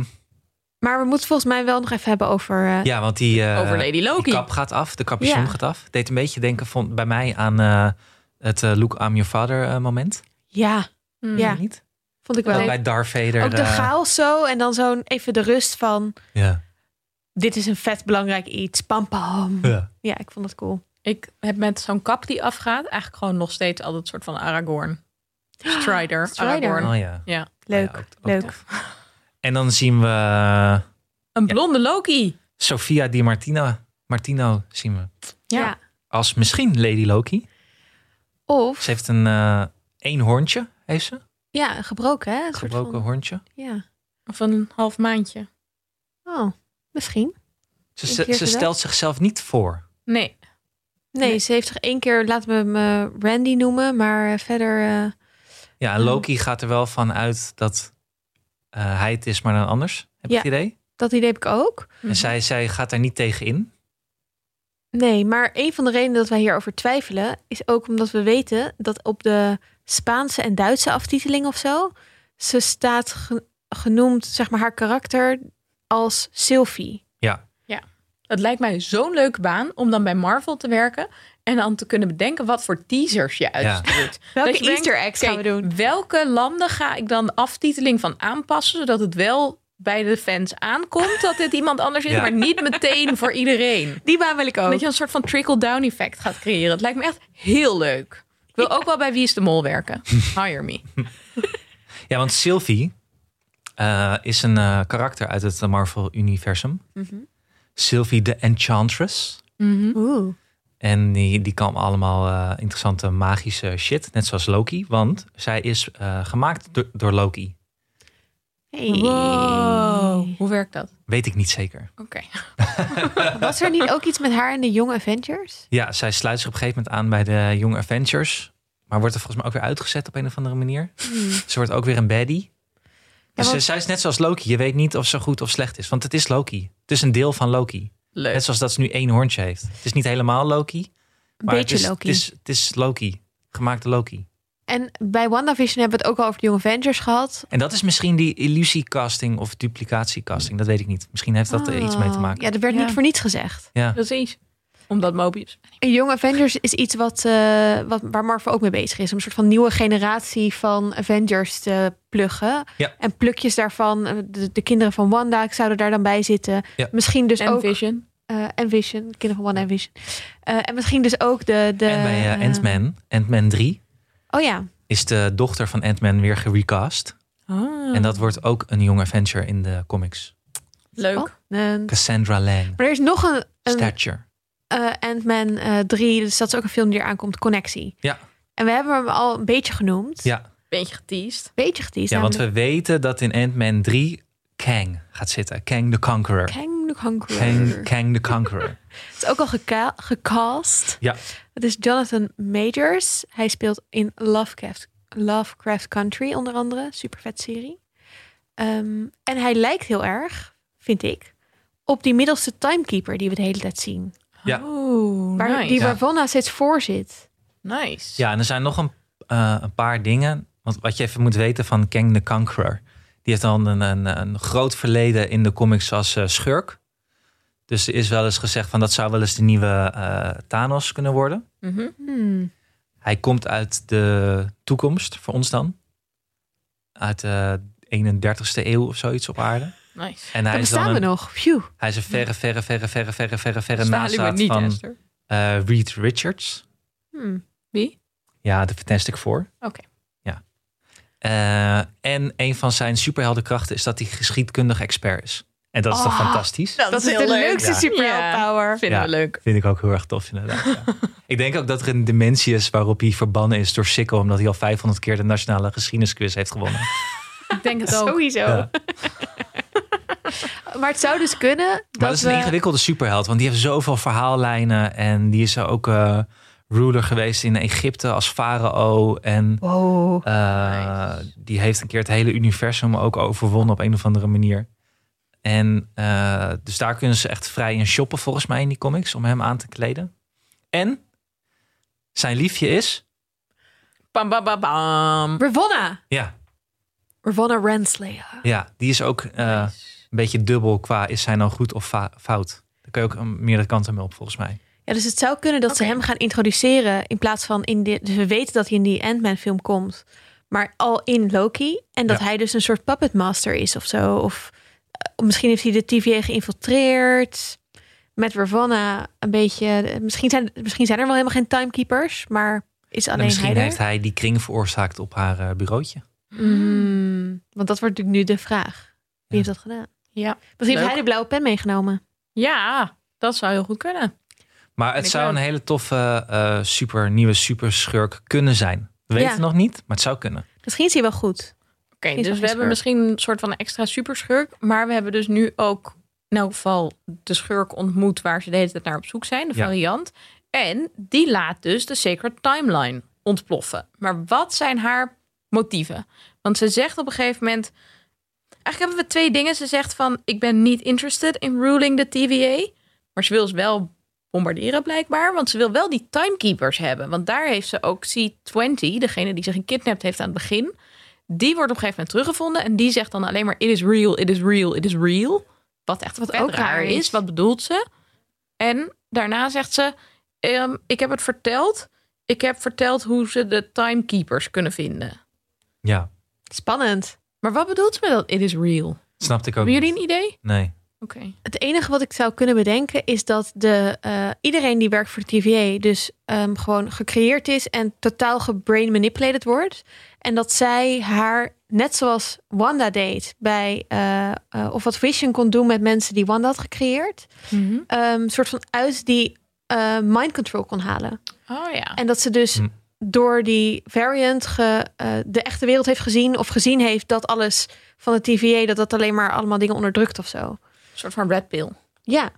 Speaker 2: Maar we moeten volgens mij wel nog even hebben over. eh,
Speaker 3: ja, want die, eh,
Speaker 1: Over Lady Loki.
Speaker 3: die kap gaat af, de capuchon
Speaker 2: Ja.
Speaker 3: gaat af. Deed een beetje denken vond, bij mij aan eh, het eh, Look, I'm your father eh, moment.
Speaker 2: ja,
Speaker 1: Hmm.
Speaker 2: Ja.
Speaker 3: Niet?
Speaker 2: vond ik
Speaker 3: Dat
Speaker 2: wel.
Speaker 3: bij Darth Vader.
Speaker 2: Ook de
Speaker 3: eh,
Speaker 2: chaos zo en dan zo'n even de rust van.
Speaker 3: ja.
Speaker 2: Dit is een vet belangrijk iets. Pam pam. Ja,
Speaker 3: Ja.
Speaker 2: ik vond dat cool.
Speaker 1: Ik heb met zo'n kap die afgaat, eigenlijk gewoon nog steeds altijd een soort van Aragorn. Strider,
Speaker 2: Strider.
Speaker 1: Aragorn.
Speaker 3: Oh ja.
Speaker 1: Ja.
Speaker 2: Leuk,
Speaker 3: Ja, ook- ook
Speaker 2: leuk.
Speaker 3: tof. En dan zien we eh,
Speaker 1: Een blonde Loki.
Speaker 3: Sofia Di Martino, Martino zien we
Speaker 2: Ja.
Speaker 1: Ja.
Speaker 3: als misschien Lady Loki.
Speaker 2: Of
Speaker 3: Ze heeft een eh, één hoorntje heeft ze.
Speaker 2: Ja, gebroken, hè? Een soort
Speaker 3: Gebroken
Speaker 2: van-
Speaker 3: hoorntje.
Speaker 2: ja.
Speaker 1: Of een half maandje.
Speaker 2: Oh, misschien.
Speaker 3: Ze,
Speaker 2: Een
Speaker 3: ze,
Speaker 2: keer
Speaker 3: ze
Speaker 2: gedacht.
Speaker 3: stelt zichzelf niet voor.
Speaker 1: Nee.
Speaker 2: Nee,
Speaker 1: Nee.
Speaker 2: ze heeft toch één keer, laten we hem eh, Randy noemen, maar eh, verder. eh,
Speaker 3: Ja,
Speaker 2: Ja.
Speaker 3: en Loki gaat er wel van uit dat eh, hij het is, maar dan anders. Heb je
Speaker 2: Ja. Mhm.
Speaker 3: het idee?
Speaker 2: dat idee heb ik ook.
Speaker 3: En zij, zij gaat daar niet tegen in.
Speaker 2: Nee, maar een van de redenen dat wij hierover twijfelen is ook omdat we weten dat op de Spaanse en Duitse aftiteling of zo, ze staat ge- genoemd, zeg maar, haar karakter als Sylvie.
Speaker 1: Het lijkt mij zo'n leuke baan om dan bij Marvel te werken. En dan te kunnen bedenken wat voor teasers je uitstuurt.
Speaker 2: Welke
Speaker 1: Dat je denkt,
Speaker 2: Easter eggs
Speaker 1: oké,
Speaker 2: gaan we doen?
Speaker 1: Welke landen ga ik dan de aftiteling van aanpassen, zodat het wel bij de fans aankomt dat dit iemand anders is,
Speaker 3: Ja.
Speaker 1: maar niet meteen voor iedereen.
Speaker 2: Die baan wil ik ook.
Speaker 1: Dat je een soort van trickle-down effect gaat creëren. Het lijkt me echt heel leuk. Ik wil ook wel bij Wie is de Mol werken. Hire me.
Speaker 3: Ja, want Sylvie eh, is een eh, karakter uit het Marvel-universum.
Speaker 2: Mhm.
Speaker 3: Sylvie de Enchantress. Hm?
Speaker 2: Oeh.
Speaker 3: En die, die kan allemaal eh, interessante magische shit. Net zoals Loki. Want zij is eh, gemaakt do- door Loki.
Speaker 2: Hey.
Speaker 1: Hoe werkt dat?
Speaker 3: Weet ik niet zeker.
Speaker 2: Oh.
Speaker 1: Oké.
Speaker 2: Was er niet ook iets met haar in de Young Avengers?
Speaker 3: Ja, zij sluit zich op een gegeven moment aan bij de Young Avengers. Maar wordt er volgens mij ook weer uitgezet op een of andere manier.
Speaker 2: Hm.
Speaker 3: Ze wordt ook weer een baddie. dus
Speaker 2: want-
Speaker 3: eh, zij is net zoals Loki. Je weet niet of ze goed of slecht is. Want het is Loki. Het is een deel van Loki.
Speaker 1: Leuk.
Speaker 3: Net zoals dat ze nu één hoorntje heeft. Het is niet helemaal Loki.
Speaker 2: Een
Speaker 3: Maar
Speaker 2: beetje
Speaker 3: het is,
Speaker 2: Loki.
Speaker 3: Het is, het is Loki. Gemaakte Loki.
Speaker 2: En bij WandaVision hebben we het ook al over de Young Avengers gehad.
Speaker 3: En dat is misschien die illusiecasting of duplicatiecasting. Dat weet ik niet. Misschien heeft dat er iets mee te
Speaker 2: Ah,
Speaker 3: maken.
Speaker 2: Ja, dat werd
Speaker 1: Ja.
Speaker 2: niet voor niets gezegd.
Speaker 3: Ja.
Speaker 1: Precies. Omdat Mobius.
Speaker 2: En Young Avengers is iets wat, eh, wat, waar Marvel ook mee bezig is. Om een soort van nieuwe generatie van Avengers te pluggen.
Speaker 3: Ja.
Speaker 2: En plukjes daarvan, eh, de, de kinderen van Wanda zouden daar dan bij zitten.
Speaker 3: Ja.
Speaker 2: Misschien dus
Speaker 1: en
Speaker 2: ook...
Speaker 1: Vision.
Speaker 2: eh, en Vision, de kinderen van Wanda en Vision. Eh, en misschien dus ook de... de
Speaker 3: en bij eh,
Speaker 2: eh,
Speaker 3: Ant-Man, Ant-Man 3,
Speaker 2: Oh ja.
Speaker 3: is de dochter van Ant-Man weer gerecast.
Speaker 2: Oh. Ah.
Speaker 3: En dat wordt ook een Young Avenger in de comics.
Speaker 1: Leuk.
Speaker 2: Oh, en-
Speaker 3: Cassandra Lang,
Speaker 2: maar er is nog een, een
Speaker 3: Stature.
Speaker 2: eh Ant-Man eh, 3, dus dat is ook een film die er aankomt, Connectie.
Speaker 3: Ja.
Speaker 2: En we hebben hem al een beetje genoemd.
Speaker 3: Ja.
Speaker 1: Beetje geteased.
Speaker 2: Beetje geteased.
Speaker 3: Ja, want
Speaker 2: namelijk
Speaker 3: we weten dat in Ant-Man 3 Kang gaat zitten. Kang the Conqueror.
Speaker 2: Kang the Conqueror.
Speaker 3: Kang, Kang the Conqueror.
Speaker 2: Het is ook al geca- gecast.
Speaker 3: Ja.
Speaker 2: Het is Jonathan Majors. Hij speelt in Lovecraft, Lovecraft Country onder andere. Super vet serie. Ehm, en hij lijkt heel erg, vind ik, op die middelste timekeeper die we de hele tijd zien.
Speaker 3: Ja.
Speaker 1: Oh,
Speaker 2: Waar,
Speaker 1: nice.
Speaker 2: Die
Speaker 3: Ja.
Speaker 2: waar Wanda steeds voor zit.
Speaker 1: nice.
Speaker 3: Ja, en er zijn nog een, eh, een paar dingen. Want wat je even moet weten van Kang the Conqueror. Die heeft dan een, een, een groot verleden in de comics als eh, schurk. Dus er is wel eens gezegd van dat zou wel eens de nieuwe eh, Thanos kunnen worden.
Speaker 1: Mhm.
Speaker 2: Hmm.
Speaker 3: Hij komt uit de toekomst, voor ons dan. Uit de 31ste eeuw of zoiets op aarde.
Speaker 1: Nice.
Speaker 3: En hij
Speaker 2: Dan
Speaker 3: is dan
Speaker 2: bestaan we
Speaker 3: een,
Speaker 2: nog. Phew.
Speaker 3: hij is een verre, verre, verre, verre, verre, verre, verre
Speaker 1: Zwaluwen
Speaker 3: nazaat
Speaker 1: niet,
Speaker 3: van
Speaker 1: Esther.
Speaker 3: eh, Reed Richards.
Speaker 2: Hmm.
Speaker 1: Wie?
Speaker 3: Ja, de Fantastic Four.
Speaker 1: Oké.
Speaker 3: Ja. Eh, en een van zijn superheldenkrachten is dat hij geschiedkundig expert is. En dat is toch
Speaker 2: Ah,
Speaker 3: fantastisch?
Speaker 2: Dat, is, de leukste
Speaker 3: Ja.
Speaker 2: superheld power.
Speaker 1: Vinden
Speaker 3: Ja.
Speaker 1: we leuk.
Speaker 3: Vind ik ook heel erg tof, inderdaad. ja. ik denk ook dat er een dimensie is waarop hij verbannen is door sicko... omdat hij al 500 keer de nationale geschiedenisquiz heeft gewonnen.
Speaker 1: Ik denk het ook.
Speaker 2: Sowieso.
Speaker 3: Ja.
Speaker 2: Maar het zou dus kunnen dat,
Speaker 3: Maar dat is een
Speaker 2: we-
Speaker 3: ingewikkelde superheld, want die heeft zoveel verhaallijnen... en die is ook eh, ruler geweest in Egypte als farao. En
Speaker 2: Wow.
Speaker 3: Uh, Die heeft een keer het hele universum ook overwonnen op een of andere manier. En eh, dus daar kunnen ze echt vrij in shoppen volgens mij in die comics om hem aan te kleden. En zijn liefje is,
Speaker 1: Bam, bam, bam, bam.
Speaker 2: Ravonna.
Speaker 3: ja,
Speaker 2: Ravonna Renslayer.
Speaker 3: ja die is ook eh,
Speaker 1: Nice.
Speaker 3: een beetje dubbel qua is zij nou goed of fa- fout. Daar kun je ook een- meerdere kanten mee op volgens mij.
Speaker 2: Ja, dus het zou kunnen dat ze
Speaker 1: Oké.
Speaker 2: hem gaan introduceren in plaats van in dit. Dus we weten dat hij in die Ant-Man film komt, maar al in Loki. En dat
Speaker 3: Ja.
Speaker 2: hij dus een soort puppet master is of zo. Of eh, misschien heeft hij de TVA geïnfiltreerd met Ravonna. Een beetje. Misschien zijn, misschien zijn er wel helemaal geen timekeepers, maar is
Speaker 3: En
Speaker 2: alleen
Speaker 3: misschien
Speaker 2: hij er.
Speaker 3: heeft hij die kring veroorzaakt op haar eh, bureautje.
Speaker 2: Mm, want dat wordt natuurlijk nu de vraag. Wie heeft dat gedaan?
Speaker 1: Ja.
Speaker 2: Misschien
Speaker 1: Leuk.
Speaker 2: heeft hij de blauwe pen meegenomen.
Speaker 1: ja, dat zou heel goed kunnen.
Speaker 3: Maar het
Speaker 1: ik
Speaker 3: zou
Speaker 1: leuk.
Speaker 3: een hele toffe, eh, super nieuwe superschurk kunnen zijn. We weten
Speaker 2: Ja.
Speaker 3: nog niet, maar het zou kunnen.
Speaker 2: Misschien is hij wel goed.
Speaker 1: Oké,
Speaker 2: Geen
Speaker 1: dus we hebben
Speaker 2: schurk.
Speaker 1: misschien een soort van een extra superschurk. Maar we hebben dus nu ook in elk geval de schurk ontmoet waar ze de hele tijd naar op zoek zijn, de
Speaker 3: Ja.
Speaker 1: variant. En die laat dus de Sacred Timeline ontploffen. Maar wat zijn haar motieven? Want ze zegt op een gegeven moment. Eigenlijk hebben we twee dingen. Ze zegt van ik ben niet interested in ruling de TVA. Maar ze wil ze wel bombarderen blijkbaar. Want ze wil wel die timekeepers hebben. Want daar heeft ze ook C20, degene die ze gekidnapt heeft aan het begin. Die wordt op een gegeven moment teruggevonden. En die zegt dan alleen maar: It is real, it is real, it is real. Wat echt wat ook raar is. Wat bedoelt ze? En daarna zegt ze: ehm, Ik heb het verteld. Ik heb verteld hoe ze de timekeepers kunnen vinden.
Speaker 3: Ja,
Speaker 2: Spannend.
Speaker 1: Maar wat bedoelt ze met dat? It is real.
Speaker 3: snapte ik ook.
Speaker 1: Hebben jullie
Speaker 3: niet.
Speaker 1: een idee?
Speaker 3: Nee.
Speaker 1: Oké.
Speaker 2: Het enige wat ik zou kunnen bedenken is dat de, eh, iedereen die werkt voor de TVA dus ehm, gewoon gecreëerd is en totaal gebrain manipulated wordt. En dat zij haar, net zoals Wanda deed bij, eh, eh, of wat Vision kon doen met mensen die Wanda had gecreëerd,
Speaker 1: Mhm.
Speaker 2: ehm, een soort van uit die eh, mind control kon halen.
Speaker 1: Oh ja.
Speaker 2: En dat ze dus
Speaker 3: Hm.
Speaker 2: door die variant ge- eh, de echte wereld heeft gezien of gezien heeft dat alles van de TVA, dat dat alleen maar allemaal dingen onderdrukt of zo.
Speaker 1: Een soort van red pill
Speaker 2: Ja,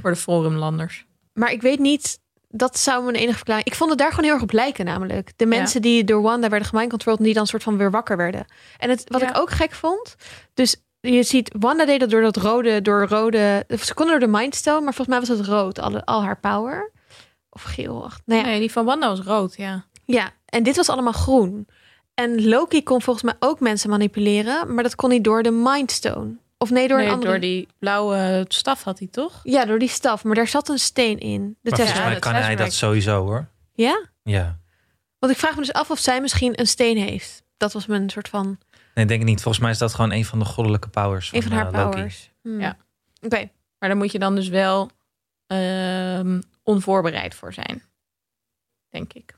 Speaker 1: voor de forumlanders.
Speaker 2: maar ik weet niet, dat zou mijn enige verklaring. Ik vond het daar gewoon heel erg op lijken namelijk. De mensen die door Wanda werden gemindcontrolled en die dan soort van weer wakker werden. En het, wat
Speaker 1: Ja.
Speaker 2: ik ook gek vond, dus je ziet, Wanda deed dat door dat rode, door rode, of ze kon door de mindstone, maar volgens mij was het rood, al, al haar power. Of geel, ach, nou ja.
Speaker 1: Nee, die van Wanda was rood, ja.
Speaker 2: Ja, en dit was allemaal groen. En Loki kon volgens mij ook mensen manipuleren, maar dat kon hij door de Mindstone. Of nee, door
Speaker 1: Door,
Speaker 2: een
Speaker 1: nee,
Speaker 2: andere.
Speaker 1: door die blauwe staf had hij toch?
Speaker 2: Ja, door die staf. Maar daar zat een steen in. De
Speaker 3: Maar volgens
Speaker 2: Tesseract.
Speaker 3: mij
Speaker 1: dat
Speaker 3: kan hij dat
Speaker 1: thuiswerk.
Speaker 3: sowieso hoor.
Speaker 2: Ja?
Speaker 3: Ja.
Speaker 2: Want ik vraag me dus af of zij misschien een steen heeft. Dat was mijn soort van...
Speaker 3: Nee, denk ik niet. Volgens mij is dat gewoon een van de goddelijke powers.
Speaker 2: Een van haar
Speaker 3: eh, Loki.
Speaker 2: powers. Hmm.
Speaker 1: Ja.
Speaker 2: Oké.
Speaker 1: Maar daar moet je dan dus wel ehm, onvoorbereid voor zijn. Denk ik.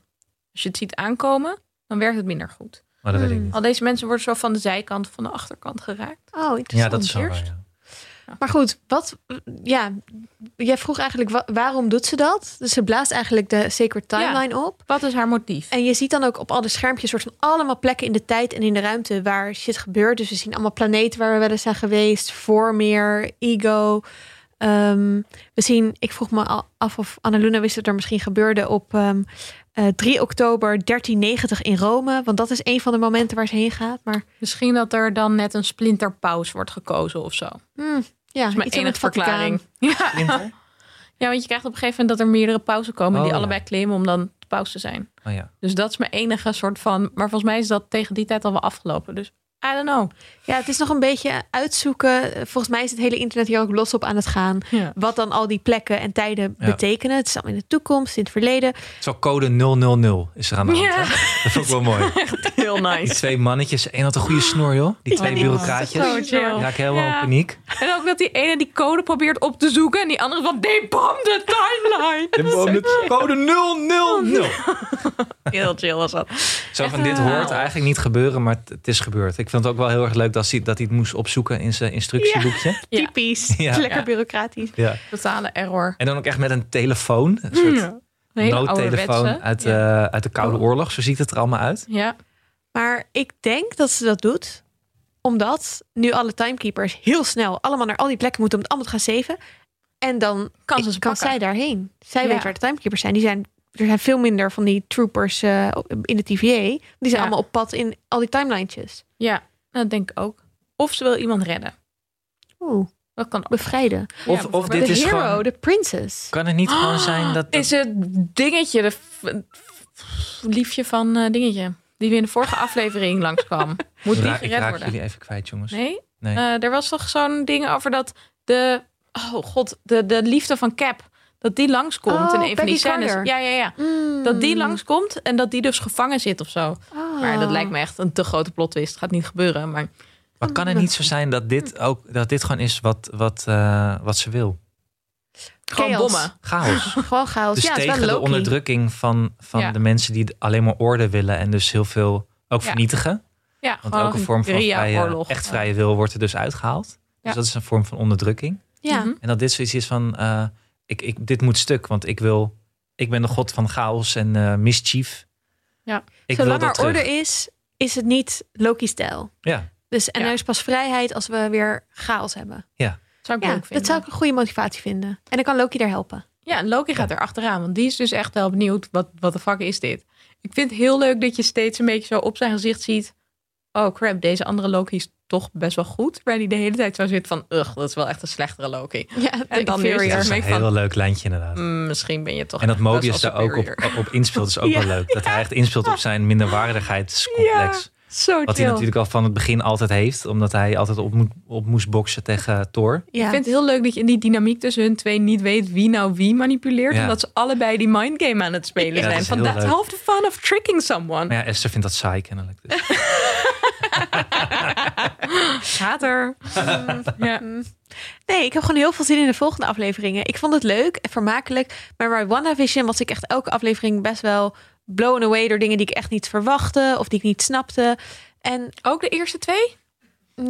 Speaker 1: Als je het ziet aankomen, dan werkt het minder goed.
Speaker 3: Maar dat weet ik
Speaker 2: Hmm.
Speaker 3: niet.
Speaker 1: Al deze mensen worden zo van de zijkant of van de achterkant geraakt.
Speaker 2: Oh, interessant.
Speaker 3: Ja, dat is zo.
Speaker 1: eerst.
Speaker 3: ja.
Speaker 2: Maar goed, wat... Ja, jij vroeg eigenlijk wa- waarom doet ze dat? Dus ze blaast eigenlijk de Sacred
Speaker 1: Ja.
Speaker 2: Timeline op.
Speaker 1: Wat is haar motief?
Speaker 2: En je ziet dan ook op alle schermpjes soort van allemaal plekken in de tijd en in de ruimte waar shit gebeurt. Dus we zien allemaal planeten waar we wel eens zijn geweest. Voormeer, Ego. Ehm, we zien, ik vroeg me al af of Annaluna wist dat er misschien gebeurde op ehm, eh, 3 oktober 1390 in Rome. Want dat is een van de momenten waar ze heen gaat. Maar
Speaker 1: Misschien dat er dan net een splinterpaus wordt gekozen of zo. Dat
Speaker 2: hmm, ja,
Speaker 1: is mijn
Speaker 2: iets in
Speaker 1: enige
Speaker 2: het Vaticaan.
Speaker 1: verklaring. Ja.
Speaker 3: Splinter?
Speaker 1: ja, want je krijgt op een gegeven moment dat er meerdere pauzen komen
Speaker 3: Oh,
Speaker 1: die
Speaker 3: ja.
Speaker 1: allebei claimen om dan de paus te zijn.
Speaker 3: Oh ja.
Speaker 1: Dus dat is mijn enige soort van. Maar volgens mij is dat tegen die tijd al wel afgelopen. Dus I don't know.
Speaker 2: Ja, het is nog een beetje uitzoeken. Volgens mij is het hele internet hier ook los op aan het gaan.
Speaker 1: Ja.
Speaker 2: Wat dan al die plekken en tijden
Speaker 3: Ja.
Speaker 2: betekenen. Het is allemaal in de toekomst, in het verleden.
Speaker 3: Het is wel code 000 is er aan de hand. hè? Dat vond ik wel mooi.
Speaker 1: Heel
Speaker 3: Die
Speaker 1: nice.
Speaker 3: twee mannetjes. Eén had een goede snoer, joh. Die twee
Speaker 1: die
Speaker 3: bureaucraatjes.
Speaker 1: was zo chill.
Speaker 3: Die raken helemaal
Speaker 1: Ja.
Speaker 3: in paniek.
Speaker 1: En ook dat die ene die code probeert op te zoeken en die andere van they bomb the timeline.
Speaker 3: code 000.
Speaker 1: Heel chill was dat.
Speaker 3: Zo
Speaker 1: Oh,
Speaker 3: van,
Speaker 1: Echt
Speaker 3: dit
Speaker 1: een
Speaker 3: hoort
Speaker 1: haal.
Speaker 3: eigenlijk niet gebeuren, maar het- het is gebeurd. Ik vind het ook wel heel erg leuk dat hij, dat hij het moest opzoeken in zijn instructieboekje.
Speaker 1: Ja.
Speaker 2: Typisch.
Speaker 3: Ja.
Speaker 2: Lekker
Speaker 1: Ja.
Speaker 2: bureaucratisch.
Speaker 3: Ja.
Speaker 1: Totale error.
Speaker 3: En dan ook echt met een telefoon. Een soort
Speaker 1: Mm, Een hele
Speaker 3: noodtelefoon
Speaker 1: ouderwetse.
Speaker 3: uit,
Speaker 1: ja.
Speaker 3: eh, uit de Koude Oorlog. Zo ziet het er allemaal uit.
Speaker 1: Ja.
Speaker 2: Maar ik denk dat ze dat doet omdat nu alle timekeepers heel snel allemaal naar al die plekken moeten om het allemaal te gaan zeven. En dan
Speaker 1: Kan ze ze
Speaker 2: kan
Speaker 1: pakken.
Speaker 2: zij daarheen. Zij
Speaker 1: Ja.
Speaker 2: weet waar de timekeepers zijn. Die zijn. Er zijn veel minder van die troopers eh, op- in de TVA. Die zijn
Speaker 1: Ja.
Speaker 2: allemaal op pad in al die timelinetjes.
Speaker 1: ja, dat denk ik ook. Of ze wil iemand redden.
Speaker 2: Oeh,
Speaker 1: Dat kan ook.
Speaker 2: bevrijden.
Speaker 1: Ja,
Speaker 3: Of, of
Speaker 1: bijvoorbeeld.
Speaker 3: dit
Speaker 2: De
Speaker 3: is
Speaker 2: hero,
Speaker 3: gewoon...
Speaker 2: de princess.
Speaker 3: Kan het niet gewoon
Speaker 1: Ah,
Speaker 3: zijn dat... dat-
Speaker 1: Is het dingetje, de f- f- liefje van eh, dingetje, die we in de vorige aflevering langskwam. Moet die
Speaker 3: Raak- ik
Speaker 1: gered
Speaker 3: raak
Speaker 1: worden?
Speaker 3: jullie even kwijt, jongens.
Speaker 1: Nee?
Speaker 3: Nee.
Speaker 1: Eh, er was toch zo'n ding over dat de, oh god, de, de liefde van Cap, dat die langskomt
Speaker 2: Oh,
Speaker 1: in een van
Speaker 2: Peggy
Speaker 1: die scènes.
Speaker 2: Carter. Hmm.
Speaker 1: Ja, ja, ja.
Speaker 2: Mm.
Speaker 1: Dat die langskomt en dat die dus gevangen zit of zo.
Speaker 2: Oh.
Speaker 1: Maar
Speaker 2: Ah.
Speaker 1: dat lijkt me echt een te grote plot twist. Gaat niet gebeuren. Maar
Speaker 3: Maar kan het niet zo zijn dat dit, ook, dat dit gewoon is wat, wat, eh, wat ze wil?
Speaker 1: gewoon
Speaker 2: Chaos.
Speaker 1: bommen.
Speaker 3: Chaos.
Speaker 2: Gewoon chaos.
Speaker 3: Dus
Speaker 2: ja, het is
Speaker 3: tegen
Speaker 2: wel
Speaker 3: de
Speaker 2: Loki.
Speaker 3: onderdrukking van, van
Speaker 1: Ja.
Speaker 3: de mensen die alleen maar orde willen en dus heel veel ook
Speaker 1: Ja.
Speaker 3: vernietigen.
Speaker 1: Ja,
Speaker 3: Want
Speaker 1: gewoon
Speaker 3: elke vorm van vrije,
Speaker 1: guerrilla-oorlog.
Speaker 3: echt vrije wil wordt er dus uitgehaald.
Speaker 1: Ja.
Speaker 3: Dus dat is een vorm van onderdrukking.
Speaker 2: Ja.
Speaker 1: Mhm.
Speaker 3: En dat dit zoiets is van, eh, ik, ik, dit moet stuk, want ik wil, ik ben de god van chaos en eh, mischief. Ik wil
Speaker 2: Zolang
Speaker 3: dat
Speaker 2: er
Speaker 3: terug.
Speaker 2: orde is, is het niet Loki-stijl.
Speaker 3: Ja,
Speaker 2: Dus, en
Speaker 1: Ja.
Speaker 2: er is pas vrijheid als we weer chaos hebben.
Speaker 1: Zou ik
Speaker 2: Ja,
Speaker 1: leuk vinden.
Speaker 2: dat zou ik een goede motivatie vinden. En dan kan Loki daar helpen.
Speaker 1: Ja, en Loki gaat er achteraan, want die is dus echt wel benieuwd. Wat, wat de fuck is dit? Ik vind het heel leuk dat je steeds een beetje zo op zijn gezicht ziet. Oh crap, deze andere Loki is toch best wel goed. Waar hij de hele tijd zo zit van, ugh, dat is wel echt een slechtere Loki.
Speaker 2: Ja,
Speaker 1: En dan weer
Speaker 3: dat
Speaker 1: Ja,
Speaker 3: is een
Speaker 1: maar ik
Speaker 3: heel leuk lijntje inderdaad.
Speaker 1: Mm, misschien ben je toch
Speaker 3: En dat
Speaker 1: echt best
Speaker 3: Mobius
Speaker 1: wel
Speaker 3: daar ook
Speaker 1: superior.
Speaker 3: op, op inspeelt is ook
Speaker 2: Ja,
Speaker 3: wel leuk. Dat hij echt inspeelt op zijn minderwaardigheidscomplex.
Speaker 1: Zo
Speaker 3: Wat
Speaker 1: chill.
Speaker 3: hij natuurlijk al van het begin altijd heeft. Omdat hij altijd op, moet, op moest boksen tegen Thor.
Speaker 2: Ja.
Speaker 1: Ik vind het heel leuk dat je in die dynamiek tussen hun twee niet weet wie nou wie manipuleert.
Speaker 3: Ja.
Speaker 1: Omdat ze allebei die mindgame aan het spelen
Speaker 3: Ja, dat
Speaker 1: zijn.
Speaker 3: is
Speaker 1: Van
Speaker 3: heel
Speaker 1: that's
Speaker 3: leuk.
Speaker 1: half the fun of tricking someone.
Speaker 3: Maar ja, Esther vindt dat saai kennelijk.
Speaker 2: Eh,
Speaker 3: Dus.
Speaker 1: Later. ja.
Speaker 2: Mm. Nee, ik heb gewoon heel veel zin in de volgende afleveringen. Ik vond het leuk en vermakelijk. Maar bij WandaVision was ik echt elke aflevering best wel blown away door dingen die ik echt niet verwachtte of die ik niet snapte. En
Speaker 1: Ook de eerste twee?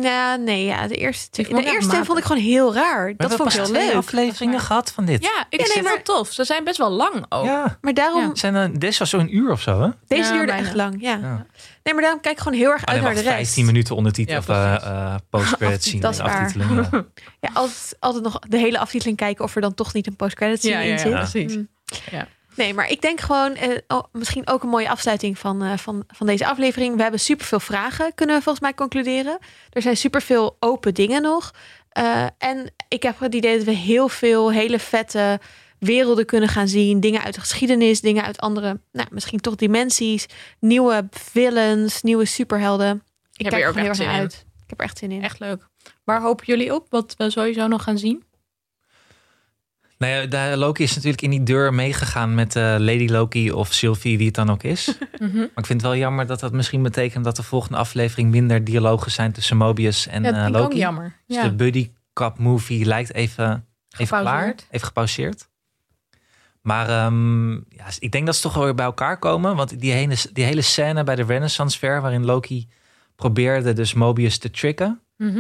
Speaker 2: nou, nee, ja, de eerste,
Speaker 1: Die
Speaker 2: twee,
Speaker 1: vond
Speaker 2: de
Speaker 1: ik echt
Speaker 2: eerste
Speaker 1: matig.
Speaker 2: vond ik gewoon heel raar. dat
Speaker 3: We hebben
Speaker 2: vond ik
Speaker 3: pas
Speaker 2: heel
Speaker 3: twee
Speaker 2: leuk.
Speaker 3: afleveringen gehad van dit.
Speaker 1: Ja, ik
Speaker 2: Ja, Oh. nee,
Speaker 1: vind
Speaker 2: maar-
Speaker 1: het tof. Ze zijn best wel lang ook.
Speaker 3: Ja.
Speaker 2: Maar daarom,
Speaker 1: Ja.
Speaker 3: Het zijn dan, dit was zo'n uur of zo, hè? Oh,
Speaker 2: deze
Speaker 1: Ja,
Speaker 2: duurde
Speaker 1: bijna.
Speaker 2: echt lang. Ja.
Speaker 3: Ja.
Speaker 2: Nee, maar daarom kijk ik gewoon heel erg uit
Speaker 3: nee,
Speaker 2: naar de
Speaker 3: wacht,
Speaker 2: rest.
Speaker 3: 15 minuten ondertitel
Speaker 1: Ja,
Speaker 3: of eh,
Speaker 1: precies.
Speaker 3: eh, post-credit scene.
Speaker 2: Dat is
Speaker 3: en
Speaker 2: waar.
Speaker 3: aftiteling, ja.
Speaker 2: Ja, altijd, altijd nog de hele aftiteling kijken of er dan toch niet een post-credit scene
Speaker 1: Ja,
Speaker 2: in
Speaker 1: ja,
Speaker 2: zit.
Speaker 1: ja, precies.
Speaker 2: Mm.
Speaker 1: Ja.
Speaker 2: Nee, maar ik denk gewoon, eh, oh, misschien ook een mooie afsluiting van, eh, van, van deze aflevering. We hebben superveel vragen, kunnen we volgens mij concluderen. Er zijn superveel open dingen nog. Eh, en ik heb het idee dat we heel veel hele vette werelden kunnen gaan zien. Dingen uit de geschiedenis, dingen uit andere, nou, misschien toch dimensies. Nieuwe villains, nieuwe superhelden. Ik
Speaker 1: Heb
Speaker 2: kijk
Speaker 1: je ook
Speaker 2: er gewoon heel
Speaker 1: echt
Speaker 2: erg naar
Speaker 1: zin in?
Speaker 2: uit. Ik heb er echt zin in.
Speaker 1: Echt leuk. Waar hopen jullie op? Wat we sowieso nog gaan zien?
Speaker 3: Nou ja, daar- Loki is natuurlijk in die deur meegegaan met eh, Lady Loki of Sylvie, wie het dan ook is.
Speaker 1: Mhm.
Speaker 3: maar ik vind het wel jammer dat dat misschien betekent dat de volgende aflevering minder dialogen zijn tussen Mobius en
Speaker 1: Ja, dat
Speaker 3: eh,
Speaker 1: vind ik ook
Speaker 3: Loki.
Speaker 1: jammer.
Speaker 3: Dus
Speaker 1: Ja.
Speaker 3: de buddy cop movie lijkt even, even klaar,
Speaker 1: Gepauzeerd.
Speaker 3: even gepauzeerd. Maar ehm, ja, ik denk dat ze toch wel weer bij elkaar komen. Want die hele, die hele scène bij de Renaissance Fair, waarin Loki probeerde dus Mobius te tricken.
Speaker 1: Mhm.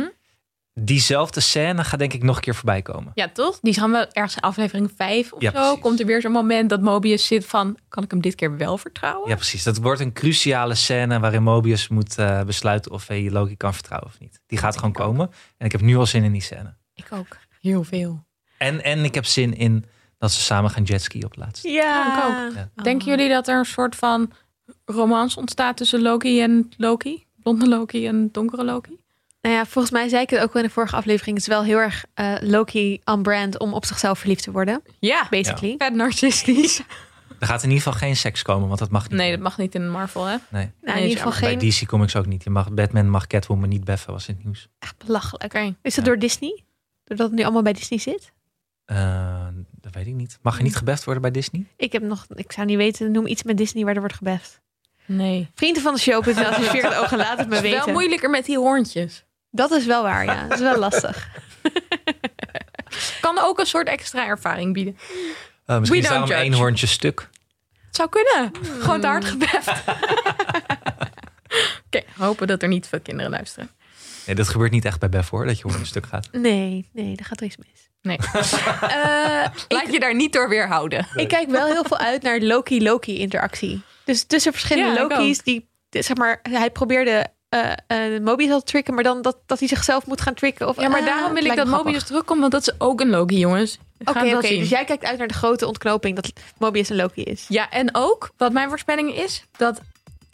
Speaker 3: Diezelfde scène gaat denk ik nog een keer voorbij komen.
Speaker 1: Ja, toch? Die gaan we ergens in aflevering 5 of
Speaker 3: Ja,
Speaker 1: zo.
Speaker 3: precies.
Speaker 1: Komt er weer zo'n moment dat Mobius zit van... kan ik hem dit keer wel vertrouwen?
Speaker 3: Ja, precies. Dat wordt een cruciale scène waarin Mobius moet eh, besluiten of hij Loki kan vertrouwen of niet. Die gaat gewoon komen. En ik heb nu al zin in die scène.
Speaker 1: Ik ook. Heel veel.
Speaker 3: En, en ik heb zin in dat ze samen gaan jetskiën op het laatst.
Speaker 2: Ja,
Speaker 1: Ja,
Speaker 3: ook. Ja.
Speaker 1: Denken jullie dat er een soort van romance ontstaat tussen Loki en Loki? Blonde Loki en donkere Loki?
Speaker 2: Nou ja, volgens mij zei ik het ook al in de vorige aflevering. Het is wel heel erg eh, Loki on brand om op zichzelf verliefd te worden, Nou,
Speaker 1: Ja.
Speaker 2: basically.
Speaker 1: Vet narcistisch.
Speaker 3: Er gaat in ieder geval geen seks komen, want dat mag niet.
Speaker 1: Nee, dat mag niet in Marvel, hè?
Speaker 3: Nee.
Speaker 2: Nou, in
Speaker 1: Nee,
Speaker 2: ieder geval
Speaker 3: Bij
Speaker 2: geen...
Speaker 3: DC Comics ook niet. Je mag, Batman mag Catwoman niet beffen, was in het nieuws.
Speaker 2: Echt belachelijk.
Speaker 1: Oké.
Speaker 2: Is dat
Speaker 3: Ja.
Speaker 2: door Disney? Doordat het nu allemaal bij Disney zit?
Speaker 3: Eh, dat weet ik niet. Mag je niet gebeft worden bij Disney?
Speaker 2: Ik heb nog... Ik zou niet weten, noem iets met Disney waar er wordt gebeft.
Speaker 1: Nee.
Speaker 2: Vrienden van de show.nl adviseert het ogen, laat het me
Speaker 1: Het is wel
Speaker 2: weten.
Speaker 1: moeilijker met die hoorntjes.
Speaker 2: Dat is wel waar, ja. Dat is wel lastig.
Speaker 1: Kan ook een soort extra ervaring bieden.
Speaker 3: Eh, misschien
Speaker 1: We
Speaker 3: is
Speaker 1: don't
Speaker 3: daarom
Speaker 1: judge.
Speaker 3: één hoorntje stuk.
Speaker 1: Het zou kunnen.
Speaker 2: Hmm.
Speaker 1: Gewoon te hard gebeft. Oké, hopen dat er niet veel kinderen luisteren.
Speaker 3: Nee, dat gebeurt niet echt bij Bef hoor, dat je hoorntje stuk gaat.
Speaker 2: Nee, nee, daar gaat er iets mis.
Speaker 1: Nee.
Speaker 2: Eh,
Speaker 1: Laat je daar niet door weerhouden.
Speaker 2: ik kijk wel heel veel uit naar Loki-Loki-interactie. Dus tussen verschillende
Speaker 1: Ja, ik
Speaker 2: Loki's die, de- zeg maar, hij probeerde eh eh, Mobius al te tricken, maar dan dat, dat hij zichzelf moet gaan tricken. Of,
Speaker 1: Ja, maar
Speaker 2: ah,
Speaker 1: daarom wil
Speaker 2: het
Speaker 1: ik
Speaker 2: lijkt
Speaker 1: dat
Speaker 2: me grappig.
Speaker 1: Mobius terugkomt, want dat is ook een Loki, jongens. Gaan
Speaker 2: Oké,
Speaker 1: we
Speaker 2: oké.
Speaker 1: dat zien.
Speaker 2: dus jij kijkt uit naar de grote ontknoping dat Mobius een Loki is.
Speaker 1: Ja, en ook, wat mijn voorspelling is, dat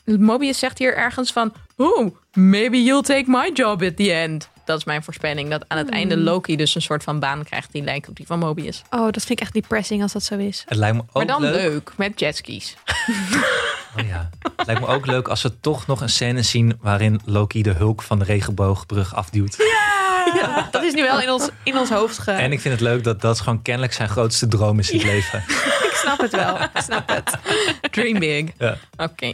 Speaker 1: Mobius zegt hier ergens van... Oh, maybe you'll take my job at the end. Dat is mijn voorspelling, dat aan het einde Loki dus een soort van baan krijgt... die lijkt op die van Mobius.
Speaker 2: Oh, dat vind ik echt depressing als dat zo is.
Speaker 3: Het lijkt me ook
Speaker 1: Maar dan
Speaker 3: leuk.
Speaker 1: leuk, met jetskis.
Speaker 3: Oh ja. Het lijkt me ook leuk als we toch nog een scène zien waarin Loki de hulk van de regenboogbrug afduwt.
Speaker 2: Ja, dat is nu wel in ons, in ons hoofd ge...
Speaker 3: En ik vind het leuk dat dat gewoon kennelijk zijn grootste droom is in het leven.
Speaker 2: Ik snap het wel. Ik snap het.
Speaker 1: Dream big.
Speaker 3: Ja.
Speaker 1: Oké,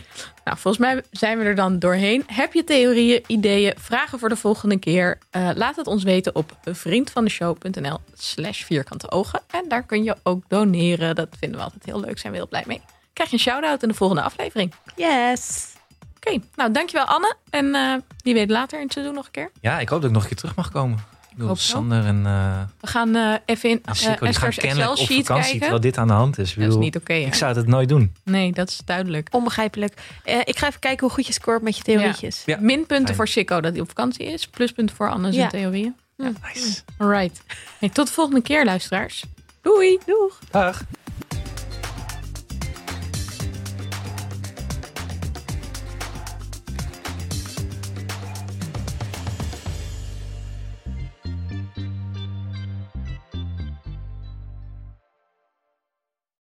Speaker 1: nou volgens mij zijn we er dan doorheen. Heb je theorieën, ideeën, vragen voor de volgende keer? Eh, laat het ons weten op vriendvandeshow.nl slash vierkante ogen. En daar kun je ook doneren. Dat vinden we altijd heel leuk, zijn we heel blij mee. Krijg je een shout-out in de volgende aflevering.
Speaker 2: Yes.
Speaker 1: Oké, nou dankjewel Anne. En eh, wie weet later in het seizoen nog een keer.
Speaker 3: Ja, ik hoop dat ik nog een keer terug mag komen. Ik bedoel,
Speaker 1: hoop het
Speaker 3: Sander en eh
Speaker 1: We gaan eh, even in
Speaker 3: en
Speaker 1: eh,
Speaker 3: Ah, Sikko, die gaan
Speaker 1: Esther's
Speaker 3: kennelijk op
Speaker 1: Excel-sheet
Speaker 3: vakantie
Speaker 1: kijken.
Speaker 3: terwijl dit aan de hand is. Ik
Speaker 1: Dat is
Speaker 3: bedoel,
Speaker 1: niet oké. hè?
Speaker 3: Ik zou dat nooit doen.
Speaker 1: nee, dat is duidelijk.
Speaker 2: Onbegrijpelijk. Eh, ik ga even kijken hoe goed je scoort met je theorietjes.
Speaker 3: Ja,
Speaker 1: Minpunten
Speaker 3: fijn.
Speaker 1: voor Sikko dat hij op vakantie is. Pluspunten voor Anne zijn
Speaker 2: Ja.
Speaker 1: theorieën.
Speaker 3: Nice.
Speaker 1: Alright. Hey, tot de volgende keer, luisteraars. Doei!
Speaker 2: Doeg!
Speaker 3: Dag.